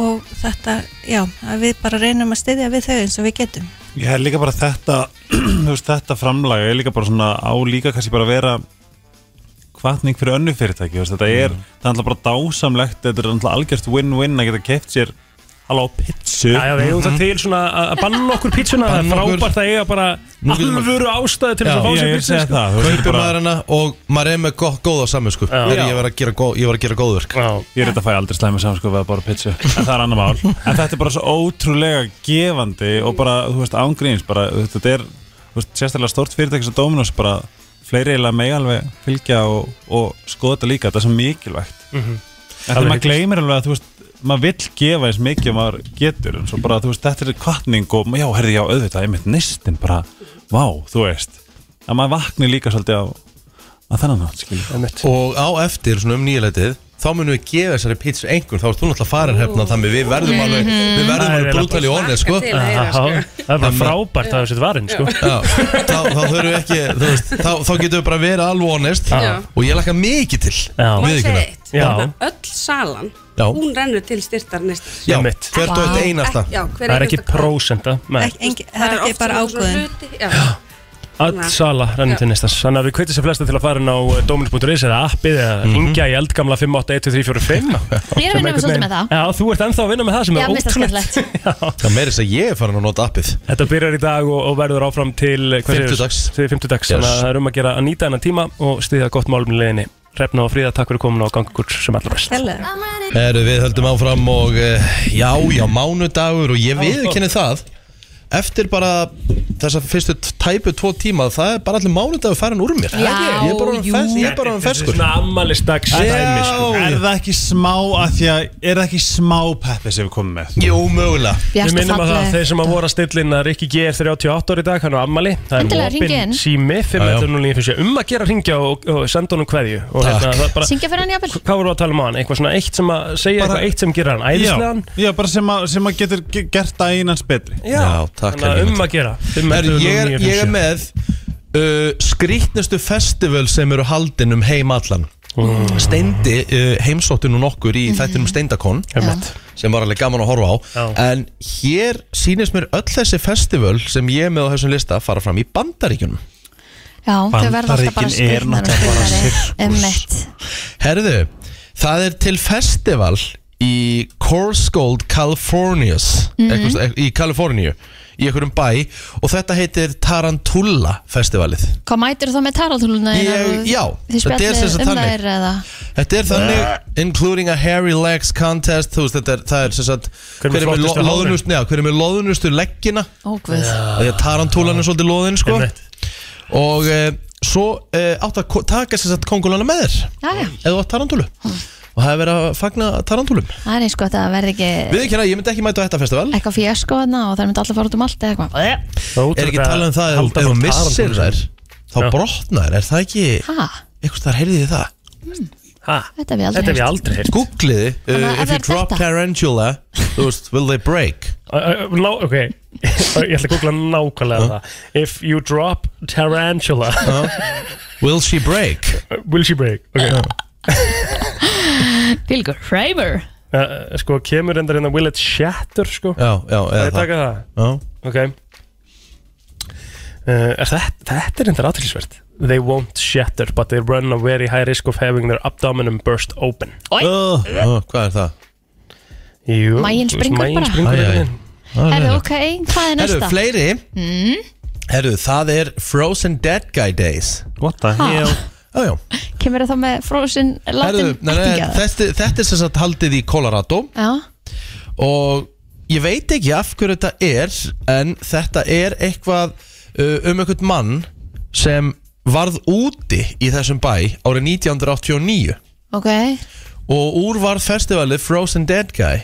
Speaker 9: og þetta, já, að við bara reynum að styðja við þau eins og við getum
Speaker 5: Ég er líka bara þetta þú veist, þetta framlag er líka bara svona á líka kannski bara að vera hvatning fyrir önnu fyrirtæki þú veist, þetta
Speaker 3: Mm.
Speaker 5: er, það er alltaf bara dásamlegt þetta er alltaf algjörst win-win að geta keft sér alveg á pitsu
Speaker 3: Já, já, við eigum það til svona að að banna okkur pítsuna Það er
Speaker 1: Banna okkur.
Speaker 3: frábært að eiga bara
Speaker 1: Nú getum við-
Speaker 3: alvöru ástæði til þess
Speaker 1: Já,
Speaker 3: að fá sér sko.
Speaker 5: ég er að segja
Speaker 3: pítsu
Speaker 5: það þú veist, þetta
Speaker 1: Kaupir
Speaker 5: er bara,
Speaker 1: maður hana og maður er með gott, góða saminsku
Speaker 3: Já.
Speaker 1: Þegar ég var að gera, góð, ég var að gera góðverk
Speaker 3: Já,
Speaker 5: ég er þetta að fæ aldrei slæmi saman sko við að bara pitsu en það er annar mál en þetta er bara svo ótrúlega gefandi og bara, þú veist, ángríns bara, þú veist, þetta er, þú veist, sérstaklega stort fyrirtæki sem Dominos bara, fleiri eiginlega megi alveg fylgja og, og skoða þetta líka þetta er svo mikilvægt En
Speaker 3: Alveg
Speaker 5: þegar maður
Speaker 3: hiklaust.
Speaker 5: gleymir alveg að þú veist maður vill gefa eins mikið og maður getur en svo bara þú veist þetta er kvartning og já herði já auðvitað einmitt nýstin bara vá þú veist að maður vakni líka svolítið á að þannig nátt skilja
Speaker 3: einmitt.
Speaker 1: Og á eftir, svona um nýjuleitið Þá munum við gefa þessari pítsu einhvern Þá ert þú náttúrulega farin hefna Þannig við verðum alveg Við verðum
Speaker 3: Það er
Speaker 1: alveg brútali og honest sko.
Speaker 8: til. Ég er
Speaker 1: Já,
Speaker 8: að
Speaker 3: Já, Það er bara frábært að það sétt varinn sko.
Speaker 1: þá, þá þurfum við ekki þú veist, þá, þá getum við bara að vera alveg honest
Speaker 8: Já.
Speaker 1: Og ég lakka mikið til
Speaker 8: Má ég
Speaker 3: Já,
Speaker 1: Viðurkenna.
Speaker 8: segja eitt?
Speaker 3: Já.
Speaker 8: Öll salan,
Speaker 1: Já.
Speaker 8: hún rennur til styrtar nýstar.
Speaker 1: Já,
Speaker 3: Einmitt.
Speaker 1: hvert og eitt einasta
Speaker 8: Já, hver
Speaker 3: það er ekki
Speaker 8: einasta króna.
Speaker 3: prósenda nei.
Speaker 9: Ek, engi, það er ekki
Speaker 8: oft
Speaker 9: bara
Speaker 8: svona- svona
Speaker 9: ágóðin
Speaker 8: hluti- Já,
Speaker 3: Öll sala rennur til næstans Þannig að við kveitum sér flesta til að fara inn á eh, dominus.is eða appið eða
Speaker 1: Mhm.
Speaker 3: ringja í eldgamla
Speaker 2: Ég
Speaker 3: 5812345
Speaker 2: er að vinna með svolítið með það
Speaker 3: Já, þú ert ennþá að vinna með það sem
Speaker 2: Já,
Speaker 3: er
Speaker 2: mér finnst það
Speaker 3: ótrúlegt
Speaker 2: skemmtilegt
Speaker 1: Það meiri þess að ég er farin að nota appið
Speaker 3: Þetta byrjar í dag og, og verður áfram til eh, hvað segirðu?
Speaker 1: Fimmtudags.
Speaker 3: Til fimmtudags, þannig
Speaker 1: Yes.
Speaker 3: að það er um að gera að nýta hennan tíma og stiðja gott málum í leiðinni Hrefna og Fríða, takk fyrir komin og gangur sem allra best
Speaker 9: Hello.
Speaker 1: Heru, Við höldum áfram og eh, já, já, mánudagur og ég viðurkenni það Eftir bara þessa fyrstu t- tæpu tvo tíma Það er bara allir mánudagur farin úr mér
Speaker 2: Já,
Speaker 1: Ég er bara orðinn
Speaker 2: jú.
Speaker 1: fers- ég er bara um ferskur
Speaker 3: Svona ammalistags dæmi, sko.
Speaker 5: er það ekki smá að því að er það ekki smá peppis ef við komum með
Speaker 1: Jú, mögulega
Speaker 3: Við
Speaker 2: Bjart og
Speaker 3: minnum að það að
Speaker 2: falleg
Speaker 3: þeir sem að voru að stillin að Rikki G er 38 ári í dag, hann á ammali Það
Speaker 2: Endilega,
Speaker 3: er opinn
Speaker 2: hringið inn.
Speaker 3: sími, 5.09.50 Um að gera ringja og, og senda honum kveðju Og hérna, það er bara,
Speaker 2: Syngja fyrir hann jafnvel
Speaker 3: hvað voru að tala um á hann? Eitthvað svona eitt sem að segja
Speaker 5: Bara-
Speaker 3: eitthvað eitt sem gera hann
Speaker 5: já,
Speaker 3: æðislegan
Speaker 5: já bara sem að, sem að getur ge- gert daginn hans betri
Speaker 1: Já, takk,
Speaker 3: Þannig að
Speaker 1: Helgi.
Speaker 3: um að gera
Speaker 1: Heru, ég, er, ég er
Speaker 3: 5.09.50
Speaker 1: með uh, skrítnustu festival sem eru haldin um heim allan Steindi uh, heimsótti nú nokkur í þættinum Steindakon
Speaker 3: Einmitt.
Speaker 1: sem var alveg gaman að horfa á
Speaker 3: Já.
Speaker 1: en hér sýnist mér öll þessi festival sem ég er með á þessum lista fara fram í Bandaríkjunum
Speaker 2: Já, þau verða alltaf bara
Speaker 5: Bandaríkin er
Speaker 2: skrýtnar og
Speaker 5: náttúrulega bara
Speaker 2: skrýtnari
Speaker 5: sirkus.
Speaker 2: Emmett
Speaker 1: Herðu, það er til festival í Corsgold, Californias eitthvað, í Kaliforníu í einhverjum bæ og þetta heitir Tarantula festivalið
Speaker 2: Hvað mætir þú þá með taraldúluna?
Speaker 1: Ég- já,
Speaker 2: Þið
Speaker 1: þetta er sem sagt
Speaker 2: spjallið um
Speaker 1: þannig.
Speaker 2: þær eða
Speaker 1: Þetta er þannig Including a hairy legs contest Þú veist, þetta er, það er sem sagt
Speaker 3: Hver er með
Speaker 1: með
Speaker 3: flottustu
Speaker 1: lo-
Speaker 3: hárin?
Speaker 1: loðnustu- já, Hver er með loðunustu leggina
Speaker 2: Ó, guð
Speaker 1: Því að tarantúlan er svolítið loðin sko. Og e, svo e, áttu að ko- taka sem sagt kongulana með þér
Speaker 2: Jæja,
Speaker 1: Eða átt tarantúlu Og það er verið að fagna tarantúlum
Speaker 2: það er eins gott að það verði ekki
Speaker 1: Við ekki hérna, ég myndi ekki mæta á þetta festival
Speaker 2: eitthvað fjasko þarna og það myndi allir fara út um allt eða eitthvað
Speaker 1: Er ekki talað um það ef- Ef þú missir þær Þá
Speaker 3: Já.
Speaker 1: brotnar, er það ekki
Speaker 2: Ha,
Speaker 1: Eitthvað þar heyrðið þið það
Speaker 2: þetta er við aldrei
Speaker 3: Þetta er við
Speaker 2: heyrt.
Speaker 3: aldrei heyrt
Speaker 1: Googliði
Speaker 2: Þannig að
Speaker 1: uh, If you
Speaker 2: ef það er
Speaker 1: drop
Speaker 2: þetta-
Speaker 1: tarantula Þú veist, will they break
Speaker 3: Ö, ö, Ná, ok, ég ætla að googla nákvæmlega það If you drop tarantula
Speaker 1: Will she break
Speaker 3: Will she break? Okay.
Speaker 2: Pilgur Hreiber
Speaker 3: Uh, sko, kemur endar hérna Will it shatter, sko
Speaker 1: Já, já, eða
Speaker 3: Ég taka það,
Speaker 1: Já.
Speaker 3: ok uh, er þetta, þetta er endar aðtilsvert They won't shatter but they run a very high risk of having their abdomen burst open
Speaker 1: Uh, uh, hvað er það?
Speaker 3: Jú,
Speaker 2: Maginn
Speaker 3: þú veist,
Speaker 2: springur
Speaker 3: maginn
Speaker 2: bara.
Speaker 3: springur
Speaker 1: Æ, æ,
Speaker 3: einhvern veginn.
Speaker 2: Herðu, ok, hvað er
Speaker 1: Herru,
Speaker 2: næsta? Mm.
Speaker 1: fleiri Herru, það er Frozen Dead Guy Days
Speaker 5: what the
Speaker 2: Ha,
Speaker 5: hell
Speaker 1: Já, já
Speaker 2: Kemur það þá með frozen
Speaker 1: Herru,
Speaker 2: latin
Speaker 1: nei, nei,
Speaker 2: ættingja?
Speaker 1: þetta, þetta er sem sagt haldið í Colorado
Speaker 2: Já,
Speaker 1: og ég veit ekki af hverju þetta er en þetta er eitthvað uh, um einhvern mann sem varð úti í þessum bæ árið 1989
Speaker 2: ok
Speaker 1: og úr varð festivalið Frozen Dead Guy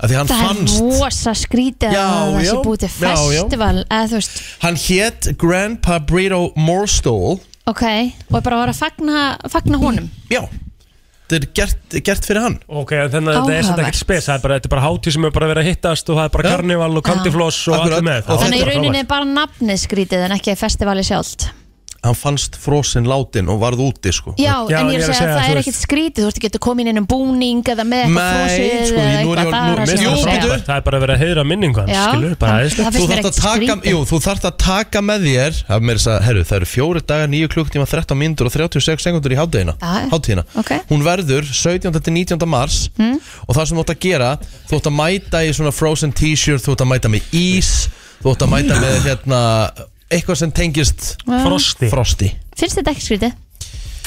Speaker 1: af því hann
Speaker 2: Það er
Speaker 1: fannst
Speaker 2: rosa skrítið
Speaker 1: Já,
Speaker 2: að það
Speaker 1: já.
Speaker 2: sé búið til
Speaker 1: Já, já.
Speaker 2: festival eða þú veist,
Speaker 1: Hann hétt Grandpa Brito Morstall
Speaker 2: ok og bara voru að fagna, fagna honum
Speaker 1: Já er gert, gert fyrir hann
Speaker 3: Ok, þannig að þetta er samt
Speaker 2: Áhugavert.
Speaker 3: ekkert spes Það er bara, þetta er bara hátíð sem er bara verið að hittast og það er bara
Speaker 1: Já.
Speaker 3: karnival og kandifloss og
Speaker 1: Akkurat.
Speaker 3: allir með
Speaker 1: Og
Speaker 2: Þannig í
Speaker 3: bara
Speaker 2: rauninni
Speaker 3: frábært.
Speaker 2: er bara nafnið skrítið en ekki festivali sjálft
Speaker 1: Hann fannst frosin látin og varð úti sko
Speaker 2: Já,
Speaker 3: Já,
Speaker 2: en ég er að segja að það
Speaker 3: þú
Speaker 2: er
Speaker 3: veist-
Speaker 2: ekkert skrítið Þú veist, þú getur komið inn um búning eða með eitthvað
Speaker 1: Nei,
Speaker 2: frosið
Speaker 1: sko,
Speaker 2: eða
Speaker 1: ég- nú er ég
Speaker 2: eitthvað,
Speaker 1: orðin-
Speaker 2: það er
Speaker 1: nú-
Speaker 2: að
Speaker 1: mér-
Speaker 2: sem
Speaker 1: Jú,
Speaker 2: ég er að
Speaker 1: bíddu.
Speaker 2: segja.
Speaker 3: Frábært, Það er bara verið að heiðra minningu hans,
Speaker 2: Já,
Speaker 3: skilur, bara
Speaker 2: það-
Speaker 3: aðeinslega
Speaker 2: finnst
Speaker 1: Þú
Speaker 2: mér
Speaker 1: þarft að
Speaker 2: ekkert
Speaker 1: taka,
Speaker 2: skrítið.
Speaker 1: jú, þú þarft að taka með þér að mér að, herru, það eru fjóri dagar, nýju klukktíma 13 mínútur og 36 sekundur í hátíðina,
Speaker 2: Já, já.
Speaker 1: hátíðina.
Speaker 2: Ok. Hmm?
Speaker 1: Hún verður 17. til 19. mars og það sem þú ætti að gera, þú ætti að mæta í svona frozen t-shirt, þú ætti að mæta með ís þú ætti að mæta með hérna eitthvað sem tengist
Speaker 3: Frosti
Speaker 1: frosti
Speaker 2: Finnst þetta ekki skrítið?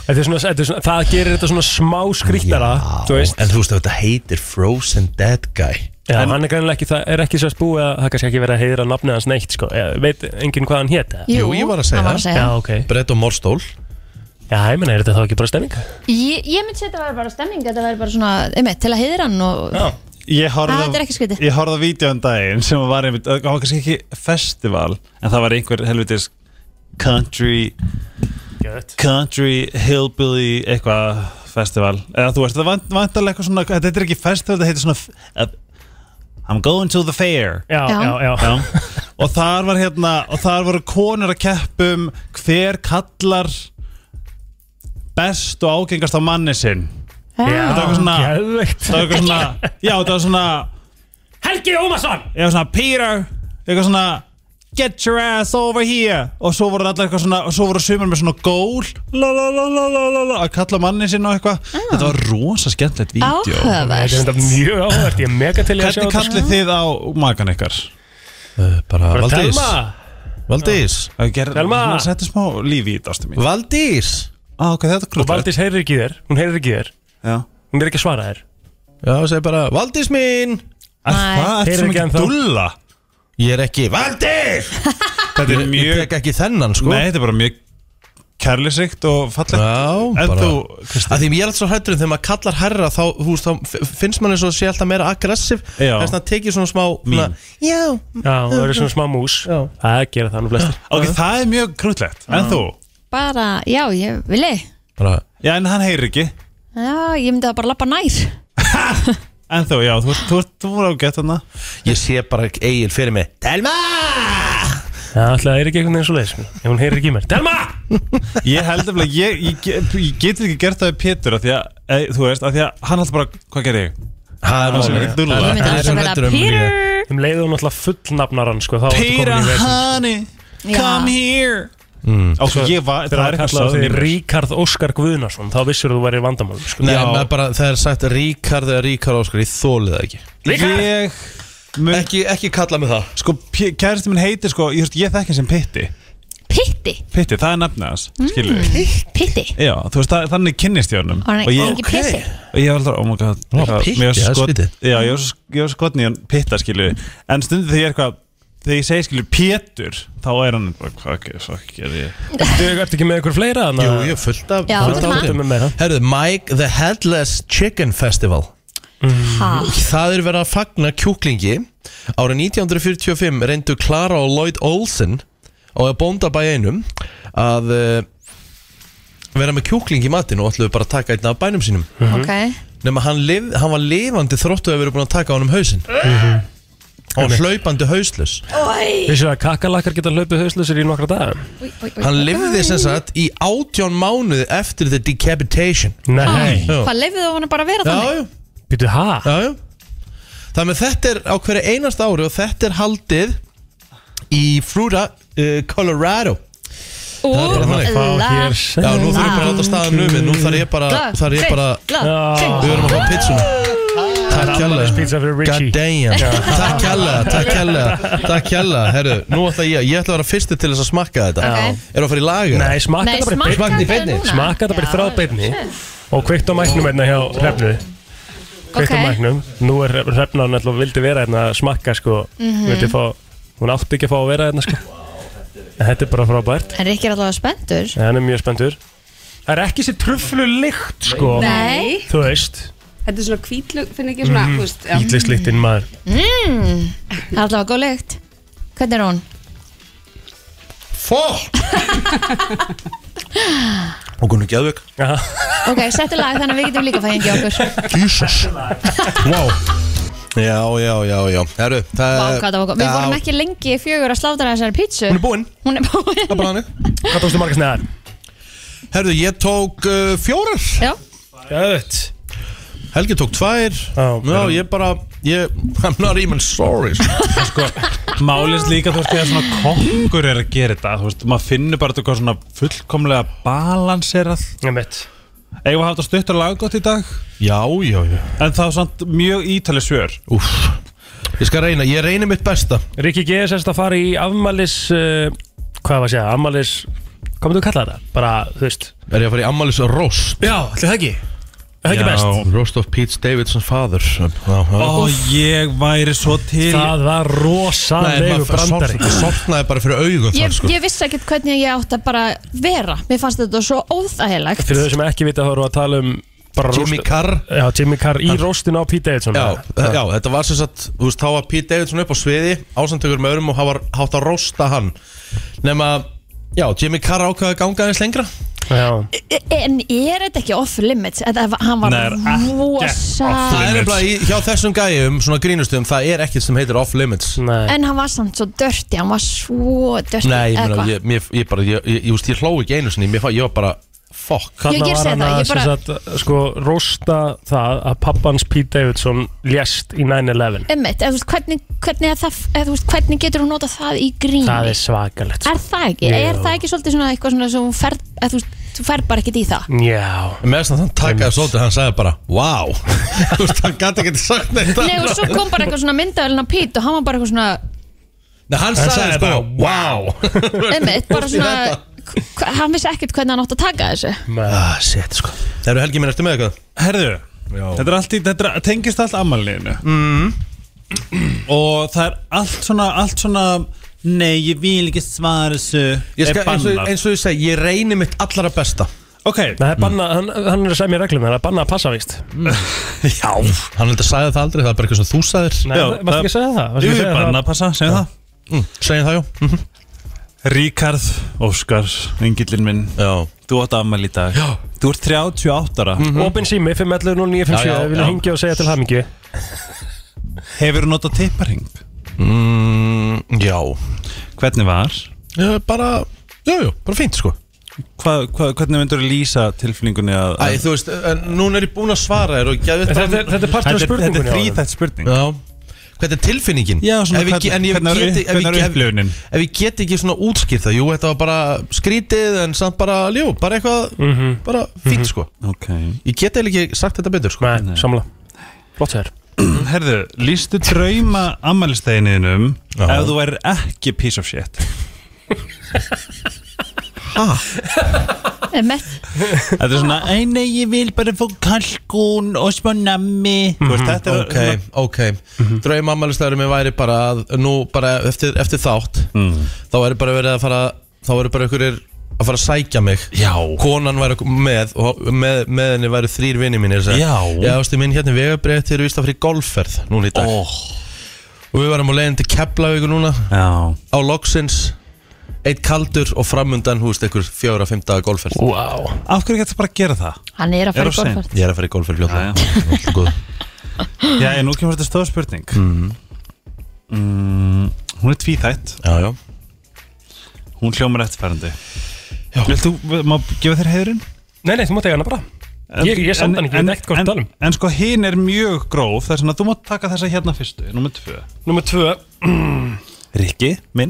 Speaker 3: Þetta er svona, þetta er svona, það gerir þetta svona smá skrítara Þú veist,
Speaker 1: en þú veist að þetta heitir Frozen Dead Guy
Speaker 3: já, hann er greinilega ekki, það er ekki sérst búið að það er kannski ekki verið að heiðra nafnið hans neitt, sko Ég Veit enginn hvað hann hét, eða?
Speaker 1: Jú, ég var að segja
Speaker 2: hann
Speaker 1: það.
Speaker 3: Já, ok
Speaker 1: Brett og Morstól
Speaker 3: Já, ég meina, er þetta þá ekki bara stemming?
Speaker 2: Ég, ég myndi setja að það var bara stemming Þetta væri bara svona, einmitt, til að heiðra hann og...
Speaker 3: Já
Speaker 5: Ég
Speaker 2: Ah, þetta er
Speaker 5: horfði
Speaker 2: ekki skrítið.
Speaker 5: á- ég horfði á vídeo um daginn sem var einmitt, það var kannski ekki festival en það var einhver helvitis country,
Speaker 3: Gött
Speaker 5: country hillbilly eitthvað festival eða þú veist, það vant, vantarlega eitthvað svona þetta er ekki festival, það heitir svona f- uh, I'm going to the fair
Speaker 3: Já,
Speaker 2: Já.
Speaker 3: já, já,
Speaker 5: Já. og þar var hérna og þar voru konur að keppum hver kallar best og ágengast á manni sinn
Speaker 3: Já,
Speaker 5: var svona-
Speaker 3: geðveikt.
Speaker 5: það var eitthvað svona já, það var svona
Speaker 3: Helgi Ómarsson
Speaker 5: eitthvað svona Peter eitthvað svona get your ass over here og svo voru allar eitthvað svona og svo voru sumar með svona gól la la la la la la la að kalla manni sinna og eitthvað þetta var rosa skemmtilegt vídeo
Speaker 3: Þetta er
Speaker 2: Áhugavert
Speaker 3: þetta mjög áhvert, ég er mega til í að sjá
Speaker 5: hvernig
Speaker 3: þetta
Speaker 5: kallið þið á makan ykkar?
Speaker 1: uh, bara
Speaker 3: Bara
Speaker 1: Valdís
Speaker 3: Telma
Speaker 1: Valdís
Speaker 5: Telma
Speaker 3: Telma!
Speaker 5: Settu smá lífi í þetta ástu mín
Speaker 1: Valdís
Speaker 5: ah, ok, þetta er
Speaker 3: Og
Speaker 5: klútt
Speaker 3: Valdís heyrir ekki í þér, hún heyrir ekki í þér
Speaker 5: Já
Speaker 3: Hún er ekki að svara þér
Speaker 1: Já, segir bara Valdís mín
Speaker 5: Er
Speaker 2: Nei.
Speaker 5: það
Speaker 3: Þeir
Speaker 5: eftir
Speaker 3: eru
Speaker 5: sem
Speaker 3: ekki
Speaker 5: ekki
Speaker 3: ennþá.
Speaker 5: dulla?
Speaker 1: Ég er ekki Valdís
Speaker 5: Þetta er
Speaker 1: Ég
Speaker 5: mjög
Speaker 1: tek ekki þennan sko
Speaker 5: Nei, þetta er bara mjög kærlisrikt og fallegt
Speaker 1: Já,
Speaker 5: En
Speaker 1: bara
Speaker 5: þú,
Speaker 1: Að Því ég er alltaf svo hættur um þegar maður kallar herra þá, þú veist, þá f- finnst mann eins og sé alltaf meira aggressiv
Speaker 5: Já.
Speaker 1: Þess að það tekið svona smá svona,
Speaker 5: Mín.
Speaker 1: Já
Speaker 3: Já, það eru svona smá mús
Speaker 1: Já.
Speaker 3: Það gera það nú flestir
Speaker 5: Ok, það er mjög krútlegt En þú?
Speaker 2: Bara, já, ég vilji
Speaker 1: bara,
Speaker 5: Já, en hann heyrir ekki
Speaker 2: Já, ég myndi það bara lappa nær
Speaker 5: En þú, já, þú ert- þú ert- þú voru á gett hana
Speaker 1: Ég sé bara Egil fyrir mig Telma
Speaker 3: Já, alltaf það er ekki einhvern veginn svo leiðis Ef hún heyrir ekki í mér Telma!
Speaker 5: Ég held eftir að ég, ég, ge- ég get ekki gert það við Pétur af Því að, e, þú veist, af því að hann alltaf bara Hvað gerði ég?
Speaker 1: Það
Speaker 5: Hann sem ekki dulla
Speaker 2: Ég myndi
Speaker 1: Það er
Speaker 2: alltaf
Speaker 1: sem
Speaker 2: vera
Speaker 1: hræddur um mig.
Speaker 2: Peter
Speaker 3: Um leiði hún alltaf fullnafnar hann sko, Þá ertu
Speaker 5: Peter,
Speaker 3: komin í veginn
Speaker 5: honey,
Speaker 2: Já.
Speaker 5: come here Ok, ég var, það
Speaker 3: Þegar
Speaker 5: er
Speaker 3: það
Speaker 5: eitthvað
Speaker 3: kallaði þig
Speaker 5: söðnýmur.
Speaker 3: Ríkard Óskar Guðnason Þá vissur þú væri vandamál sko.
Speaker 1: Nei,
Speaker 5: Já.
Speaker 1: maður bara, það er sagt Ríkard eða Ríkard Óskar, ég þóli það ekki
Speaker 3: Ríkard!
Speaker 5: Ég mun,
Speaker 1: Ekki, ekki kalla mig það
Speaker 5: sko, kæristi minn heitir sko Ég, ég þekki hann sem Pitti
Speaker 2: Pitti,
Speaker 5: Pitti, það er nafnið hans, skilur við
Speaker 2: Mm. pitti
Speaker 5: Já, þú veist, það, þannig kynnist ég honum
Speaker 2: Og hann
Speaker 5: Og
Speaker 2: er
Speaker 5: ég,
Speaker 2: ekki pissi
Speaker 5: og ég var alltaf, oh my god
Speaker 1: var
Speaker 5: eitthvað,
Speaker 1: pitti,
Speaker 5: mér var
Speaker 1: það er
Speaker 5: skot-
Speaker 1: skrítið.
Speaker 5: Já, ég var svo- ég var skotn í hann pitta, skilju En stundum þegar ég er eitthvað Þegar ég segi, skilju, Pétur Þá er hann bara, hvað ekki, svo ekki er ég
Speaker 3: Þú ert ekki með einhver fleira þannig
Speaker 1: Jú,
Speaker 3: að-
Speaker 1: ég er fullt af
Speaker 2: Já,
Speaker 1: fullt af
Speaker 2: þú ert
Speaker 1: áhrifum.
Speaker 3: með meira.
Speaker 1: Herðu, Mike the Headless Chicken Festival
Speaker 2: Ha,
Speaker 1: Það er verið að fagna kjúklingi Árið 1945 reyndu Clara og Lloyd Olsen og að bónda bæ einum að uh, vera með kjúkling í matinn og ætluðu bara að taka einn af bænum sínum
Speaker 2: ok
Speaker 1: nema hann, lif, hann var lifandi þróttu að vera búin að taka honum hausinn og hlaupandi hauslös
Speaker 3: Vissu að kakalakkar geta hlaupið hauslusir í nokkra daga
Speaker 1: Hann lifði sem sagt í átján mánuði eftir the decapitation
Speaker 3: Nei
Speaker 1: Já.
Speaker 2: Hvað leifðu þú hann bara að vera
Speaker 1: Já,
Speaker 2: þannig?
Speaker 1: já,
Speaker 3: Býtu, ha?
Speaker 1: já, já Þannig að þetta er á hverju einast ári og þetta er haldið í Florida, uh, Colorado Það er þannig.
Speaker 3: Hvað á hér
Speaker 1: Já, nú þurfum við bara að láta staðan numið Nú þarf ég bara, þarf ég bara Við
Speaker 3: Já,
Speaker 1: verðum að fá pizzuna Takk kjærlega
Speaker 3: pizza fyrir
Speaker 1: God
Speaker 3: Richie
Speaker 1: damn Takk kjærlega, takk kjærlega Takk kjærlega, herru Nú ætla ég, ég ætla að vera fyrsti til þess að smakka þetta
Speaker 2: Já.
Speaker 1: Er að fara í lagur?
Speaker 3: Nei, smakka
Speaker 2: Nei,
Speaker 3: þetta bara í beinni.
Speaker 1: Smakka
Speaker 2: smakka
Speaker 1: þetta í beinni.
Speaker 2: núna.
Speaker 3: Smakka þetta bara í
Speaker 2: Já,
Speaker 3: þráðbeinni Og kveikt á mæknum hérna hjá Hrefnu Kveikt á
Speaker 2: Ok.
Speaker 3: mæknum Nú er Hrefna hann alltaf vildi vera hérna að smakka sko
Speaker 2: Mhm.
Speaker 3: vildi fá, Hún átti ekki að fá að vera hérna sko En þetta er bara frábært
Speaker 2: En Rikki er allavega spenntur
Speaker 3: En hann er mjög spenntur Það er ekki sér truflu lykt sko
Speaker 2: Nei
Speaker 3: Þú veist
Speaker 8: Þetta er svona hvítlug, finn ekki
Speaker 3: Mhm.
Speaker 8: svona, þú veist, já.
Speaker 3: Ítlislíktinn
Speaker 2: Mm.
Speaker 3: maður
Speaker 2: Það er allavega góð lykt Hvernig er hún?
Speaker 1: Fokk og hún er geðveik
Speaker 2: Ok, settu lag þannig að við getum líka að fæða hengi okkur
Speaker 1: Jesus Wow Já, já, já, já Herru, það
Speaker 2: Vá, hvað það var gott. Við
Speaker 1: Já,
Speaker 2: vorum ekki lengi í fjögur að sláta þessari pítsu
Speaker 1: Hún er búinn
Speaker 2: Hún er búin
Speaker 1: Það er bara hannig
Speaker 3: Hvað tókstu margast neðar?
Speaker 1: Herru, ég tók uh, fjórar
Speaker 2: Já,
Speaker 3: Gött
Speaker 1: Helgi tók tvær
Speaker 3: Já,
Speaker 1: Já, ég bara ég, I'm not even sorry sko.
Speaker 5: sko, málist líka þú veist þegar svona kokkur er að gera þetta þú veist, maður finnur bara þetta hvað svona fullkomlega balanserað
Speaker 3: Ég mitt
Speaker 5: eigum við að hafa þetta stuttur laggótt í dag
Speaker 1: Já, já, já
Speaker 5: en það er samt mjög ítalið svör
Speaker 1: Úf Ég skal reyna, ég reyni mitt besta
Speaker 3: Rikki G. er semst að fara í afmælis uh, Hvað var að segja? Afmælis Hvað myndu að kalla þetta? Bara, þú veist
Speaker 1: Er ég að fara í ammælis roast
Speaker 3: Já, ætli það ekki Það ekki best
Speaker 1: Roast of Pete Davidson's father Já, já.
Speaker 5: og ég væri svo til
Speaker 3: Það var rosalegu brandari
Speaker 1: sortnaði bara fyrir augum
Speaker 2: ég,
Speaker 1: þar sko
Speaker 2: ég vissi ekkert hvernig ég átt að bara vera Mér fannst þetta svo óþægilegt
Speaker 3: Fyrir þau sem ekki vita þá erum við að tala um bara
Speaker 1: Jimmy
Speaker 3: roast-
Speaker 1: Carr
Speaker 3: Já, Jimmy Carr í róstinu á Pete Davidson
Speaker 1: Já, já, þetta var sem sagt, þú veist, þá var Pete Davidson upp á sviði ásamtökur með örum og hann var hátt að rósta hann nema, já, Jimmy Carr ákvaði að ganga aðeins lengra
Speaker 3: Já.
Speaker 2: E, En er þetta ekki off-limits? Þetta var- Hann var
Speaker 5: Nei, er ekkert
Speaker 2: rosa
Speaker 1: Það er
Speaker 5: Limits.
Speaker 1: nefnilega í- hjá þessum gæjum, svona grínustum það er ekkert sem heitir off-limits
Speaker 3: Nei
Speaker 2: En hann var samt svo dörti, hann var svo dörti
Speaker 1: Nei, ég meina, ég, mér- ég bara, ég, ég, ég, veist, ég hló ekki einu sinni, mér, fa- ég var bara fuck
Speaker 3: Þarna
Speaker 2: Ég- ég
Speaker 3: var
Speaker 2: sé
Speaker 3: hann
Speaker 2: það,
Speaker 3: að
Speaker 2: ég
Speaker 3: sem
Speaker 2: bara-
Speaker 3: sagt, sko, rosta það að pappans Pete Davidson lést í 9-11
Speaker 2: Einmitt, eða þú veist, hvernig, hvernig, er það, eða, þú veist, hvernig getur hún nota það í gríni?
Speaker 3: Það er svakalegt sko.
Speaker 2: Er það ekki?
Speaker 3: Jú.
Speaker 2: Er það ekki svolítið svona eitthvað svona sem hún fer, eða þú veist, þú fer bara ekkert í það?
Speaker 3: Já
Speaker 1: Með þess að hann takaði svolítið, hann sagði bara wow, þú veist, hann gæti ekki sagt neitt
Speaker 2: Nei, og
Speaker 1: annað.
Speaker 2: svo kom bara eitthvað svona myndavælinn á Pít og hann var bara eitthvað svona,
Speaker 1: Nei, hann sagði
Speaker 3: sagði
Speaker 1: sko,
Speaker 3: bara,
Speaker 1: wow
Speaker 2: einmitt, bara svona, hva- hann vissi ekkert hvernig hann átt að taka þessu.
Speaker 1: Ah, shit, sko Það eru helgi minn eftir með eitthvað
Speaker 5: herðu, þetta, er allt í, þetta er- tengist allt ammaliðinu mm. og það er allt svona, allt svona nei, ég vil ekki svara þessu
Speaker 1: Ég
Speaker 5: er
Speaker 1: skal, eins, og,
Speaker 5: bannað.
Speaker 1: eins og ég segi, ég reyni mitt allara besta
Speaker 5: ok,
Speaker 3: Það er banna, hann, hann er að segja mér reglum Það er banna að passa víst
Speaker 5: já
Speaker 1: Hann heldur að sagði það aldrei, það er bara eitthvað sem þú sagðir
Speaker 3: Nei,
Speaker 5: Já,
Speaker 3: varstu ekki að segja það? Varstu ekki að
Speaker 5: Jú, ég
Speaker 3: segja
Speaker 5: bara
Speaker 3: það?
Speaker 5: að passa, segja það
Speaker 1: mm, Segin það, já mm
Speaker 5: Ríkard Óskar, engillin minn
Speaker 1: Já
Speaker 5: Þú átt afmæli í dag Já. Þú ert 38 ára
Speaker 3: Opin sími, 511
Speaker 1: Já, já,
Speaker 3: 0957 Við
Speaker 1: já.
Speaker 3: viljum hingja og segja til hamingju
Speaker 5: Hefur þú notað tipparing?
Speaker 1: mm, Já
Speaker 5: Hvernig var?
Speaker 1: Ég Bara, já, já, bara fínt, sko
Speaker 5: Hva, hva, hvernig myndur þú lýsa tilfinningunni að
Speaker 1: Æ, þú veist, en núna er ég búin að svara þér og geðið
Speaker 3: Þetta er- þetta er partur af
Speaker 5: Þetta er- þetta er
Speaker 3: spurningunni á
Speaker 5: þrýþætt spurning
Speaker 1: Já Hvernig er tilfinningin?
Speaker 5: Já, svona
Speaker 1: Ef ég
Speaker 5: hvern-
Speaker 1: ge- en ég
Speaker 5: hvernig var
Speaker 1: get- ef
Speaker 5: upp-
Speaker 1: ég
Speaker 5: hvernig var
Speaker 1: ge- ef-
Speaker 5: upplifunin?
Speaker 1: Ef ég get ekki svona útskýrt það Jú, þetta var bara skrítið en samt bara ljó Bara eitthvað, bara fínt sko
Speaker 5: Ok
Speaker 1: Ég get eiginlega ekki sagt þetta betur sko
Speaker 3: Nei, samla Flott sér
Speaker 5: Herðu, lýstu drauma ammælisteininum
Speaker 1: Já.
Speaker 5: ef þú væri ekki piece of shit
Speaker 2: Einmitt,
Speaker 5: Þetta er svona, ei nei, ég vil bara fá kalkun og smá nammi Þú veist, þetta
Speaker 3: Mhm,
Speaker 5: er
Speaker 1: Ok, ok Draum ammælistæður minn væri bara að Nú bara eftir, eftir þátt Þá væri bara verið að fara Þá væri bara einhverjir að fara að sækja mig
Speaker 5: Já.
Speaker 1: Konan væri með Og með, með henni væri þrýr vinni mínir sem-
Speaker 5: Já.
Speaker 1: Já, ástu minn hérna vegabrið Þeir eru vist að fara í golfferð núna í dag
Speaker 5: Ó,
Speaker 1: Og við varum á leiðin til Keflavíkur núna
Speaker 5: já
Speaker 1: á loksins eitt kaldur og framundan húst einhver fjóra, fimm daga golfferð
Speaker 3: Wow
Speaker 5: Af hverju getur það bara að gera það?
Speaker 2: hann er að
Speaker 5: Er
Speaker 2: fara í
Speaker 5: of seint.
Speaker 2: golfart.
Speaker 1: ég er að fara í golfferð
Speaker 5: Já, já.
Speaker 1: fljóta
Speaker 5: Já, en nú kemur þetta stóð spurning mm.
Speaker 3: Mhm.
Speaker 5: Hún er tvíþætt
Speaker 1: já, já,
Speaker 5: Hún hljómar eftirfærandi Vilt þú, má gefa þér heiðurinn?
Speaker 3: Nei, nei, þú mátt eiga hana bara Ég, ég samt hann ekki, ég veit ekkert hvað
Speaker 5: en,
Speaker 3: það tala
Speaker 5: en,
Speaker 3: um
Speaker 5: en sko hinn er mjög gróf Þess að þú mátt taka þessa hérna fyrstu Númer tvö
Speaker 3: Númer tvö uh,
Speaker 5: Rikki, minn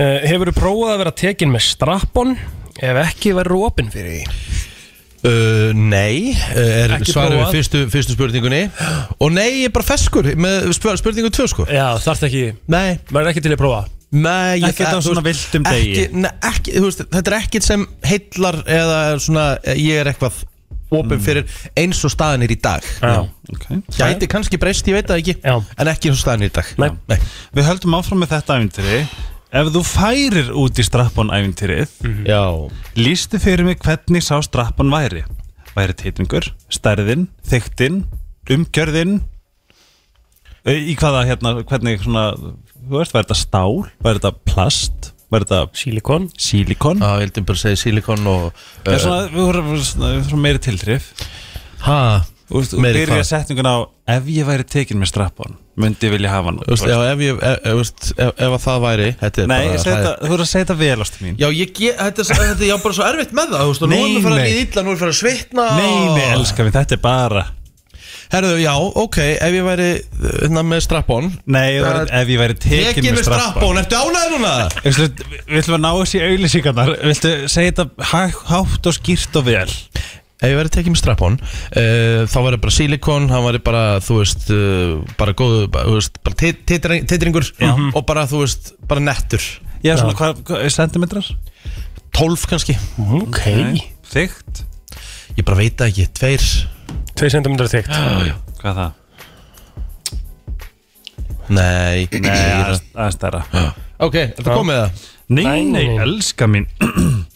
Speaker 3: eh, Hefurðu prófað að vera tekin með strappon Ef ekki verður opinn fyrir því
Speaker 1: Uh, nei, uh, er
Speaker 3: Ekki
Speaker 1: svarið við
Speaker 3: prófað.
Speaker 1: fyrstu, fyrstu spurningunni og nei, ég er bara feskur með spur, spurningu tvö sko
Speaker 3: Já, þarft ekki
Speaker 1: nei,
Speaker 3: Verður ekki til að prófa
Speaker 1: nei ég, eh,
Speaker 5: Ekkert á
Speaker 1: þú
Speaker 5: svona
Speaker 1: veist,
Speaker 5: villtum degi.
Speaker 1: ekki, nei, ekki, þú veist, þetta er ekkert sem heillar eða er svona, eh, ég er eitthvað
Speaker 5: Mm.
Speaker 1: opin fyrir eins og staðan er í dag
Speaker 3: Já
Speaker 5: okay.
Speaker 1: gæti kannski breyst, ég veit það ekki
Speaker 3: Já.
Speaker 1: en ekki eins og staðan er í dag
Speaker 3: Nei.
Speaker 1: Nei.
Speaker 5: Við höldum áfram með þetta ævintýri Ef þú færir út í strappon ævintýrið
Speaker 1: Mhm. Já.
Speaker 5: Lýstu fyrir mig hvernig sá strappan væri Væri titringur, stærðin, þyktin, umgjörðin Ö, Í hvaða hérna, hvernig svona Þú veist, væri þetta stál, væri þetta plast var þetta
Speaker 3: Silikon
Speaker 5: sílikon?
Speaker 1: Já, ég heldur bara að segja silikon og eh,
Speaker 5: Það er svona, við vorum við vorum svona meiri tiltrif
Speaker 1: Hæ?
Speaker 5: Þú veist,
Speaker 1: Meiri
Speaker 5: byrja
Speaker 1: hvað?
Speaker 5: setningun á Ef ég væri tekin með strappon, myndi ég vilja hafa hann
Speaker 1: Þú veist, já, ef ég, e- e- þú veist, ef, ef að það væri Þetta er
Speaker 5: Nei,
Speaker 1: bara
Speaker 5: ég segi þetta- þú voru að segja þetta vel ástu mín
Speaker 1: Já, ég ge, þetta, er s- þetta, ég á bara svo erfitt með það, þú veist og Nú
Speaker 5: Nei,
Speaker 1: erum við fyrir að
Speaker 5: nei.
Speaker 1: líða illa, nú erum við fyrir að svitna
Speaker 5: Nei, nei,
Speaker 1: og-
Speaker 5: elskar mín, þetta er bara
Speaker 1: Herðu, já, ok, ef ég væri hérna með strappón
Speaker 5: Nei, ég var, ef ég væri tekin
Speaker 1: Tekin
Speaker 5: með
Speaker 1: með strappón,
Speaker 5: strappon
Speaker 1: ertu ánæður núna?
Speaker 5: Ég veist, við- Við ætlum að ná þessi auðlýsingarnar Viltu segja þetta hæ- hátt og skýrt og vel
Speaker 1: Ef ég væri tekin með strappón uh, Þá væri bara silikon, hann væri bara, þú veist uh, Bara góðu, bara, þú veist Bara tit- titring- titringur Og bara, þú veist, bara nettur
Speaker 5: Já, svona hvað, hva, sentimetrar?
Speaker 1: 12 kannski,
Speaker 3: Ok
Speaker 5: Þygt
Speaker 1: ég bara veit það ekki, tveir
Speaker 3: 2 cm þygt
Speaker 5: Hvað það?
Speaker 1: Nei,
Speaker 5: Nei,
Speaker 1: ég-
Speaker 5: aðeins- aðeins stærra
Speaker 1: Ok, þetta komið það
Speaker 5: Nei,
Speaker 3: Nei,
Speaker 5: nei,
Speaker 3: nei.
Speaker 5: elska mín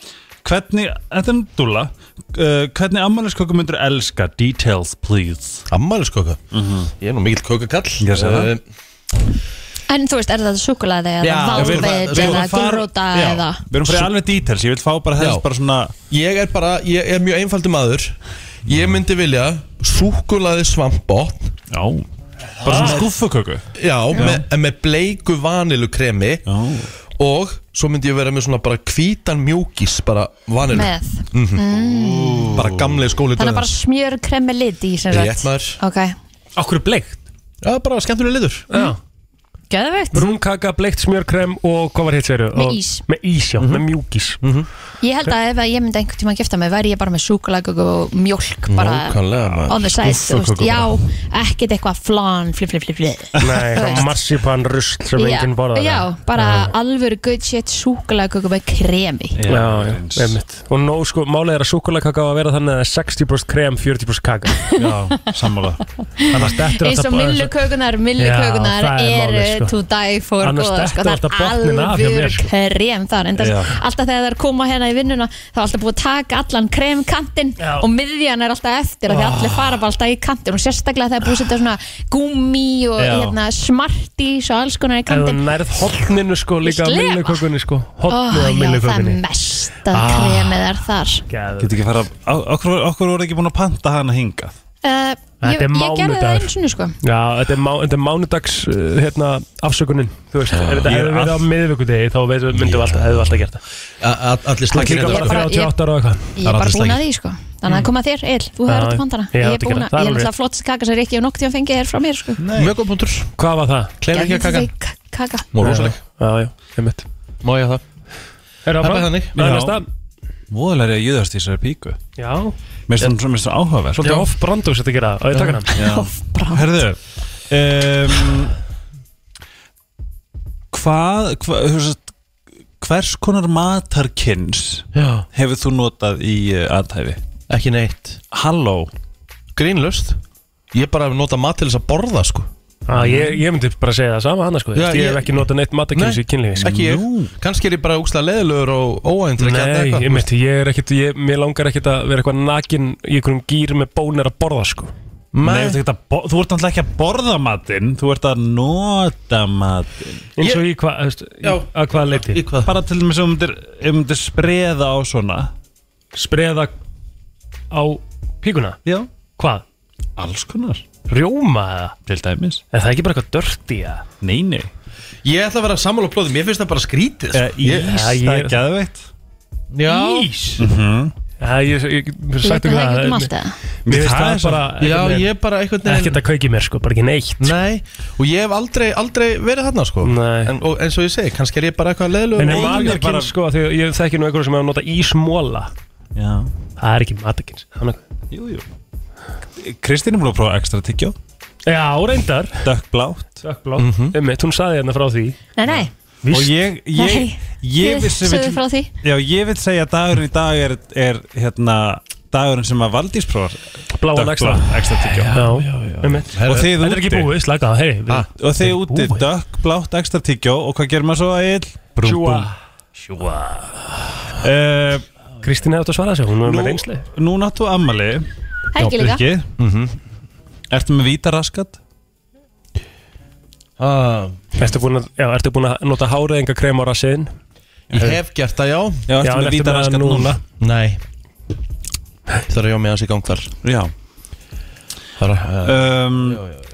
Speaker 5: Hvernig, þetta er um dúla uh, Hvernig ammælisköku myndur elska? Details, please
Speaker 1: Ammæliskoka Ég er nú mikill kökakall
Speaker 5: Mhm. Ég sé það.
Speaker 1: Eh,
Speaker 2: En þú veist, er þetta súkulaði eða
Speaker 1: Já, við erum bara-
Speaker 2: vávit
Speaker 1: við erum
Speaker 2: eða
Speaker 1: að fara-
Speaker 2: gulróta
Speaker 5: Já,
Speaker 2: eða
Speaker 5: Við erum fyrir alveg details, ég vil fá bara
Speaker 1: Já.
Speaker 5: helst bara svona
Speaker 1: Ég er bara, ég er mjög einfaldur maður Ég myndi vilja Súkulaði svampbótt
Speaker 5: Já Bara svona skúfuköku
Speaker 1: Já, Með, en með bleiku vanilukremi
Speaker 5: Já
Speaker 1: Og svo myndi ég vera með svona bara hvítan mjúkis Bara vanilu
Speaker 2: með
Speaker 1: Bara gamlega skóli
Speaker 2: Þannig að bara smjör kremmi lit í sem
Speaker 1: Rétt maður
Speaker 2: Ok,
Speaker 3: Okkur er bleikt
Speaker 1: Já, bara skemmtulega liður
Speaker 3: Já
Speaker 2: gæðvegt
Speaker 3: Brúnkaka, bleikt smjörkrem og hvað var hitt segir
Speaker 2: Með ís.
Speaker 3: Með ís, já, með mjúkis
Speaker 2: Ég held að ef að ég myndi einhvern tíma að gifta mig væri ég bara með súkulaði og mjólk bara
Speaker 1: Nákvæmlega, maður.
Speaker 2: on the side þú veist,
Speaker 1: Skúffukökur
Speaker 2: Já, ekkert eitthvað flan flip, flip, flip, flip
Speaker 3: Nei,
Speaker 2: Þú
Speaker 3: það
Speaker 2: veist.
Speaker 3: marsipan rusl sem
Speaker 2: Já,
Speaker 3: enginn borðar
Speaker 2: Já, bara alvöru good shit súkulaði með kremi
Speaker 3: Já, já, einmitt Og nó, sko, málið er að súkulakaka á að vera þannig að það er 60% krem, 40% kaka
Speaker 5: Já, sammála
Speaker 3: Annars dettur
Speaker 2: eins og millukökunar, millukökunar
Speaker 3: Já, það er
Speaker 2: eru
Speaker 3: málið, sko.
Speaker 2: to die for
Speaker 3: Annars
Speaker 2: góðar, sko.
Speaker 3: dettur
Speaker 2: það
Speaker 3: alltaf
Speaker 2: er
Speaker 3: botninn af hjá mér,
Speaker 2: alvöru
Speaker 3: sko.
Speaker 2: krem þar en
Speaker 5: Já.
Speaker 2: alltaf þegar það er koma hérna í vinnuna þá er alltaf búið að taka allan kremkantinn
Speaker 3: Já.
Speaker 2: og miðjan er alltaf eftir af því allir fara bara alltaf í kantinn og sérstaklega þegar búið að setja svona gúmi og
Speaker 5: Já.
Speaker 2: hérna, smartís og alls konar í
Speaker 3: En það
Speaker 2: kantinn
Speaker 3: nærð hotninu sko líka á
Speaker 2: slefa.
Speaker 3: millukökunni sko
Speaker 2: Ó,
Speaker 3: Hotnið á Ah.
Speaker 2: já, það er
Speaker 3: millukökunni
Speaker 2: mest að kremið er þar
Speaker 3: Geðveikt.
Speaker 5: Geti ekki fara á- Okkur, okkur voru ekki búin að panta hana hingað
Speaker 2: uh, ég,
Speaker 3: Þetta er
Speaker 2: ég gerði það
Speaker 3: mánudagur.
Speaker 2: einu sinni sko
Speaker 3: Já, þetta er, má, þetta er mánudags uh, hérna, afsökunin Þú veist, ef þetta
Speaker 5: Ég
Speaker 3: hefði
Speaker 5: er
Speaker 3: verið á miðvikudegi þá veitum- myndum við alltaf, hefðum við alltaf gert það
Speaker 1: A- a- Allir
Speaker 3: Það
Speaker 1: slakir
Speaker 3: kikka
Speaker 1: þetta
Speaker 3: bara
Speaker 2: bara-
Speaker 3: 38 ára og eitthvað
Speaker 2: Ég
Speaker 1: Það er
Speaker 2: er
Speaker 1: allir
Speaker 2: bara búin að
Speaker 1: slagir.
Speaker 2: því sko Þannig að koma þér, Egil, þú
Speaker 3: Já,
Speaker 2: hefur þetta pandana
Speaker 3: ég
Speaker 2: Ég
Speaker 3: hef
Speaker 2: er
Speaker 3: þetta
Speaker 2: búin að,
Speaker 3: gera, það er
Speaker 2: ég er
Speaker 3: alveg
Speaker 2: alltaf flottist kaka sem Rikki og nokti að fengi þér frá mér sko
Speaker 1: Mjög góð punktur
Speaker 3: Hvað var það?
Speaker 1: Kleinu ekki að kaka
Speaker 2: Geðveik kaka
Speaker 1: Mó rosaleg
Speaker 3: Já, já, ég mitt
Speaker 1: Má ég hafa það
Speaker 3: Er
Speaker 1: Það er bara þannig.
Speaker 3: Það
Speaker 5: Já.
Speaker 3: er næsta
Speaker 5: Móðulega júðast í þessari píku
Speaker 3: Já,
Speaker 5: Mér finnst hún- mér finnst hún áhugaverð
Speaker 3: svolítið off brandus þetta gera það Á ég taka hann
Speaker 2: Brá.
Speaker 5: Herðu um, Hvað hva, hefst, Hvers konar matarkynns
Speaker 1: Já
Speaker 5: hefur þú notað í uh, aðhæfi?
Speaker 1: Ekki neitt
Speaker 5: Halló
Speaker 1: Grínlust Ég bara hef notað mat til þess að borða sko
Speaker 3: Já, ég, ég myndi bara segja það sama annars sko
Speaker 1: Já,
Speaker 3: Ég
Speaker 1: ég-
Speaker 3: hef ekki notað neitt matakynns í kynlífi sko.
Speaker 1: ekki ég
Speaker 5: Nú.
Speaker 1: Kannski er ég bara úkslega leðilegur og óænt til að geta
Speaker 3: Nei,
Speaker 1: eitthvað
Speaker 3: ég mitt, ég er ekkit ég, Mér langar ekkit að vera eitthvað nakin í einhverjum gýr með bónir að borða sko
Speaker 5: Nei, þú, ert ekkert að, bo- þú ert náttúrulega ekki að borða matinn Þú ert að nota matinn
Speaker 3: Eins og í hvað, þú veist, í-
Speaker 1: Já.
Speaker 3: að hvaða leiti
Speaker 1: Í hvað?
Speaker 5: Bara til dæmis ef þú myndir, ef þú myndir spreða á svona
Speaker 3: Spreða á píkuna
Speaker 5: Já
Speaker 3: Hvað?
Speaker 5: Alls konar
Speaker 3: Rjóma eða?
Speaker 5: Til dæmis
Speaker 3: Er það ekki bara eitthvað dörti eða?
Speaker 5: Nei, nei
Speaker 1: Ég ætla að vera sammála plóðum, ég finnst það bara skrítið sko.
Speaker 5: Eh,
Speaker 3: Sko, Ég-
Speaker 5: Ís,
Speaker 3: Já,
Speaker 5: það
Speaker 3: ég-
Speaker 5: er geðveikt
Speaker 1: Já,
Speaker 3: Ís? Já, ég, ég, ég sagt um
Speaker 2: Leitað
Speaker 3: það
Speaker 2: ekki um
Speaker 3: mér-
Speaker 2: allt eða
Speaker 3: Mér finnst
Speaker 5: Það
Speaker 3: það sko.
Speaker 5: er svo-
Speaker 3: bara
Speaker 1: já ég bara einhvern
Speaker 3: Ekki
Speaker 1: veginn
Speaker 3: þetta kveiki mér sko, bara ekki neitt
Speaker 1: Nei, og ég hef aldrei, aldrei verið þarna sko
Speaker 3: Nei.
Speaker 1: en, og, eins og ég segi, kannski er ég bara eitthvað leðilegur
Speaker 3: eh, En er
Speaker 1: og-
Speaker 5: ég bara-
Speaker 3: matakynns sko, af því að ég þekki nú einhverjum sem hefur notað ísmóla
Speaker 5: Já
Speaker 3: Það er ekki matakynns það er nokkuð.
Speaker 5: Jú, jú Kristín er múin að prófa ekstra tyggjó
Speaker 3: Já, reyndar
Speaker 5: Dökkblátt
Speaker 3: Dökkblá, mm hún saði hérna frá því
Speaker 2: Nei, nei,
Speaker 5: Og ég, ég,
Speaker 2: Nei,
Speaker 5: ég
Speaker 2: þið
Speaker 5: vissi
Speaker 2: sögðu frá því
Speaker 5: Já, ég vil segja að dagurinn í dag er, er hérna dagurinn sem að Valdís prófar
Speaker 3: Bláan ekstra
Speaker 5: dökkblátt ekstra tyggjó
Speaker 3: Já, einmitt.
Speaker 5: Og þið
Speaker 3: Þetta er ekki
Speaker 5: úti.
Speaker 3: búið, slaka á, heyri
Speaker 5: Ah, Og þið úti dökkblátt ekstra tyggjó og hvað gerir maður svo að ill?
Speaker 3: Sjúa
Speaker 5: Uh,
Speaker 3: Kristín hefði átt að svara þessu, hún var
Speaker 5: nú,
Speaker 3: með reynsli
Speaker 5: nú náttu ammali
Speaker 2: Helgi líka
Speaker 5: mm Ertu með víta raskat?
Speaker 1: Ah,
Speaker 3: Ertu búin að, já, ertu búin að nota háreðingakrem á rassiðin?
Speaker 1: Ég hef gert það, já
Speaker 5: Já,
Speaker 3: Já,
Speaker 5: eftir
Speaker 3: en
Speaker 5: með
Speaker 3: ertu með
Speaker 5: vítaraskat
Speaker 3: það núna?
Speaker 5: núna
Speaker 1: Nei Það er já með hans í gang þar
Speaker 5: Já
Speaker 1: Það er uh,
Speaker 5: um,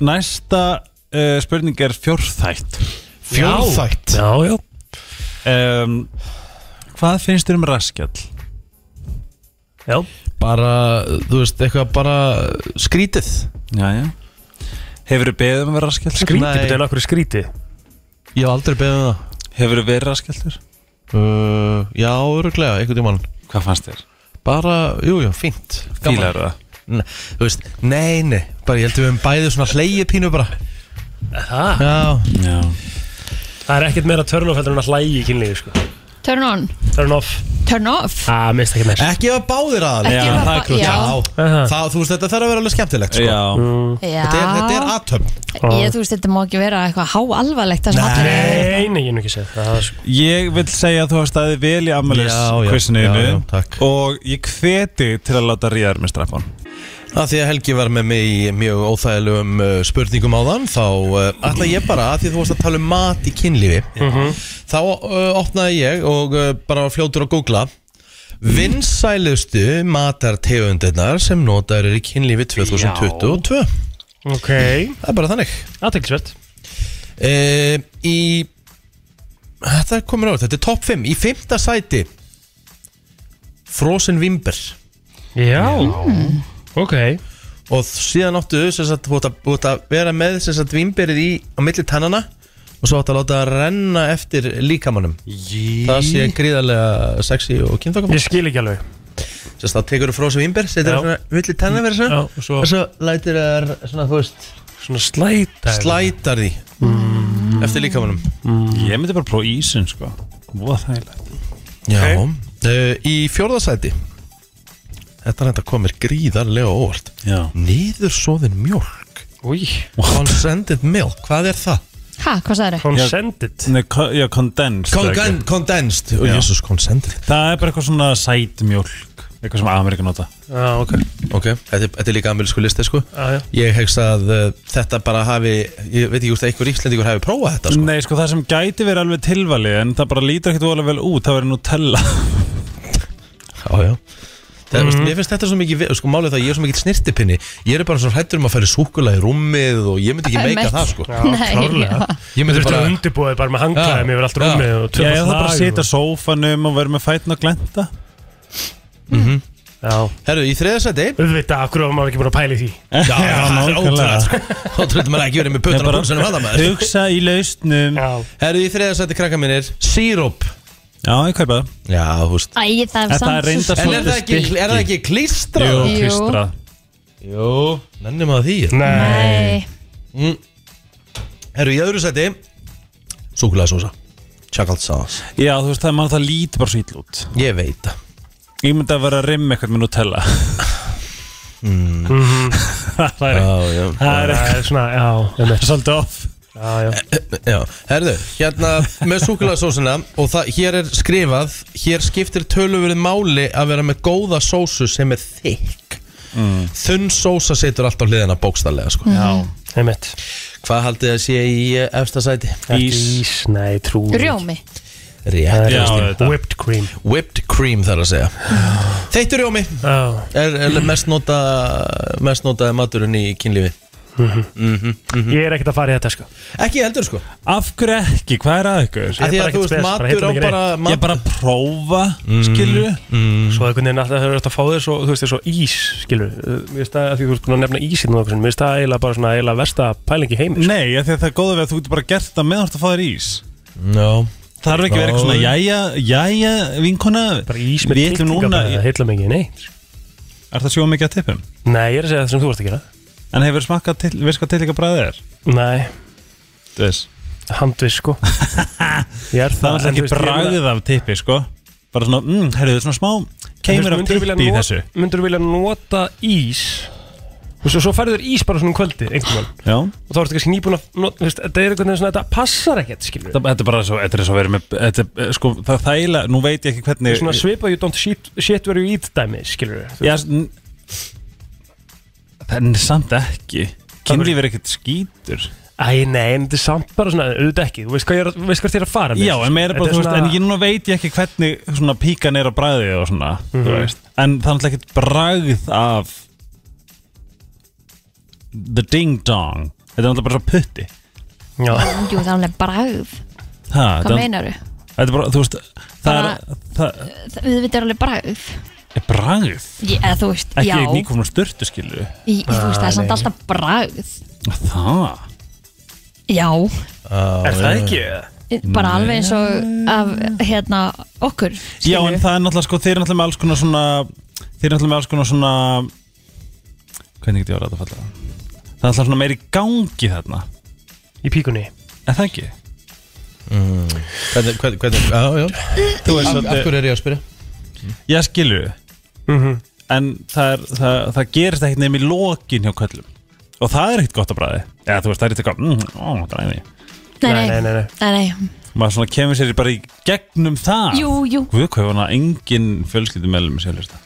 Speaker 5: Næsta uh, spurning er fjórþætt
Speaker 1: fjórþætt
Speaker 3: Já, já
Speaker 5: um, Hvað finnst þér um raskjall?
Speaker 3: Já,
Speaker 1: Bara, þú veist, eitthvað bara skrítið
Speaker 5: Jæja Hefur þú beðið um að vera raskjall?
Speaker 3: skríti,
Speaker 1: Nei.
Speaker 3: betur en okkur skríti
Speaker 1: Ég hef aldrei beðið um það
Speaker 5: Hefur þú verið raskjallur?
Speaker 1: uh, Já, öruglega, einhvern tímann
Speaker 5: Hvað fannst þér?
Speaker 1: Bara, jú, jú, fínt Gaman.
Speaker 5: Fílar það?
Speaker 1: Nei, Þú veist, nei, nei Bara ég held að við höfum bæðið svona hleyið pínu bara
Speaker 3: Það
Speaker 1: Já,
Speaker 5: Já
Speaker 3: er ekkert meira turn off heldur en að hlægi í kynlífi sko.
Speaker 2: Turn on,
Speaker 3: Turn off,
Speaker 2: turn off
Speaker 3: það minnst ekki meir
Speaker 1: ekki að báðir aðal
Speaker 2: Ekki
Speaker 5: Já,
Speaker 2: hafa-
Speaker 5: það er klúrt.
Speaker 2: já.
Speaker 1: Já, það, þú veist, þetta þarf að vera alveg skemmtilegt sko.
Speaker 5: Já,
Speaker 2: Já.
Speaker 1: Þetta er, þetta er aðtöfn
Speaker 2: Ég, þú veist, þetta má ekki vera eitthvað háalvarlegt það sem
Speaker 1: Nei.
Speaker 2: allir-
Speaker 3: Nei, nei, ég er nú ekki segð það sko.
Speaker 5: ég vil segja að þú har staðið vel
Speaker 1: Já, já,
Speaker 5: í
Speaker 1: já, já,
Speaker 5: ammæliskvissinu
Speaker 1: takk.
Speaker 5: og ég hveti til að láta ríðar með strafan
Speaker 1: Að því að Helgi var með mig í mjög óþægilegum uh, spurningum á þann þá uh, ætla ég bara að því að þú varst að tala um mat í kynlífi þá uh, opnaði ég og uh, bara var fljótur að googla vinsælustu matartegundirnar sem notaður er í kynlífi 2022
Speaker 3: Ok,
Speaker 1: það er bara þannig
Speaker 3: aðteklisvert
Speaker 1: uh, í þetta komur á, þetta er topp 5 í 5. sæti frozen vimber
Speaker 3: Já, ok
Speaker 1: og síðan áttu sem sagt, þú átt að, þú átt að vera með sem sagt, vimberið í á milli tannana og svo átt að láta það renna eftir líkamannum Jí. það sé gríðarlega sexy og kynþokkam
Speaker 3: Ég skil ekki alveg
Speaker 1: yes. þá tekur þú frósa vimber, setur
Speaker 3: Já.
Speaker 1: það svona milli tannan vera svona
Speaker 3: Já, og svo-
Speaker 1: og svo lætir það svona, þú veist,
Speaker 3: Svona slæta
Speaker 1: slætar því eftir líkamannum Mhm.
Speaker 5: Ég myndi bara prófa ísinn sko Voða þægilegt
Speaker 1: já uh, í fjórðasæti þetta er hægt að koma mér gríðarlega óvart
Speaker 5: Já
Speaker 1: niðursoðin mjölk
Speaker 3: Új,
Speaker 1: Consended milk, hvað er það?
Speaker 2: Ha, hvað sagður þau?
Speaker 3: consended
Speaker 5: Nei, ko- já, condensed
Speaker 1: Congen- Condensed, oh,
Speaker 5: Já.
Speaker 1: Jesus, consended
Speaker 5: Það er bara eitthvað svona sætmjólk Eitthvað sem Ameríka nota
Speaker 3: Já, ok
Speaker 1: Ok, þetta, er- þetta er líka amerísku listi sko
Speaker 3: Já, já.
Speaker 1: Ég hegst að uh, þetta bara hafi Ég veit ekki úr það einhver íslendingur hafi prófað þetta sko
Speaker 5: Nei, sko, það sem gæti verið alveg tilvali En það bara lítur ekkert voðalega vel út Það verið Nutella
Speaker 1: Já, já Það, mm. Mér finnst þetta svo mikið, ve- sko málið það að ég er svo mikið snirtipinni Ég er bara svo hrættur um að færi súkula í rúmið og ég myndi ekki meika
Speaker 2: Einmitt.
Speaker 1: það sko
Speaker 3: Já,
Speaker 2: Nei,
Speaker 3: klárlega
Speaker 1: Ég
Speaker 3: Þú
Speaker 1: myndi
Speaker 3: þurfti
Speaker 1: bara,
Speaker 3: að undirbúa þig bara með
Speaker 1: Já.
Speaker 3: hanglaðum yfir allt
Speaker 1: Já.
Speaker 3: rúmið og
Speaker 5: Já,
Speaker 3: tvöfalt
Speaker 5: það bara
Speaker 3: lag
Speaker 5: sita
Speaker 3: og-
Speaker 5: sófanum og verið með fætin og glenda
Speaker 3: Já,
Speaker 1: herru, í þriðasæti
Speaker 3: auðvitað, af hverju var maður ekki búin að pæla í því
Speaker 5: Já,
Speaker 1: það er
Speaker 5: nákvæmlega.
Speaker 1: ótrúlega sko Þá tröndum maður ekki verið með
Speaker 5: Ég
Speaker 1: pötun á
Speaker 5: bara-
Speaker 1: búsinu hana maður
Speaker 5: Hugsa í lausnum
Speaker 3: Já,
Speaker 1: Herru, í þriðasæti krakka mínir, síróp
Speaker 5: Já, ég kaupa það
Speaker 1: Já, þú veist
Speaker 2: Æ, það er
Speaker 5: En það er
Speaker 2: samt
Speaker 5: reyndar
Speaker 1: En er
Speaker 5: Svolítið
Speaker 1: það ekki,
Speaker 5: stykki.
Speaker 1: er það ekki klístrað?
Speaker 5: Jú,
Speaker 2: Jú.
Speaker 5: klistrað
Speaker 1: Jú, nennum að því
Speaker 3: nei
Speaker 2: Nei,
Speaker 1: Herru, í öðru sæti Súkulæðsósa Chocolate sauce
Speaker 5: Já, þú veist, það er mann það lítur bara svo ítl út
Speaker 1: Ég veit það
Speaker 5: Ég myndi að vera að rimma eitthvað með Nutella Það er
Speaker 1: Já, já
Speaker 5: Það er
Speaker 3: Það er svona, já, einmitt.
Speaker 5: svolítið off
Speaker 3: já, já
Speaker 1: Já, herðu, hérna með súkulæðsósuna og það, hér er skrifað hér skiptir töluverið máli að vera með góða sósu sem er þykk Mm. Þunn sósa setur allt á hliðina bókstallega sko.
Speaker 5: Já
Speaker 3: Einmitt
Speaker 1: Hvað haldið að sé í eh, efsta sæti?
Speaker 3: Ís, ís nei, trú
Speaker 2: rjómi
Speaker 1: Rétt,
Speaker 3: Já,
Speaker 1: Kristín.
Speaker 5: þetta.
Speaker 3: Whipped cream
Speaker 1: Whipped cream þarf að segja Þeittur rjómi
Speaker 3: Já,
Speaker 1: er, er mest, nota, mest notaði maturinn í kynlífi
Speaker 5: Mhm.
Speaker 3: ég er ekkert að fara í þetta sko
Speaker 1: Ekki heldur sko
Speaker 5: Af hverju ekki? Hvað er að ykkur?
Speaker 3: Ég
Speaker 1: Af því að
Speaker 3: er bara
Speaker 1: þú
Speaker 3: ekkert
Speaker 1: veist
Speaker 3: spes, bara
Speaker 1: matur
Speaker 3: heitir
Speaker 1: á
Speaker 3: ekki
Speaker 1: bara
Speaker 5: Ég er bara að prófa, mm. skilju
Speaker 3: Svo einhvern veginn alltaf hefur þetta að fá þér svo, þú veist, þér svo ís, skilur Mér veist það, af því þú veist, búin að nefna ísinn og okkur Mér veist það eiginlega bara svona eiginlega versta pæling í heimi sko.
Speaker 5: Nei, af því að það er góða við að þú getur bara gert það með hvort að fá þér ís
Speaker 1: no.
Speaker 5: Það er ekki verið eitthvað svona,
Speaker 1: Já.
Speaker 5: jæja, jæja, vinkona
Speaker 3: Bara ís með
Speaker 5: Við ætlum núna,
Speaker 3: bara, heitla mikið, nei
Speaker 5: er það sjóða mikið að tippum?
Speaker 3: Nei, ég er að segja það sem þú varst að gera
Speaker 5: En hefur smakkað til, veist hvað til líka bræðið er?
Speaker 3: Nei,
Speaker 5: Þess
Speaker 3: handvis sko Ég er
Speaker 5: Það er alltaf
Speaker 3: en þú
Speaker 5: ekki
Speaker 3: veist, ég meina-
Speaker 5: bræðið af tippi, sko Bara svona, mm, heyrðu, svona smá keimur af
Speaker 3: myndirðu vilja
Speaker 5: tippi í
Speaker 3: not-
Speaker 5: þessu
Speaker 3: myndirðu vilja nota ís Þú veist, og svo færður ís bara svona um kvöldi einhvern veginn
Speaker 5: Já
Speaker 3: og þá ertu kannski nýbúin að not- þú veist, þetta er einhvern veginn svona, þetta passar ekkert skilur
Speaker 5: Það- Þetta er bara svo, þetta er svo verið með, þetta er, eh, sko, það er þægilega, nú veit ég ekki hvernig
Speaker 3: svona svipa you don't shit, shit where you eat dæmi skilur
Speaker 5: Já, n- það er samt ekki Kynlíf er ekkert skítur
Speaker 3: Æ, nei, en þetta er samt bara svona, auðvitað ekki, þú veist hvað ég er, að- þú veist hvert ég er að fara með sko.
Speaker 5: Já, en meira bara,
Speaker 3: Þetta er
Speaker 5: þú veist,
Speaker 3: svona-
Speaker 5: en ég núna veit ég ekki hvernig svona píkan er að bræði og svona, þú
Speaker 3: Mhm.
Speaker 5: veist En það er náttúrulega ekkert bræð af The Ding Dong Þetta er náttúrulega bara svo putti
Speaker 3: Já,
Speaker 2: Jú, það er alveg bragð
Speaker 5: ha,
Speaker 2: Hvað meinaru?
Speaker 5: Þetta er bara, þú veist, það er, það
Speaker 2: Við veitum alveg bragð
Speaker 5: er bræð
Speaker 2: Ég- Eða þú veist,
Speaker 5: Ekki
Speaker 2: já
Speaker 5: nýkomnum styrtu, skilur
Speaker 2: í, í, Þú veist, það er samt alltaf bragð
Speaker 5: Það
Speaker 2: Já,
Speaker 3: er það ekki?
Speaker 2: bara alveg eins og af, hérna, okkur
Speaker 5: Já, en það er náttúrulega sko, þeir eru náttúrulega með alls konar svona Þeir eru náttúrulega með alls konar svona Hvernig get ég orðað að falla Það er náttúrulega svona meiri gangi þarna
Speaker 3: Í píkunni
Speaker 5: Er það ekki?
Speaker 1: Hvernig, hvernig, hvernig, já, já Þú veist, af, af hverju er ég að spyrja?
Speaker 5: Já, skilur
Speaker 1: Mhm.
Speaker 5: En það, er, það, það gerist ekkert nefn í lokin hjá köllum Og það er ekkert gott að bræði Já, þú veist, það er ekkert gott mm, Ó, dræmi
Speaker 2: Nei,
Speaker 3: Nei, nei,
Speaker 2: nei,
Speaker 3: nei, nei.
Speaker 2: nei, nei.
Speaker 5: Maður svona kemur sér bara í gegnum það
Speaker 2: Jú, jú
Speaker 5: Guð, hvað var hana engin fjölskyldum meðlum sér hlusta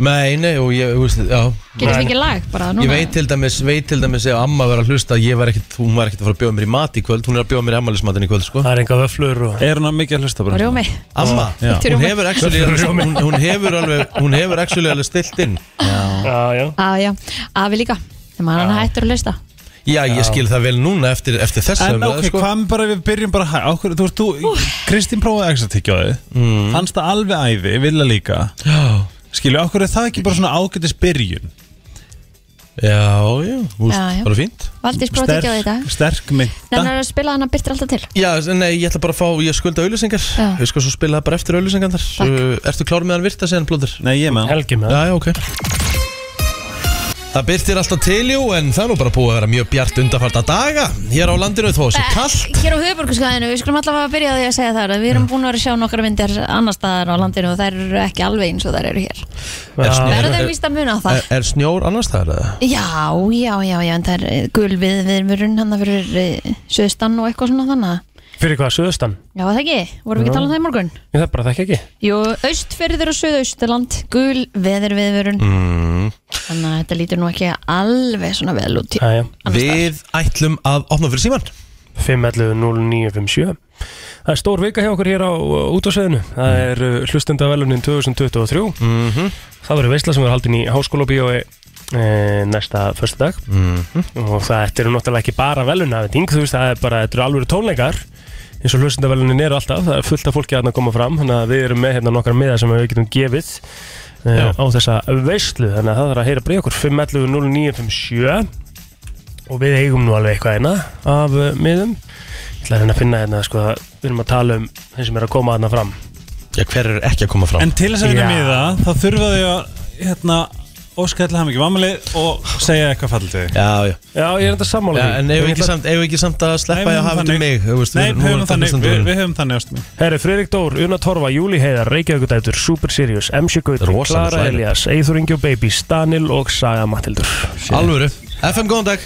Speaker 1: Nei, nei, og ég, þú veist, já
Speaker 2: Getur við ekki lag bara núna?
Speaker 1: Ég veit til dæmis, veit til dæmis ef amma var að hlusta að ég var ekkit, hún var ekkit að fara að bjóða mér í mat í kvöld Hún er að bjóða mér í ammælismatin í kvöld, sko
Speaker 3: Það er enga vöflur og
Speaker 5: Er hana mikið að hlusta bara?
Speaker 2: Rjómi
Speaker 1: Amma,
Speaker 5: Já.
Speaker 1: hún hefur actually hún, hún hefur alveg, hún hefur actually alveg stilt inn
Speaker 3: Já, já
Speaker 2: Á, já, afi líka Þegar maður hann hættur að hlusta
Speaker 1: Já, ég skil það vel núna eftir, eftir þess
Speaker 5: En ok,
Speaker 1: sko.
Speaker 5: hvað með bara við byrjum bara hæ, á hverju, þú veist, þú, Kristín prófaði ekstra tyggjóði, mm. fannst það alveg æði, vilja líka,
Speaker 1: Já,
Speaker 5: skilju, á hverju er það ekki bara svona ágætis byrjun,
Speaker 1: já, já, úst,
Speaker 2: Já, já.
Speaker 1: bara fínt
Speaker 2: Valdís bróti
Speaker 5: sterk,
Speaker 2: ekki á þetta
Speaker 5: sterk
Speaker 2: Nei,
Speaker 5: mynda,
Speaker 2: hann er að spila hann að byrtir alltaf til
Speaker 1: Já, nei, ég ætla bara að fá, ég skulda auðlýsingar
Speaker 2: Já.
Speaker 1: Ég skal svo spila það bara eftir auðlýsingarnar uh, Ertu klár með hann virta segjan blóður?
Speaker 5: nei ég með,
Speaker 3: Helgi með
Speaker 1: Já, já, ok Það byrtir alltaf til, jú, en það er nú bara búið að vera mjög bjart undarfarta daga Hér á landinu þó að sé kallt
Speaker 2: Hér á höfuborgarskaðinu, við skulum allavega að byrja á því að segja það að Við erum búin að vera að sjá nokkra myndir annar staðar á landinu og þær eru ekki alveg eins og þær eru hér
Speaker 1: er,
Speaker 2: Verður
Speaker 1: snjór,
Speaker 2: þeir
Speaker 1: er,
Speaker 2: víst að muna á það?
Speaker 1: er, er snjór annars þar? eða?
Speaker 2: Já, já, já, já, en það er gul við viðmurinn hann að fyrir eh, söðstan og eitthvað svona þannig að-
Speaker 3: Fyrir hvað, söðustan?
Speaker 2: Já, var það ekki, vorum við ekki að tala um það í morgun?
Speaker 3: Ég það bara þekki ekki
Speaker 2: Jú, austfyrður og söðaustaland, gul veðurviðvörun Þannig að þetta lítur nú ekki alveg svona vel út í-
Speaker 3: Já, já
Speaker 2: annars staðar.
Speaker 1: Við ætlum að opna fyrir síman
Speaker 3: 511-0957 Það er stór vika hjá okkur hér á útásveðinu Það er uh, hlustendavelunin 2023 Það verður veistla sem verður haldin í háskóla bíói e, næsta förstu dag og það þetta eru náttúrulega ekki bara velunaviting þú veist það er bara, þetta eru alveg tónleikar eins og hlustendavelunin eru alltaf það er fullt af fólki að að koma fram þannig að við erum með hérna nokkra miða sem við getum gefið e, á þessa veistlu þannig að það þarf að heyra bara í okkur 511-0957 og við eigum nú alveg eitthvað eina af uh, miðum ég ætla að reyna að finna hérna sko, við erum að tala um þeim sem er að koma hérna fram
Speaker 1: Já, hver er ekki að koma fram?
Speaker 5: en til þess að
Speaker 3: Já.
Speaker 5: vinna miða, þá þurfa þau að, hérna, óska allir hafum ekki mammalið og segja eitthvað fallið til þig.
Speaker 1: Já, já,
Speaker 3: já, ég er þetta sammála
Speaker 1: já
Speaker 3: því.
Speaker 1: en eigum
Speaker 3: Ég
Speaker 1: við ekki,
Speaker 3: ætla-
Speaker 1: samt- eigum við ekki samt að
Speaker 5: Nei,
Speaker 1: sleppa
Speaker 5: við
Speaker 1: að hafa þetta um
Speaker 5: höfum þannig.
Speaker 1: mig þú veist,
Speaker 5: Nei,
Speaker 1: nú- nú
Speaker 5: við höfum
Speaker 1: er þetta
Speaker 5: þannig,
Speaker 1: hlustendur.
Speaker 5: við, við höfum þannig ástum.
Speaker 3: Herri, Friðrik Dór, Una Torfa, Júli Heiðar, Reykjavíkudætur, Super Sirius, MC Gautur,
Speaker 1: Rosalega
Speaker 3: Klara
Speaker 1: slæmi.
Speaker 3: Elias, Eithur Ingi og Babies, Daniel og Saga Matildur.
Speaker 1: Alvöru, FM góðan dag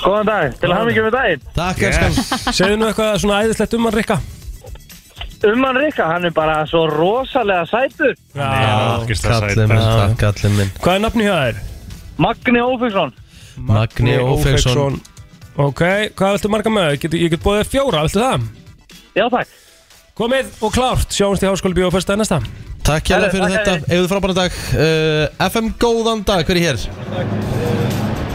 Speaker 10: Góðan dag, til að hafa mikið með daginn.
Speaker 1: Takk elskan
Speaker 3: Segðu nú eitthvað svona æðislegt um hann, Rikka.
Speaker 10: Umman Rikka, um hann er bara svo rosalega sætur.
Speaker 3: Já.
Speaker 1: Kallið minn, takk kallið minn
Speaker 3: Hvað er nafni hjá þér?
Speaker 10: Magni Ófeksson.
Speaker 1: Magni Ófegsson
Speaker 3: Ok, hvað viltu marga með? Ég get, ég get bóðið fjóra, viltu það?
Speaker 10: Já, takk.
Speaker 3: Komið og klárt, sjáumst í Háskóli Bíó fyrsta næsta.
Speaker 1: Takk hjá
Speaker 10: Herru,
Speaker 1: fyrir
Speaker 10: takk,
Speaker 1: þetta,
Speaker 10: herru.
Speaker 1: eigðu frábæra dag uh, FM góðan dag, hver er hér?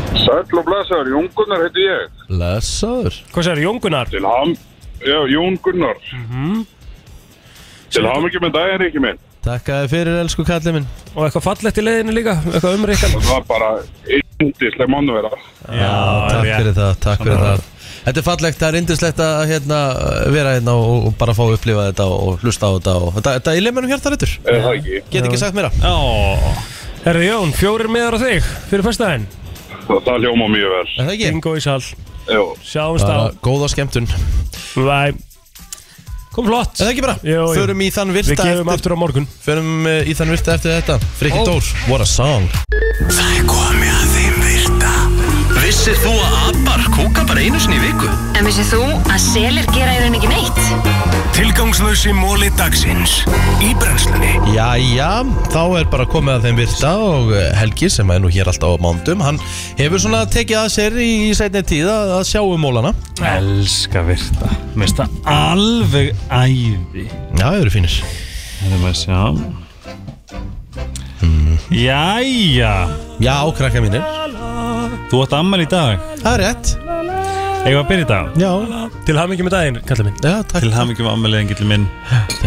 Speaker 11: Sæll og blæsar, Jón Gunnar heiti ég.
Speaker 1: Lesaður
Speaker 3: Hvað segir Jóngunar?
Speaker 11: Til ham... Já, Jón Gunnar. Til ham ekki með daginn, ekki minn.
Speaker 1: Takk að þið fyrir elsku kallið minn
Speaker 3: Og eitthvað fallegt í leiðinu líka, eitthvað um Rikkan.
Speaker 11: Það var bara yndisleg mannvera.
Speaker 1: Já, takk fyrir það, takk fyrir það Þetta er fallegt, það er indislegt að hérna, vera hérna og, og bara fá að upplifa þetta og hlusta á þetta og þetta, þetta er í lemmunum hjartar yttur
Speaker 11: Er það ekki?
Speaker 1: Get ekki sagt meira
Speaker 3: Herri Jón, fjórir miðar á þig fyrir fyrstaðinn.
Speaker 11: Það, það hljóma mjög vel.
Speaker 1: Er það ekki?
Speaker 3: Bingo í sal.
Speaker 11: Jó.
Speaker 3: Sjáumst
Speaker 1: Bara
Speaker 3: á.
Speaker 1: góða skemmtun Er
Speaker 3: Bye. Kom flott.
Speaker 1: það ekki bara?
Speaker 3: Jú, jú.
Speaker 1: Förum í þann
Speaker 3: Við
Speaker 1: virta
Speaker 3: gefum
Speaker 1: eftir
Speaker 3: aftur á morgun.
Speaker 1: Förum eh, í þann virta eftir þetta Frikki Dór, what a song
Speaker 4: Það er komið að þeim virta. Vissi Vissir þú að abar kúka bara einu sinni í viku?
Speaker 12: En vissið þú að selir gera í raun ekki neitt?
Speaker 4: Tilgangslösi móli dagsins í brennslunni
Speaker 1: Jæja, þá er bara komið að þeim virta og eh, Helgi sem er nú hér alltaf á mándum hann hefur svona tekið að sér í sætni tíð að að sjá um mólana
Speaker 5: Elska virta Mér finnst það alveg æði
Speaker 1: Já, þau eru fínir
Speaker 5: Það er maður að sjá Mm. Jæja
Speaker 1: Já, krakka mínir
Speaker 5: Þú átt ammal í dag
Speaker 1: Það er rétt
Speaker 5: Eða að byrja í dag
Speaker 1: Já
Speaker 3: Til hamingi með daginn, kallar minn
Speaker 1: Já, takk
Speaker 5: Til hamingi með ammali engil minn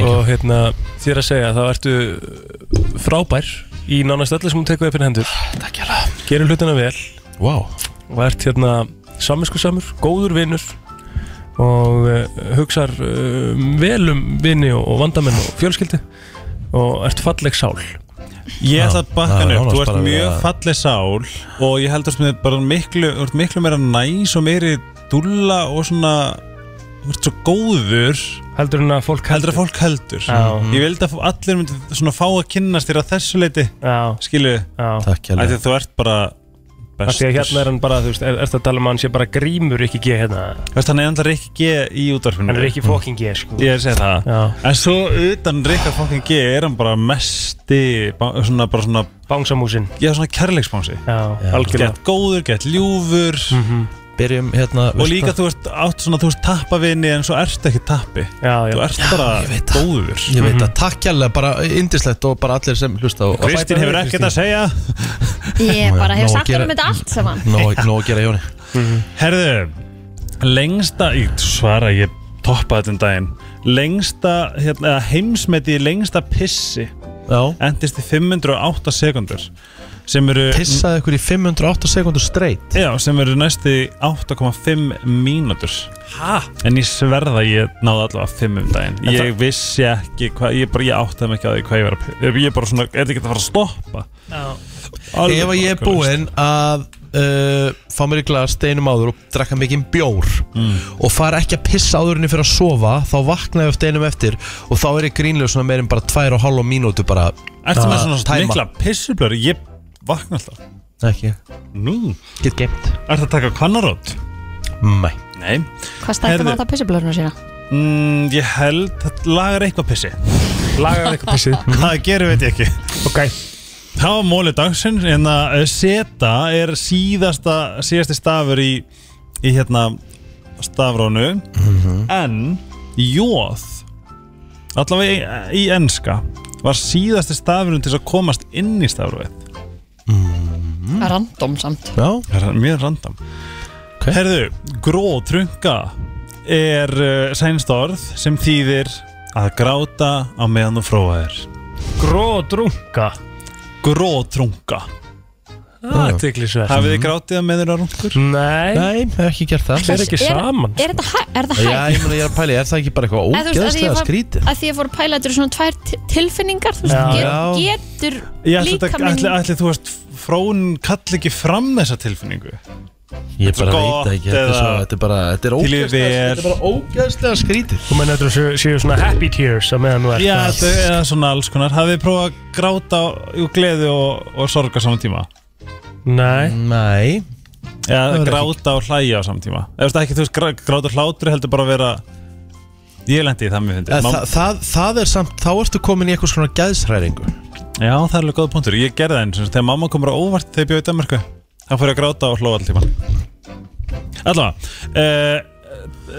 Speaker 3: Og hérna, þér að segja, þá ertu frábær í nánast öllu sem hún tekur þér fyrir hendur Takk hjá það Gerir hlutina vel
Speaker 1: wow.
Speaker 3: Og ert hérna saminskusamur, góður vinnur Og uh, hugsar uh, vel um vinni og, og vandamenn og fjölskyldi Og ert falleg sál
Speaker 5: Ég ætla að bakka henni upp, þú ert mjög
Speaker 3: falleg
Speaker 5: fallið sál og ég heldur sem þið bara miklu, þú ert miklu meira næs og meiri dúlla og svona þú ert svo góður
Speaker 3: Heldur en að fólk
Speaker 5: heldur,
Speaker 3: Já.
Speaker 5: Ég vildi að allir myndi svona fá að kynnast þér að þessu leiti
Speaker 3: Já.
Speaker 5: Skilu
Speaker 1: Takk
Speaker 5: Af því að Þú ert bara
Speaker 3: Af því að hérna er hann bara, þú veist, er, ertu að tala um að hann sé bara grímur ekki G hérna
Speaker 5: Veist, hann er alltaf Rikki G í útvarfinu
Speaker 3: Hann er Rikki fucking G, sko.
Speaker 5: Ég er að segja það En svo utan Rikki fucking G er hann bara mesti ba- svona, bara svona
Speaker 3: Bánsamúsin
Speaker 5: Já, svona kærleiksbánsi
Speaker 3: Já,
Speaker 1: algjörlega.
Speaker 5: Gett góður, gett ljúfur
Speaker 1: Byrjum hérna
Speaker 5: Og líka þú ert átt svona, þú ert tappavinni en svo ert ekki tappi
Speaker 3: já,
Speaker 5: Þú ert bara góður
Speaker 1: Ég veit að takk hérlega, bara indislegt og bara allir sem hlusta og-
Speaker 5: Kristín hefur ekkert að segja
Speaker 2: Ég
Speaker 1: Nóg
Speaker 2: bara
Speaker 1: að
Speaker 2: hef sagt
Speaker 1: gera-
Speaker 2: um þetta allt saman
Speaker 1: Nó nó að gera Jóni
Speaker 5: Herðu, lengsta í, svara ég toppa þetta um daginn lengsta, hérna, eða heimsmeti í lengsta pissi
Speaker 1: Já.
Speaker 5: endist í 508 sekundur sem eru
Speaker 1: Pissaði ykkur í 508 sekundur straight
Speaker 5: Já, sem eru næsti 8,5 mínútur
Speaker 3: Ha?
Speaker 5: En ég sverða að ég náði allavega 5 um daginn
Speaker 3: En
Speaker 5: Ég vissi ekki hvað, ég bara, ég áttaði mig ekki að því hvað ég var að pi- Ég er bara svona, er þetta ekki að fara að stoppa? Alveg
Speaker 1: Ef að ég er
Speaker 5: makalaust.
Speaker 1: búinn að uh, fá mér í glas steinum áður og drakka mikið bjór og fara ekki að pissa áðurinni fyrir að sofa þá vakna ég eftir einum eftir og þá er ég grínlega svona meirinn bara tvær og halva mínútu bara
Speaker 5: Ertu með
Speaker 1: að
Speaker 5: svona
Speaker 1: Ah, tæma.
Speaker 5: mikla pissublöru? Ég vakna alltaf
Speaker 1: Ekki
Speaker 5: Nú
Speaker 1: Get geimt
Speaker 5: Ertu að taka kvannarótt?
Speaker 1: Nei
Speaker 5: Nei
Speaker 2: Hvað stættum
Speaker 5: Heyrðu.
Speaker 2: að það pissublörnum sína?
Speaker 5: Mm, ég held að lagar eitthvað pissi
Speaker 3: Lagar eitthvað pissi
Speaker 1: Mhm.
Speaker 5: Hvað gerir veit ég ekki
Speaker 3: Ok
Speaker 5: Það var móli dagsins En að eh, seta er síðasta síðasti stafur í, í hérna stafrónu En jóð Allavega í, í enska Var síðasti stafurinn til þess að komast inn í stafrófið
Speaker 2: Random samt
Speaker 1: Já
Speaker 5: Það er mjög random Herðu, grótrunga er uh, sænst orð sem þýðir að gráta á meðan þú fróaðir
Speaker 3: Grótrunga
Speaker 5: Grótrunga
Speaker 3: Athyglisvert.
Speaker 5: Hafið þið grátið að meður að rungur?
Speaker 3: Nei
Speaker 1: Nei, hef ekki gert það
Speaker 2: Það Er, er, þetta hæ- er það
Speaker 1: Já,
Speaker 2: hægt?
Speaker 1: ég meina ég er að pæli, er það ekki bara eitthvað
Speaker 2: Eða þú veist, að því ég
Speaker 1: ógeðslega
Speaker 2: fór-
Speaker 1: skrítið?
Speaker 2: Að því ég fór að pæla þetta eru svona tvær ti- tilfinningar Þú veist,
Speaker 5: Já.
Speaker 2: get, getur
Speaker 5: Ég ætli,
Speaker 2: líka
Speaker 5: þetta- ætli, ætli þú veist frón kall ekki fram þessa tilfinningu
Speaker 1: Ég
Speaker 5: Þetta er
Speaker 1: bara
Speaker 5: gott
Speaker 1: veit það ekki, þetta er, svo,
Speaker 5: eða-
Speaker 1: þetta er bara, þetta er
Speaker 5: Til í
Speaker 1: ógeðslega,
Speaker 5: vel.
Speaker 1: þetta er bara ógeðslega skrítið
Speaker 3: Þú menn þetta séu- séu svona happy tears að meðan þú ert
Speaker 5: Já, þetta er svona alls konar Hafið þið prófað að gráta úr gleði og, og sorga saman tíma?
Speaker 3: Nei
Speaker 1: Nei
Speaker 5: Já,
Speaker 3: Það verður
Speaker 5: gráta og hlæja á samtíma Ef þú veist ekki, þú veist, grá- gráta og hlátur heldur bara að vera Ég lendi í það mjög
Speaker 1: Þa,
Speaker 5: fyndið Má-
Speaker 1: það, það er samt, þá ertu komin í eitthvað svona gæðsræringu
Speaker 5: Já, það er alveg góða punktur Ég gerði það eins og þegar mamma komur á óvart þegar ég bjóði í Danmarku Það fór ég að gráta og hlóa alltíma Allavega uh,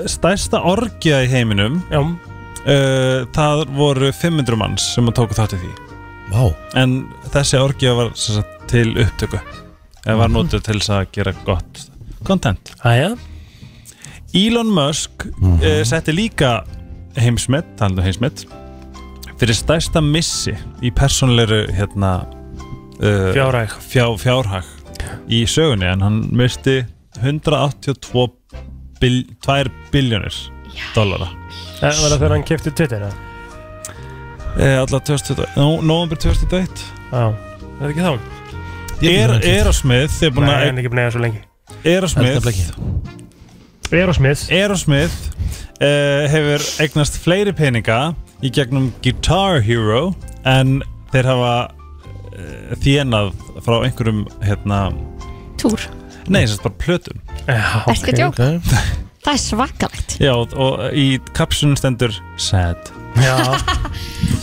Speaker 5: Stærsta orgja í heiminum
Speaker 3: Já
Speaker 5: Það Eh, voru 500 manns sem að tóku þátt í því
Speaker 1: Vá
Speaker 5: En þessi orgja var sem sagt, til upptöku Eða var notuð til þess að gera gott content
Speaker 3: Æja
Speaker 5: Elon Musk mm setti líka heimsmet, talandi um heimsmet fyrir stærsta missi í persónleiru hérna uh,
Speaker 3: Fjárhag.
Speaker 5: fjá, fjárhag í sögunni en hann misti 182 bil, 2 biljónir dollara
Speaker 3: Það Eh, var það þegar hann kefti Twitter eða?
Speaker 5: Eh, Alla 2021 Nó- Nóvember 2021
Speaker 3: Já Það er ekki þá
Speaker 5: Er, Erosmith er búin
Speaker 3: Nei,
Speaker 5: að
Speaker 3: hann er ekki búin að eiga svo lengi
Speaker 5: Erosmith
Speaker 3: Erosmith
Speaker 5: Erosmith uh, hefur eignast fleiri peninga í gegnum Guitar Hero en eh, þeir hafa uh, þjenað frá einhverjum hérna
Speaker 2: Túr
Speaker 5: Nei, þess að bara plötum
Speaker 3: Já,
Speaker 2: Ertu að djóka? Það er svakalegt
Speaker 5: Já, og eh, í kapsunum stendur Sad Já,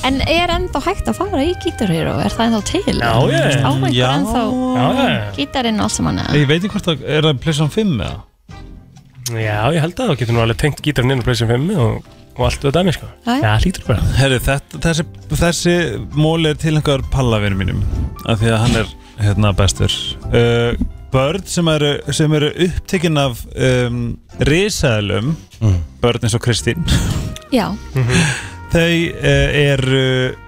Speaker 2: En er ennþá hægt að fara í gítarhýru Er það ennþá til?
Speaker 5: Já, ég-
Speaker 2: Á einhver
Speaker 5: Eh, já.
Speaker 2: ennþá
Speaker 5: Já, ég.
Speaker 2: gítarinn og allt saman eða?
Speaker 5: Ég veit ekki hvort það er það Playstation 5 eða
Speaker 3: Já, ég held að það getur nú alveg tengt gítarinn inn á Playstation 5 og, og allt við dæmi, sko.
Speaker 2: Já, Mm. já.
Speaker 3: Já, hlýtur bara.
Speaker 5: Herri, þetta, þessi, þessi móli er tilhengar pallavinu mínum af því að hann er hérna bestur uh, Börn sem eru, sem eru upptekinn af um, risaðlum
Speaker 3: Mm.
Speaker 5: börn eins og Kristín
Speaker 2: Já,
Speaker 5: þau uh, eru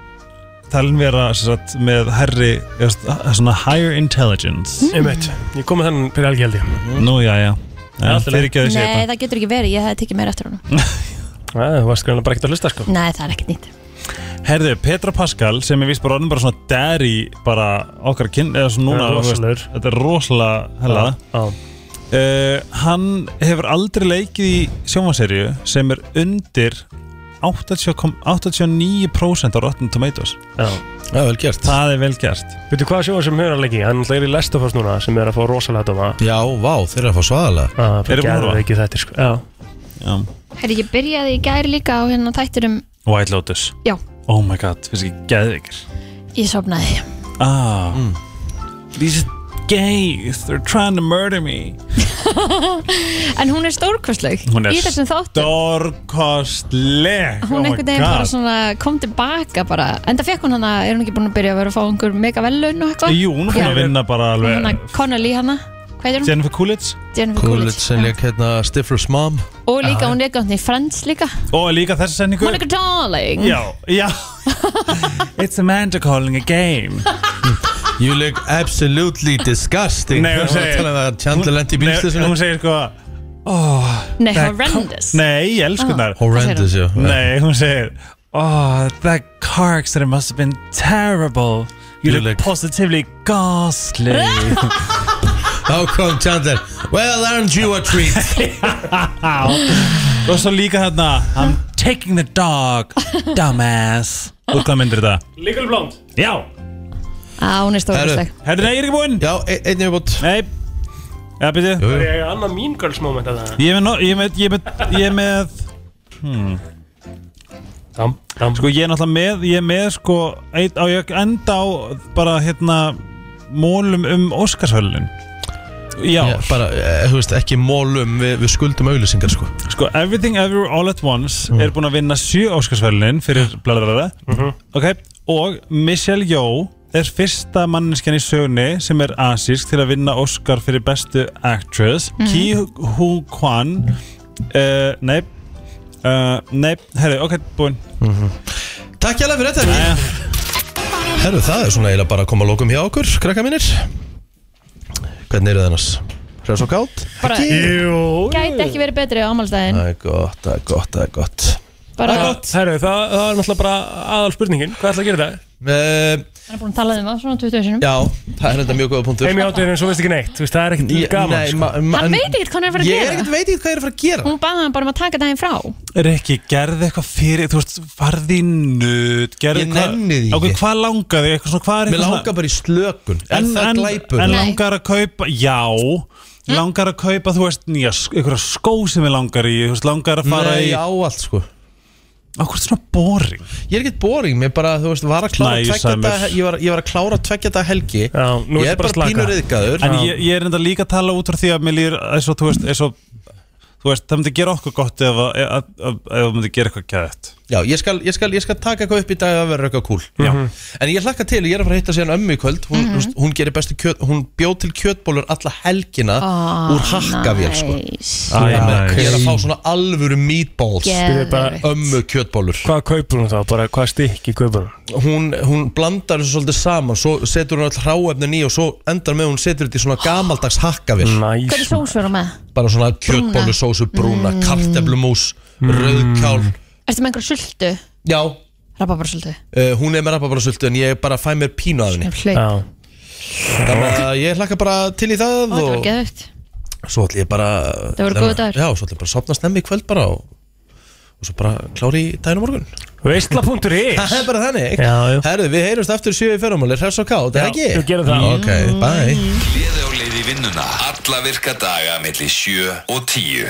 Speaker 5: talin vera sem sagt, með herri, eða svona- svona higher intelligence
Speaker 3: Einmitt. Ég kom með þennan fyrir algi held ég.
Speaker 5: Nú, já, já
Speaker 3: Það er allt í lagi.
Speaker 5: Fyrirgefðu sé
Speaker 2: nei það getur ekki verið Ég hefði tekið meira eftir honum
Speaker 5: Æ, þú varst greinlega bara ekkert að hlusta sko
Speaker 2: Nei, það er ekkert nýtt
Speaker 5: Herðu, Petra Pascal sem er vist bara orðin bara svona daddy bara okkar kyn eða svona núna
Speaker 3: Það er
Speaker 5: þú veist,
Speaker 3: rosalegur.
Speaker 5: Þetta er rosalega hella uh, Hann hefur aldrei leikið í sjónvaserju sem er undir 80 kom- 89% á Rotten Tomatoes
Speaker 3: Já.
Speaker 1: Það er vel gert.
Speaker 5: Það er vel gert.
Speaker 3: Veitu hvað sjóðan sem höfður að leggja? Hann er í Last of Us núna sem er að fá rosalega doma.
Speaker 1: Já, vá, þeir eru að fá svaðalega.
Speaker 3: Það er gerður ekki þetta, sko. Já.
Speaker 5: Já.
Speaker 2: Herri, ég byrjaði í gær líka á hérna þættinum
Speaker 5: White Lotus
Speaker 2: Já,
Speaker 5: Oh my god, finnst ekki geðvikir
Speaker 2: ég sofnaði
Speaker 5: Ah These gays, they're trying to murder me
Speaker 2: En hún er stórkostleg
Speaker 5: Hún er
Speaker 2: Í þessum þáttum
Speaker 5: stórkostleg
Speaker 2: Hún
Speaker 5: Oh my
Speaker 2: einhvern veginn bara
Speaker 5: God.
Speaker 2: svona kom tilbaka bara Enda fekk hún hana, er hún ekki búin að byrja að vera að fá einhver mega velun og eitthvað?
Speaker 5: Eh, Jú, hún er búin að
Speaker 2: Já.
Speaker 5: vinna bara
Speaker 2: Hún hana
Speaker 5: alveg
Speaker 2: Connelly hana Hvað er hún?
Speaker 5: Jennifer Coolidge
Speaker 2: Jennifer Coolidge,
Speaker 1: sem leik hérna Stifler's Mom
Speaker 2: Og líka, hún leika hann í Friends líka
Speaker 5: Og líka þessa sendingu
Speaker 2: Monica Darling
Speaker 5: Já, já It's Amanda calling a game
Speaker 1: You look absolutely disgusting
Speaker 5: Nei, hún segir-
Speaker 1: Það er um Chandler lendi í
Speaker 5: Nei,
Speaker 1: bílslisinu
Speaker 5: Hún segir sko oh,
Speaker 2: Nei,
Speaker 5: that
Speaker 2: horrendous.
Speaker 5: co- Nei, ég elsku
Speaker 1: Ah,
Speaker 5: hennar
Speaker 1: horrendous, já.
Speaker 5: Nei, hún segir Oh, that car accident must have been terrible You,
Speaker 1: You
Speaker 5: look, positively ghastly
Speaker 1: How come Chandler Well, aren't you a treat
Speaker 5: Og svo líka hérna I'm taking the dog, dumbass Úr hvað myndir þetta?
Speaker 3: Legal Blonde.
Speaker 5: Já
Speaker 2: Á, hún er stórkostleg
Speaker 5: Herðu, nei, ég er ekki búinn
Speaker 1: Já, e- einn er búinn
Speaker 5: Nei Já, byrju
Speaker 3: Það er ég annað Mean Girls moment að það.
Speaker 5: Ég er með, no- ég er með, ég er með, ég er með hmm.
Speaker 3: dam, dam.
Speaker 5: Sko ég er náttúrulega með, ég er með sko eitt, á, ég enda á bara hérna mólum um Óskarshölun Já
Speaker 1: Bara, eh, þú veist, ekki mólum Við, við skuldum auðlýsingar, sko
Speaker 5: Sko Everything Everywhere All At Once
Speaker 1: Mm.
Speaker 5: er búin að vinna sjö Óskarshölun fyrir blablabla
Speaker 3: Mhm.
Speaker 5: Ok, og Michelle Yeoh er fyrsta manneskjan í sögunni sem er asísk til að vinna Óskar fyrir bestu actress
Speaker 3: Mhm.
Speaker 5: Ki Hu Kwan uh, Nei uh, Nei, herri, ok, búinn
Speaker 1: Takk hjá fyrir þetta Herru, það er svona eiginlega bara að koma að lókum hjá okkur, krakka mínir Hvernig eru það annars? Hræða svo kátt?
Speaker 2: Bara, gæti ekki verið betri á ámálstæðin
Speaker 1: Það er gott, það er gott, það er gott
Speaker 2: Bara,
Speaker 3: Ah, Herru, það, það er náttúrulega bara aðal spurningin. Hvað ætla að gera þetta?
Speaker 1: uh,
Speaker 2: hann er búin að tala um það svona 20 sinum
Speaker 1: Já, það er þetta mjög góða punktur
Speaker 3: Heimi átöðin eins og veist ekki neitt. Þú veist, það er ekkert
Speaker 1: Ég-
Speaker 3: gaman.
Speaker 1: nei,
Speaker 3: sko.
Speaker 1: ma- ma-
Speaker 2: Hann veit ekkert hvað hann er að fara að
Speaker 1: Ég
Speaker 2: gera
Speaker 1: er ekkert veit ekkert hvað er að fara að gera
Speaker 2: Hún baði hann bara um að taka daginn frá
Speaker 5: Rikki, gerði eitthvað fyrir, þú veist, farði í nöð gerði
Speaker 1: Ég nenni því
Speaker 5: Ákveð,
Speaker 1: ekki.
Speaker 5: Hvað langar þig, eitthvað svona, hvað er
Speaker 1: Mér
Speaker 5: eitthvað
Speaker 1: langar bara í slökun Er það glæpur?
Speaker 5: En
Speaker 1: Nei.
Speaker 5: langar að kaupa, já Langar að kaupa, þú veist, nýja, einhverja skó sem ég langar í, þú veist, langar að fara
Speaker 1: Nei,
Speaker 5: í
Speaker 1: á allt sko
Speaker 5: Akkur svona boring
Speaker 1: Ég er ekkert boring, mér bara, þú veist, var að klára
Speaker 5: Næ,
Speaker 1: tveggja
Speaker 5: Sæmur.
Speaker 1: dag, ég, var, ég var að klára tveggja dag helgi Já,
Speaker 5: nú
Speaker 1: Ég
Speaker 5: ertu
Speaker 1: er
Speaker 5: bara að
Speaker 1: bara,
Speaker 5: slaka.
Speaker 1: pínur yðgæður
Speaker 5: En ég, ég er enda líka að tala út frá því að mér líður eins og, þú veist, eins og Þú veist, það myndi gera okkur gott ef að- ef ef- ef það myndi gera eitthvað gæðið
Speaker 1: Já, ég skal, ég, skal, ég skal taka eitthvað upp í dag að vera eitthvað cool
Speaker 5: Já.
Speaker 1: Mhm. En ég hlakka til, ég er að fara að hitta síðan ömmu í kvöld Hún, mm -hmm. hún gerir bestu kjöt, hún bjóð til kjötbólur alla helgina
Speaker 2: Ó,
Speaker 1: Úr hakkavél, sko
Speaker 2: nice.
Speaker 1: Ég er með-
Speaker 3: Æ,
Speaker 1: Ég er að
Speaker 3: nice.
Speaker 1: fá svona alvöru meatballs
Speaker 2: Geðveikt.
Speaker 1: Bara Ömmu kjötbólur
Speaker 3: Hvað kaupur hún þá? Bara hvað stykki kaupur hún?
Speaker 1: hún, hún blandar þessu svolítið saman Svo setur hún all hráefnin í Og svo endar með að hún setur þetta í svona gamaldags hakkavél
Speaker 5: Mm.
Speaker 2: Hverju sós verður með?
Speaker 1: Bara svona kjötbólusósu brúna, mm. karteflumús,
Speaker 3: Mm.
Speaker 1: rauðkál
Speaker 2: Ertu með einhverju sultu?
Speaker 1: Já,
Speaker 2: Rappa bara sultu
Speaker 1: uh, hún er með rababarasöldu en ég bara fæ mér pínu af henni
Speaker 2: Hlaup.
Speaker 1: Þannig að ég hlakka bara til í það
Speaker 2: Það var
Speaker 1: og
Speaker 2: geðugt
Speaker 1: svo ætlum ég bara
Speaker 2: Það voru góðir dagar.
Speaker 1: Já, svo ætlum ég bara að sopna snemmi í kvöld bara og, og svo bara klári í daginn á morgun
Speaker 3: Veistla.is
Speaker 1: Það er bara þannig
Speaker 3: Já, já.
Speaker 1: Herðu, við heyrumst aftur sjö í ferramáli Hress og kátt,
Speaker 3: Já,
Speaker 1: er ekki?
Speaker 3: við gerum það.
Speaker 1: Ok, bye
Speaker 2: Mm.
Speaker 4: Gleði á leið í vinnuna Alla virka daga melli 7 og 10